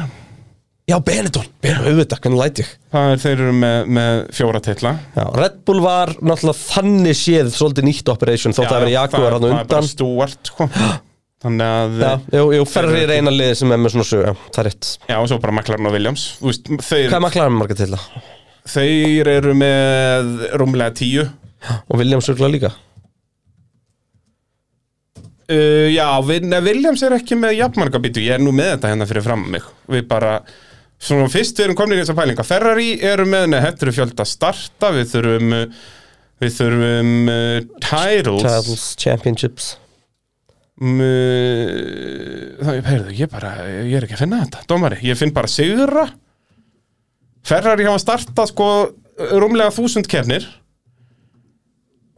B: Já, Benetton, Benetton, auðvitað, hvernig læt ég
C: Það er, þeir eru með, með fjóra titla
B: Já, Red Bull var náttúrulega þannig séð svolítið nýtt operation þótt að vera Jaguar hann
C: Það er bara
B: undan
C: Stewart, sko Þannig að,
B: Já, jú, jú, Ferri
C: Þeir-
B: er eina liðið sem er með svona sög, já, það er rétt
C: já, og svo bara McLaren og Williams Þú veist, þeir,
B: Hvað er maklaðan marga til það?
C: þeir eru með rúmlega tíu
B: Og Williams örgulega líka
C: Uh, já, við, nei, Williams er ekki með jafnmarga bítu, ég er nú með þetta hérna fyrir fram mig Við bara, svona fyrst við erum komin í þessar pælinga Ferrari eru með, nei, þetta eru fjölda starta Við þurfum, uh, við þurfum uh, titles
B: Titles, Championships
C: um, uh, Það, heyrðu, ég bara, ég er ekki að finna þetta, dómari Ég finn bara sigra Ferrari hafa startað, sko, rúmlega þúsund kefnir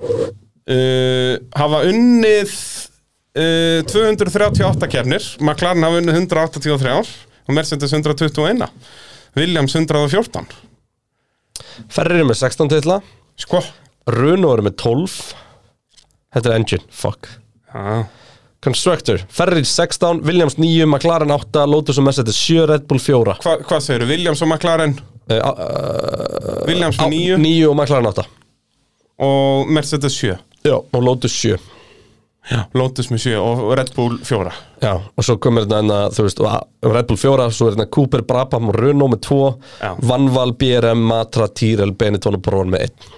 C: uh, hafa unnið uh, 238 kefnir McLaren hafa unnið 183 og Mercedes 121 Williams 114
B: Ferri er með 16 tilla
C: sko
B: Runo er með 12 Þetta er engine, fuck
C: Já.
B: Constructor, Ferri 16, Williams 9, McLaren 8, Lotus og Mercedes 7, Red Bull 4
C: Hva, hvað segir Williams og McLaren
B: Eh, á- á-
C: Williams
B: á-
C: 9
B: níu og McLaren 8
C: og Mercedes 7
B: Já, og Lotus 7
C: Lotus með 7 og Red Bull 4
B: Já, og svo komur þetta enna, þú veist, og að- Red Bull 4, svo er þetta Cooper, Brabham og Renault með 2,
C: Já.
B: Vanval, BRM, Matra, Tyrell, Benetton og Brón með 1.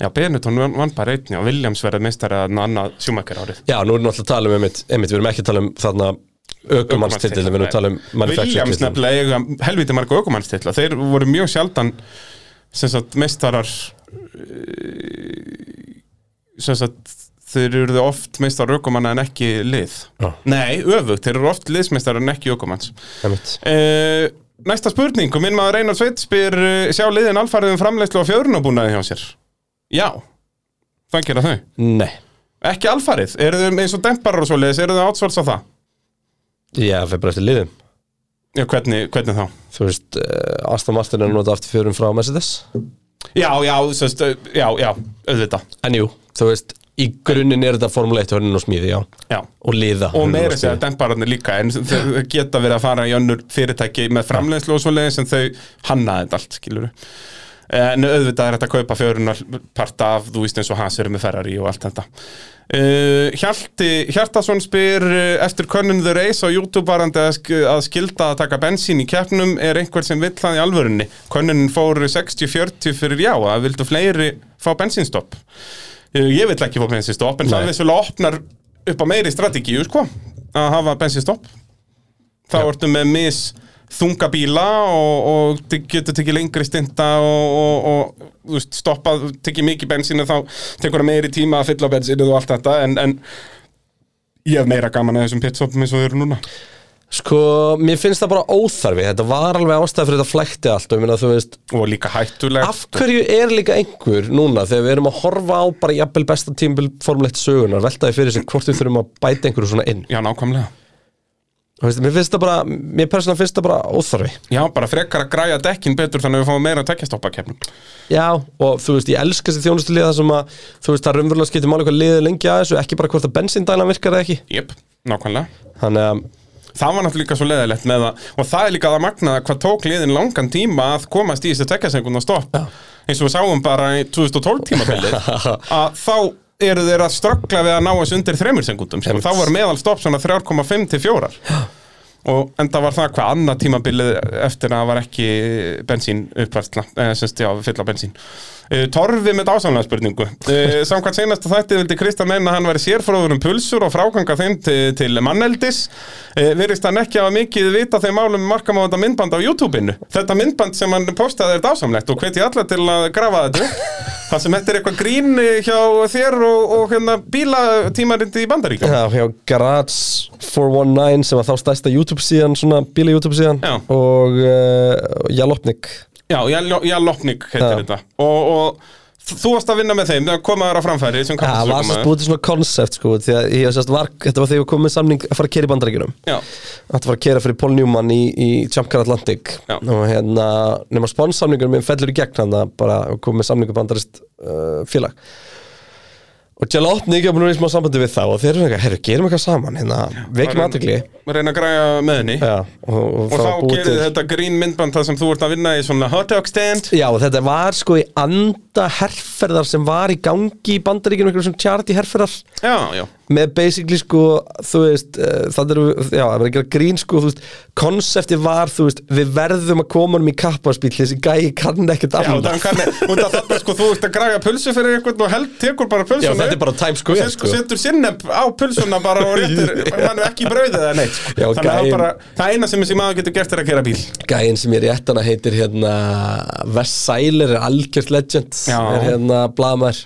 C: Já, Benetton vann vann bara einn og Williams verið meistari að annað sjúmakar árið
B: Já, nú erum við alltaf að tala um, einmitt, einmitt, við erum ekki að tala um þarna ökumannstitillin, við erum að tala um
C: Williams
B: manufacturer-titilinn.
C: nefnilega eiga helviti marga ökumannstitla þeir voru mjög sjaldan sem sagt meistarar eh, sem sagt þeir eru oft meistar ökumanna en ekki lið
B: Já.
C: nei, öfugt, þeir eru oft liðsmeistar en ekki ökumanns
B: Einmitt.
C: uh, næsta spurning og minn maður Einar Sveit spyr eh, sjá liðin alfarið um framleiðslu á fjörunabúnaði hjá sér já, það gera þau
B: Nei,
C: ekki alfarið, eru þau eins og demparar og svoleiðis, eru þau átsvölds á það
B: já, fyrir bara eftir liðum.
C: já, hvernig, hvernig þá?
B: Þú veist, uh, Aston Martin er notað aftur fjörum frá Mercedes.
C: Já, já, sest, já, já, auðvitað
B: En jú, þú veist, í grunninn er þetta Formule 1 hörnin og smíði, já,
C: já.
B: og liða.
C: Og
B: hönnun
C: meira að segja
B: smíði.
C: dempararnir líka en þau geta verið að fara í önnur fyrirtæki með framleiðslu og svoleiðis en þau hannaði þetta allt, skilur Eh, En auðvitað er þetta að kaupa fjörunar parta af, þú veist eins og hans eru með Ferrari og allt þetta Uh, Hjalti Hjartason spyr uh, eftir könnun The Race á YouTube varandi að, sk að skilda að taka bensín í keppnum er einhver sem vill það í alvörunni könnunin fór 60-40 fyrir já að vildu fleiri fá bensínstopp Uh, ég vill ekki fá bensinstopp en
B: Nei.
C: það vissulega opnar upp á meiri strategíu sko, að hafa bensinstopp þá ertu með mis þunga bíla og, og te- getur tekið lengri stinda og, og, og þú veist, stoppað, tekið mikið bensinu þá tekur það meiri tíma að fylla á bensinu og allt þetta en, en ég hef meira gaman að þessum pitstoppum eins og þau eru núna
B: Sko, mér finnst það bara óþarfi, þetta var alveg ástæð fyrir þetta flækti allt, og ég meina, þú veist,
C: og líka hættulegt
B: Af hverju er líka einhver núna þegar við erum að horfa á bara jafnvel besta tímbil formulegt sögunar, veltaði fyrir sig hvort við þurfum að bæta einhverju svona inn
C: já, nákvæmlega
B: Þú veist, Mér finnst það bara, mér persónlega finnst það bara óþarfi
C: já, bara frekar að græja dekkin betur þannig að við fáum meira að tekja stoppa kemnum
B: Já, og þú veist, ég elska þessi þjónustu liða sem að, þú veist, það raunverulega skiptir máli hvað liðið er lengi að þessu, ekki bara hvort að bensíndælan virkar eða ekki
C: jöp, nákvæmlega
B: Þannig að,
C: Það var náttúrulega líka svo leðilegt með það og það er líka það magnaða hvað tók liðin langan tíma að komast í þessi tekjasengund og stopp eins og við sáum bara í 2012 tímabilið að þá eru þeir að ströggla við að ná þessu undir þremur sengundum sko.
B: Einmitt.
C: þá var meðal stopp svona 3,5 til 4 og enda var það hvað annað tímabilið eftir að það var ekki bensín uppvarsla, eh, semst já, fylla bensín Eh, Torfi með dásamlega spurningu Eh, Samkvæmt seinasta þætti vildi Kristján meina að hann væri sérfróður um pulsur og fráganga þeim til, til manneldis Eh, Virðist hann ekki hafa mikið vita þeim málum markam á þetta myndband á YouTube-inu Þetta myndband sem hann postaði er dásamlegt og hveti alla til að grafa þetta upp. Það sem þetta er eitthvað grín eh, hjá þér og, og hérna, bílatímarindi í Bandaríkjum
B: Já, hjá Garage 419 sem var þá stærsta YouTube síðan, svona bíla YouTube síðan
C: Já.
B: og uh, Jalopnik
C: Já, Jalopnik heitir
B: Já.
C: þetta og, og þú varst að vinna með þeim þegar koma þær á framfæri sem
B: Já, það var sérst
C: kappakstursökumaður.
B: búið til svona koncept sko, því að ég sérst var, þetta var þegar við komum með samning að fara að kera í bandaríkjunum
C: Já,
B: Þetta var að kera fyrir Paul Newman í, í Jump Car Atlantic
C: Já.
B: og hérna, nema sponsamningur minn fellur í gegn hann að bara komum með samningu bandarist uh, félag og Jalopnik er búin að vera í smá sambandi við þá og þeir eru eitthvað, herru, gerum eitthvað saman hérna, vekjum
C: Bara-
B: aðtegli
C: reyna að græja með henni
B: Já, og, og,
C: Og
B: það
C: þá
B: var búið
C: gerir
B: til-
C: þetta grín myndband þar sem þú ert að vinna í svona hot dog stand
B: Já, og þetta var sko í anda herrferðar sem var í gangi í bandaríkjunum einhverjum svona charity herrferðar
C: Já, já,
B: með basically sko, þú veist eh, það eru, já, það var ekki að grín sko þú veist, konsepti var, þú veist við verðum að koma honum í kapparspíl þessi gæi kann ekkert
C: já
B: annað
C: þannig kanni Út af þetta sko, þú ert að græja pulsu fyrir einhvern og held, tekur bara pulsuna
B: Já, þetta er bara Times Square,
C: sko
B: sko.
C: Setur sinnepp á pulsuna bara og réttir hann er ekki í brauðið eða neitt sko.
B: Já,
C: Þannig að það
B: gæinn-
C: er bara, það eina sem þessi maður getur gert er að gera bíl
B: gæin sem ég er í ettana heitir hérna Wes Seiler er algjört legend
C: Já.
B: er hérna blamar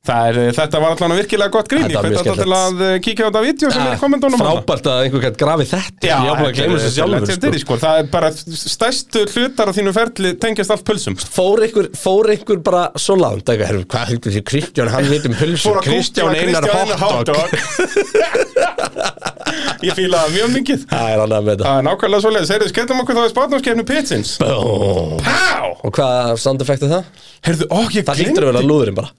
C: Það er, eh, þetta var allan virkilega gott grín
B: Þetta
C: Ég
B: var
C: hveti
B: mjög
C: alltaf til
B: skemmtilegt. Ah,
C: að eh, kíkja á þetta vídeo sem er í komendunum
B: frábært að einhver gætt grafið þetta
C: Já,
B: ég á bara að gleyma þessu sjálfur
C: þetta er í,
B: sko.
C: sko. Það er bara stærstu hlutar á þínu ferli tengjast allt pulsum
B: fór einhver, fór einhver bara svo langt eitthvað, herru, hvað heldur því Kristján, hann veit um pulsur
C: Fór að
B: Kristján
C: googla
B: Einar
C: Kristján
B: Hotdog
C: Hotdog. Ég fíla það mjög mikið
B: Það er annað með þetta
C: Það er nákvæmlega svoleiðis, heyrðu, skellum okkur þá í spátnámskeppnu pitsins Ah.
B: Bó.
C: Pá!
B: Og hvað sound effect er það?
C: Heyrðu, ó, ég
B: Það hlýtur að vera lúðurinn bara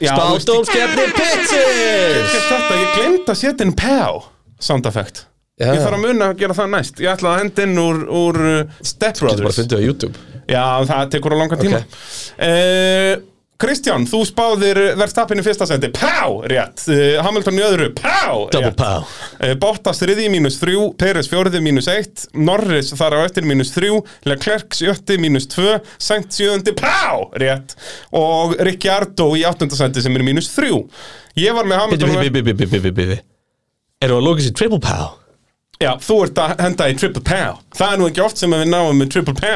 C: Já,
B: Spátdómskeppni Pitsins
C: Gert þetta, ég glemt að setja inn pá sound effect
B: Já.
C: Ég þarf að muna að gera það næst Ég ætla að henda inn úr, úr uh, Step
B: Getur bara
C: Brothers
B: fundið á YouTube
C: Já, það tekur á langan tíma
B: Ok.
C: okay. Kristján, þú spáðir verðstappinu fyrsta sendi Pá, rétt Eh, Hamilton í öðru, pá,
B: Double
C: rétt
B: pow
C: Eh, Bottas þriði mínus þrjú, Peres fjóriði mínus eitt, Norris þar á eftir mínus þrjú, Leclerc sjötti mínus tvö, Sengt sjöðundi, pá, rétt, og Ricciardo í áttundasætti sem er mínus þrjú. Ég var með
B: Bitti,
C: Hamilton
B: bitti, bitti, bitti, bitti, bitti Erum við að lóka sér triple pow?
C: Já, þú ert að henda í triple pá. Það er nú ekki oft sem að við náum með triple pá.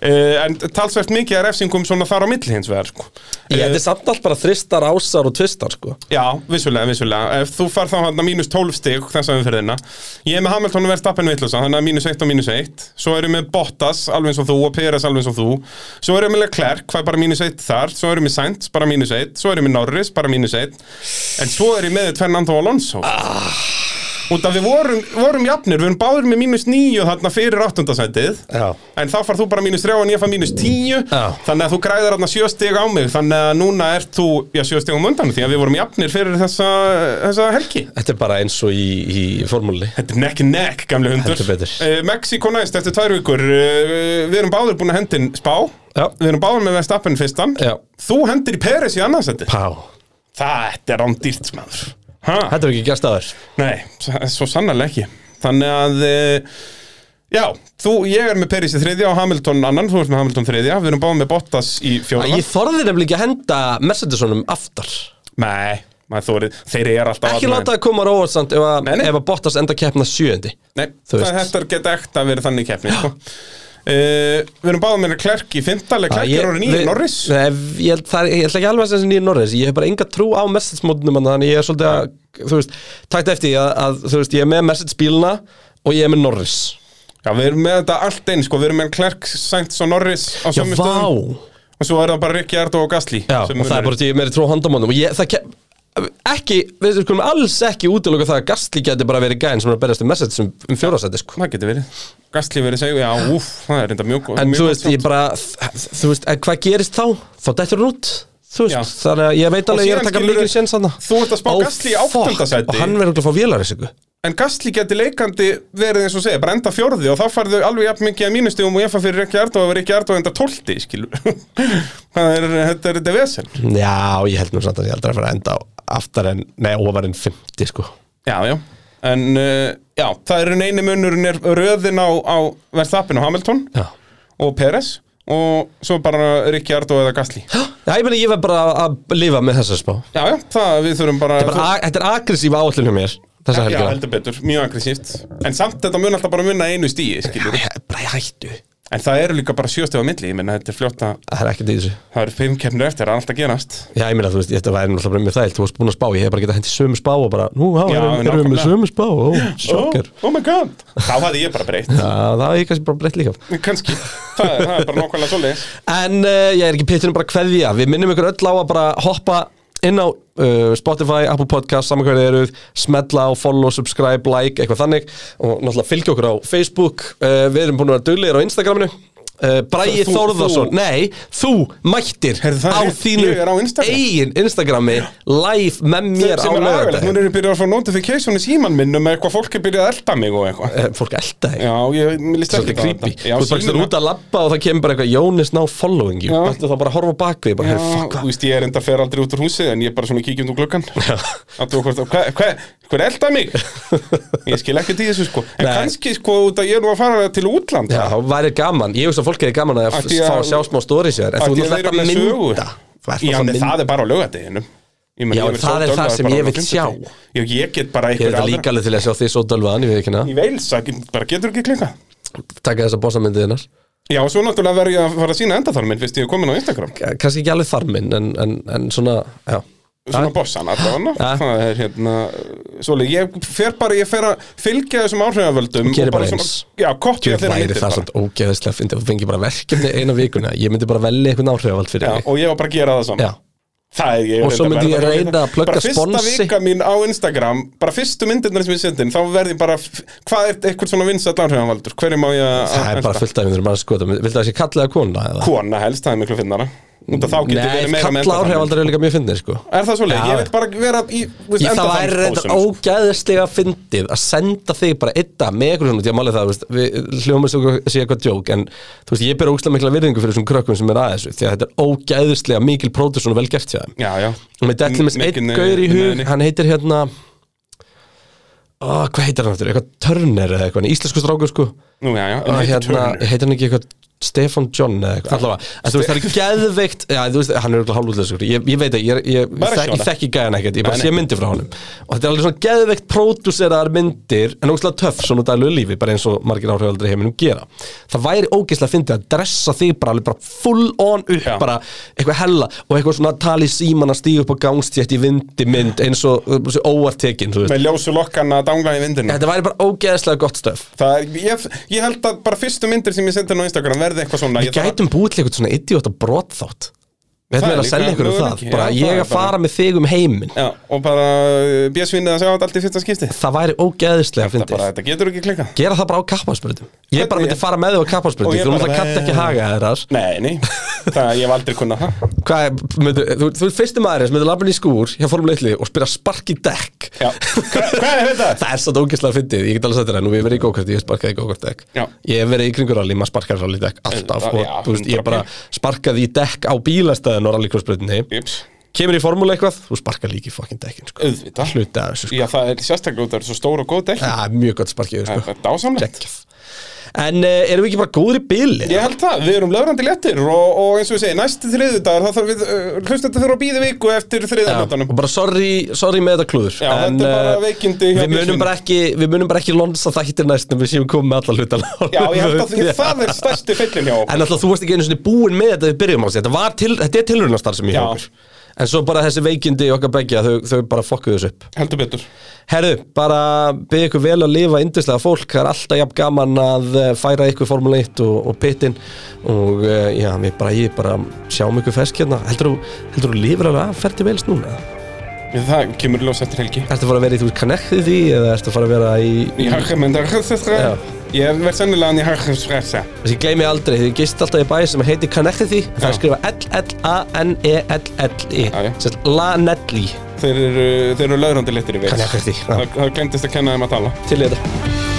C: Uh, en talsvert mikið er efsingum svona þar á milli hins vegar, sko.
B: Ég þetta er samt allt bara þristar, ásar og tvistar sko
C: Já, vissulega, vissulega Ef þú far þá hann að mínus 12 stig þessa umferðina Ég er með Hamilton og Verstappen vitlusa Þannig að mínus 1 og mínus 1 Svo erum við Bottas, alveg eins og þú Og Peres, alveg eins og þú Svo erum við Leclerc, hvað er bara mínus 1 þar Svo erum við Sainz, bara mínus 1 Svo erum við Norris, bara mínus 1 En svo erum við Fernando Alonso ah. Út af við vorum, vorum jafnir Við erum báður með mínus 9 þarna fyrir áttundasætið
B: Já.
C: En þá far þú bara mínus 3 en ég far mínus 10
B: Já.
C: Þannig að þú græðir þarna 7 stig á mig Þannig að núna ert þú, já 7 stig á mundan Því að við vorum jafnir fyrir þessa, þessa helgi
B: Þetta er bara eins og í, í formúli
C: Þetta er nekk nekk, gamli hundur
B: Heldur betur.
C: Eh, Mexiko næst eftir tvær vikur uh, Við erum báður búin að hendin spá
B: Já.
C: Við erum báður með Vestappen fyrstan
B: Já.
C: Þú hendir í Peres í annarsetti
B: Pow
C: Þetta er rándýrt smaður Ha?
B: Þetta er ekki gerst aður
C: Nei, s- svo sannarlega ekki Þannig að eh, Já, þú, ég er með Peris í þriðja og Hamilton annan, þú ert með Hamilton þriðja Við erum báðum með Bottas í fjóra
B: Ég þorði nefnilega ekki að henda Mercedesonum aftar
C: Nei, maður þórið, þeir eru alltaf
B: Ekki
C: þarna.
B: láta það koma róvarsand ef, að-
C: Nei, nei.
B: ef að Bottas enda keppna sjöndi
C: Nei,
B: Þú
C: það
B: veist.
C: hættar geta ekt að vera þannig keppni sko. uh, Við erum báðum með Klerk í fymta
B: Já,
C: Klerk
B: ég-
C: er orðin í
B: við-
C: Norris
B: Nei, ég, held- það er- ég ætla ekki alveg að segja nýjir Norris Ég hef bara enga trú á message-mótnum hann, Þannig ég er svolítið að, þú veist, tækt eftir því að, að Þú veist, ég er með message-bíluna Og ég er með Norris
C: Já, við erum með þetta allt einn, sko, við erum með Klerk, Sainz og Norris á
B: Já,
C: sömu
B: vá
C: stöðum Og svo er það bara Rikki Ardó og Gasly
B: Já,
C: sem
B: og það
C: munu-
B: er bara því ég er meiri trú á handamótnum Og ég, það kem, ekki, við skulum alls ekki útiloka það að Gastli geti bara verið gæn sem er að berjast um message um, um fjórasæti, sko
C: Það getur verið Gasly verið segjum, já, úf, það er enda mjög góð
B: En
C: mjög
B: þú
C: gott
B: veist, ég bara, þú veist, en hvað gerist þá? Þá dættur hún út Þú
C: Já.
B: veist, þannig að ég veit alveg, ég er að
C: síðan
B: taka
C: skilurðu-
B: mikið séns þarna.
C: Þú ert að spá
B: Ó,
C: Gasly í
B: fuck,
C: áttunda sæti.
B: Og hann verður örugglega að fá vélarisíku
C: En Gastli geti leikandi verið eins og segja, bara enda fjórði og þá farðu alveg jafn mikið að mínustigum og ég far fyrir Rikki Ardó og Rikki Ardó enda tólti, skilur Það er, þetta er þetta vesen
B: Já, ég held nú samt að ég aldrei að fara að enda á aftar en, nei, ofar en 50 sko
C: Já, já En, uh, já, það er einu munurinn er röðin á, á Verstappen og Hamilton
B: Já,
C: og Peres og svo bara Rikki Ardó eða Gastli
B: Há? Já, ég meina ég verð bara að lifa með þessa spá
C: Já, já, það við þurfum bara,
B: Þetta er bara a- Þetta er aggressíf áallin hjá mér Þessa
C: Já,
B: helgina
C: heldur betur, mjög aggressíft En samt þetta mun alltaf bara munna einu stíi skilur.
B: Ég- Bara í hættu
C: En það eru líka bara sjöstefa milli Ég menna þetta er fljóta,
B: Það er ekkert í þessu
C: það eru fimm keppnir eftir Það er alltaf að gerast
B: Já, ég meina, þú veist, þetta væri náttúrulega bara mjög þægilt Þú varst búin að spá, ég hef bara getað hendið sömu spá og bara Nú, já,
C: Já,
B: erum erum við
C: nákvæmlega.
B: með sömu spá Ó, sjokkar
C: oh, oh my god, þá hafði ég bara breytt
B: Já, Hérna, það er kannski bara breytt líka
C: Kanski, það, er- það er bara nákvæmlega svoleiðis
B: En uh, ég er ekki pitturinn bara kveðja Við minnum ykkur öll á að bara hoppa inn á uh, Spotify, Apple Podcast, saman hverju eruð smetla á follow, subscribe, like, eitthvað þannig og náttúrulega fylgja okkur á Facebook uh, Við erum búin að vera duglegir á Instagraminu uh, Bræi
C: Þú-
B: Þórðarsson
C: þú-
B: Nei, þú mættir
C: Heyrðu, það
B: á
C: er rétt,
B: þínu
C: ég er á Instagram.
B: eigin Instagrami live með mér á
C: Sem er agalegt,
B: lögadaginn
C: núna er ég byrjað að fá notification í síman minn um eitthvað fólk er byrjað að elda mig og eitthvað
B: Eh, Fólk elda þig
C: Já, ég mér líst ekki
B: Svolítið creepy
C: Já,
B: Þú er bara
C: síminn-
B: út að labba og það kemur bara eitthvað Jónis ná following you
C: Já.
B: Þú ætlar þá bara að horfa á bakvið bara,
C: Já,
B: "Heyrðu, fuck,
C: þú veist, ég er enda að fer aldrei út úr húsi en ég er bara svona kíkjum úr gluggan að þú hvort, hvað, hvað, hvað elda mig? Ég skil ekkert í þessu sko en
B: Nei.
C: kannski sko, út að ég er nú að fara til útlanda
B: Já, það væri gaman, ég veist að fólk hefði gaman að f-
C: Ætti ég
B: fá
C: að-
B: að sjá smá stóri sér En þú
C: Ætti ég
B: er
C: að vera
B: náttúrulega
C: með
B: mynda Þú
C: sögu?
B: ert
C: Já,
B: náttúrulega
C: en
B: mynda.
C: það er bara á laugardeginum Ég
B: Já,
C: ég
B: en
C: verð
B: það er
C: sóldölvaður
B: það sem
C: bara
B: ég
C: á
B: vil sjá.
C: fimmtudegi. Já, ég get
B: Ég
C: bara
B: er
C: einhverja
B: þetta
C: aðra-
B: líka alveg til að sjá því svo dölvaðan, ég veit ekki
C: Ég
B: hérna
C: veils, það bara getur ekki klinga
B: Taka þessa bossamyndið hennar
C: Já, og svo náttúrulega verð ég að fara að sína endaþarminn fyrst ég er komin á Instagram
B: K- Kannski ekki alveg þarminn, en, en, en svona, já Ah.
C: svona bossan allavega
B: Ja.
C: það er hérna svolítið, ég fer bara, ég fer að fylgja þessum áhrifavöldum
B: Gerir bara
C: svona,
B: eins.
C: já, kopja
B: Tjóð
C: þeirra
B: væri
C: myndir
B: það
C: bara
B: samt ógeðislega fyndi Þú fengi bara verkefni eina vikuna Ég myndi bara velja einhvern áhrifavald fyrir
C: já,
B: mig
C: og ég var bara að gera það saman
B: Já,
C: það er ég
B: Og svo
C: reyndar
B: myndi ég
C: verða-
B: reyna að plugga
C: bara fyrsta
B: sponsi.
C: vika mín á Instagram bara fyrstu myndirnar sem ég sendin þá verði ég bara, f- hvað er eitthvað svona vinsall áhrifavaldur, hverju má ég að
B: það er
C: henda?
B: bara fullt af myndir maður skoða Viltu að það sé kallega kona eða?
C: kona helst, það er miklu finnara Út að þá getur verið
B: Nei,
C: meira með
B: kalla
C: endaþarminn.
B: áhrifavaldar er líka mjög fyndið, sko
C: er það svolítið,
B: Já.
C: ég vil bara vera í þú veist,
B: Ég, það væri reynda
C: endaþarmspósum.
B: ógæðislega fyndið að senda þig bara einna með ykkur svona, því að máli það, þú veist, við hljóðum að segja eitthvað djók, en þú veist, ég ber ógæðislega mikla virðingu fyrir þessum krökkum sem er að þessu, því að þetta er ógæðislega mikil pródusson og vel gert hjá þeim.
C: já, já,
B: Og með dætli með einn
C: Mikið
B: gaur í
C: nei-
B: hug,
C: nei-
B: hann heitir hérna, oh, hvað heitir hann aftur, eitthvað Turner eða eitthvað, hann er íslensku strákur sko,
C: nú já, já, en
B: og
C: heitir
B: hérna,
C: Turner.
B: heitir hann ekki eitthvað Stefan John eða eitthvað, allavega, en þú veist, það er geðveikt, já, þú veist, hann er eitthvað hálfútlegur, ég, ég veit að ég, ég, ég,
C: Bara
B: þek,
C: sjóða.
B: ég þekki gæðan ekkert, ég bara
C: Nei,
B: sé
C: nei.
B: myndir frá honum og þetta er alveg svona geðveikt pródúseraðar myndir en ógislega töff svona daglegu lífi, bara eins og margir áhrifaldri heiminum gera. Það væri ógislega fyndið að dressa þig bara alveg bara full on upp,
C: Já.
B: bara eitthvað hella og eitthvað svona tali síman að stíða upp á gangstétt í vindi mynd eins og óartekinn, þú veist.
C: með ljósu lokkana að dangla í vindinu
B: Þetta væri bara ógeðslega gott stöf.
C: Það er, ég, ég held að bara fyrstu myndir sem ég sendi inn á Instagram verði eitthvað svona
B: Við
C: Ég þarf að-
B: gætum búið til eitthvað svona idiota brotþátt Við
C: Það
B: ætlum
C: er
B: eiginlega að
C: líka
B: selja ykkur um það
C: möguleiki,
B: Bara
C: já, það
B: ég
C: er
B: að fara með þig um heiminn
C: Já, og bara bjössvinnið að segja þetta allt í fyrsta skipti
B: Það væri ógeðislega
C: Þetta,
B: fyndið
C: bara, þetta getur ekki klikkað
B: Gera það bara á kappansbrutum Ég bara
C: Hvernig-
B: myndi fara með þig á
C: Og
B: kappansbrutum
C: ég
B: Þú
C: bara-
B: náttúrulega kannt ekki haga þeirras
C: Nei, nei, það ég hef aldrei kunnað það
B: Hvað, er- myndu, þú, þú er fyrsti maðurinn sem myndir labbin í skúr hjá Formule 1 liði og spyrja spark í dekk
C: Já, Hva- hvað er þetta?
B: Það er svo ógeðslega fyndið, ég get alveg sagt þér það Nú ég hef verið í gókart, ég hef sparkað í gókart dekk
C: Já.
B: Ég hef verið í kringur rally, maður sparkar rally dekk alltaf
C: Já,
B: og, þú veist, Ég
C: 100%.
B: bara sparkaði í dekk á bílastæðin og rallycrossbrutinni
C: Júps,
B: kemur í formúlu eitthvað, þú sparkar líka í fucking dekkin sko.
C: auðvitað
B: hluta af þessu sko.
C: Já, það er sérstaklega út, það er svo stór og góð dekk
B: það er mjög gott sparkið
C: Það er
B: sko.
C: bara dásamlegt
B: Geggjað. en uh, erum við ekki bara góðir í bíli
C: Ég held það, við erum löðrandi léttir og, og eins og ég segi, næsti þriðudagur þá þarf við, uh, hlustandi þurfa að býða viku eftir þriðanlöftanum
B: og bara sorry, sorry með þetta klúður
C: Já, þetta er bara
B: eh,
C: veikindi hjá
B: við munum
C: bílsvinum.
B: bara ekki við munum bara ekki lonsa þættir næst en við séum komið með alla hluta
C: Já, ég held að því, það er stærsti fyllin hjá okkur.
B: en alltaf þú varst ekki einu svona búin með þetta við byrjum á þessu þetta, var til, þetta er tilhörnastar sem ég
C: Já.
B: hefur en svo bara þessi veikindi í okkar begja þau, þau bara fokkuðu þessu upp
C: Heldur betur
B: Herru, bara byggja ykkur vel að lifa yndislega fólk, það er alltaf jafn gaman að eh, færa ykkur Formule 1 og, og pittin og eh, já, við bara, ég bara sjáum ykkur fersk hérna heldur þú, heldur þú lifir alveg að ferdi veils núna?
C: Það kemur ljós eftir helgi
B: Ertu að fara að vera í, þú veist, kannektið því eða ertu að fara að vera í,
C: Í Harkemendar
B: Já.
C: Ég verð sennilega í Harkemsfresa
B: þess ég gleymi aldrei því ég gist alltaf í bæ sem heitir kannektið því það er skrifa E L-L-A-N-E-L-L-I
C: Já, já.
B: sérst La-Nelli
C: Þeir eru, þeir eru löðrandi lettir í veist
B: Kannektið því,
C: Það, það glemtist að kenna þeim að tala
B: til í þetta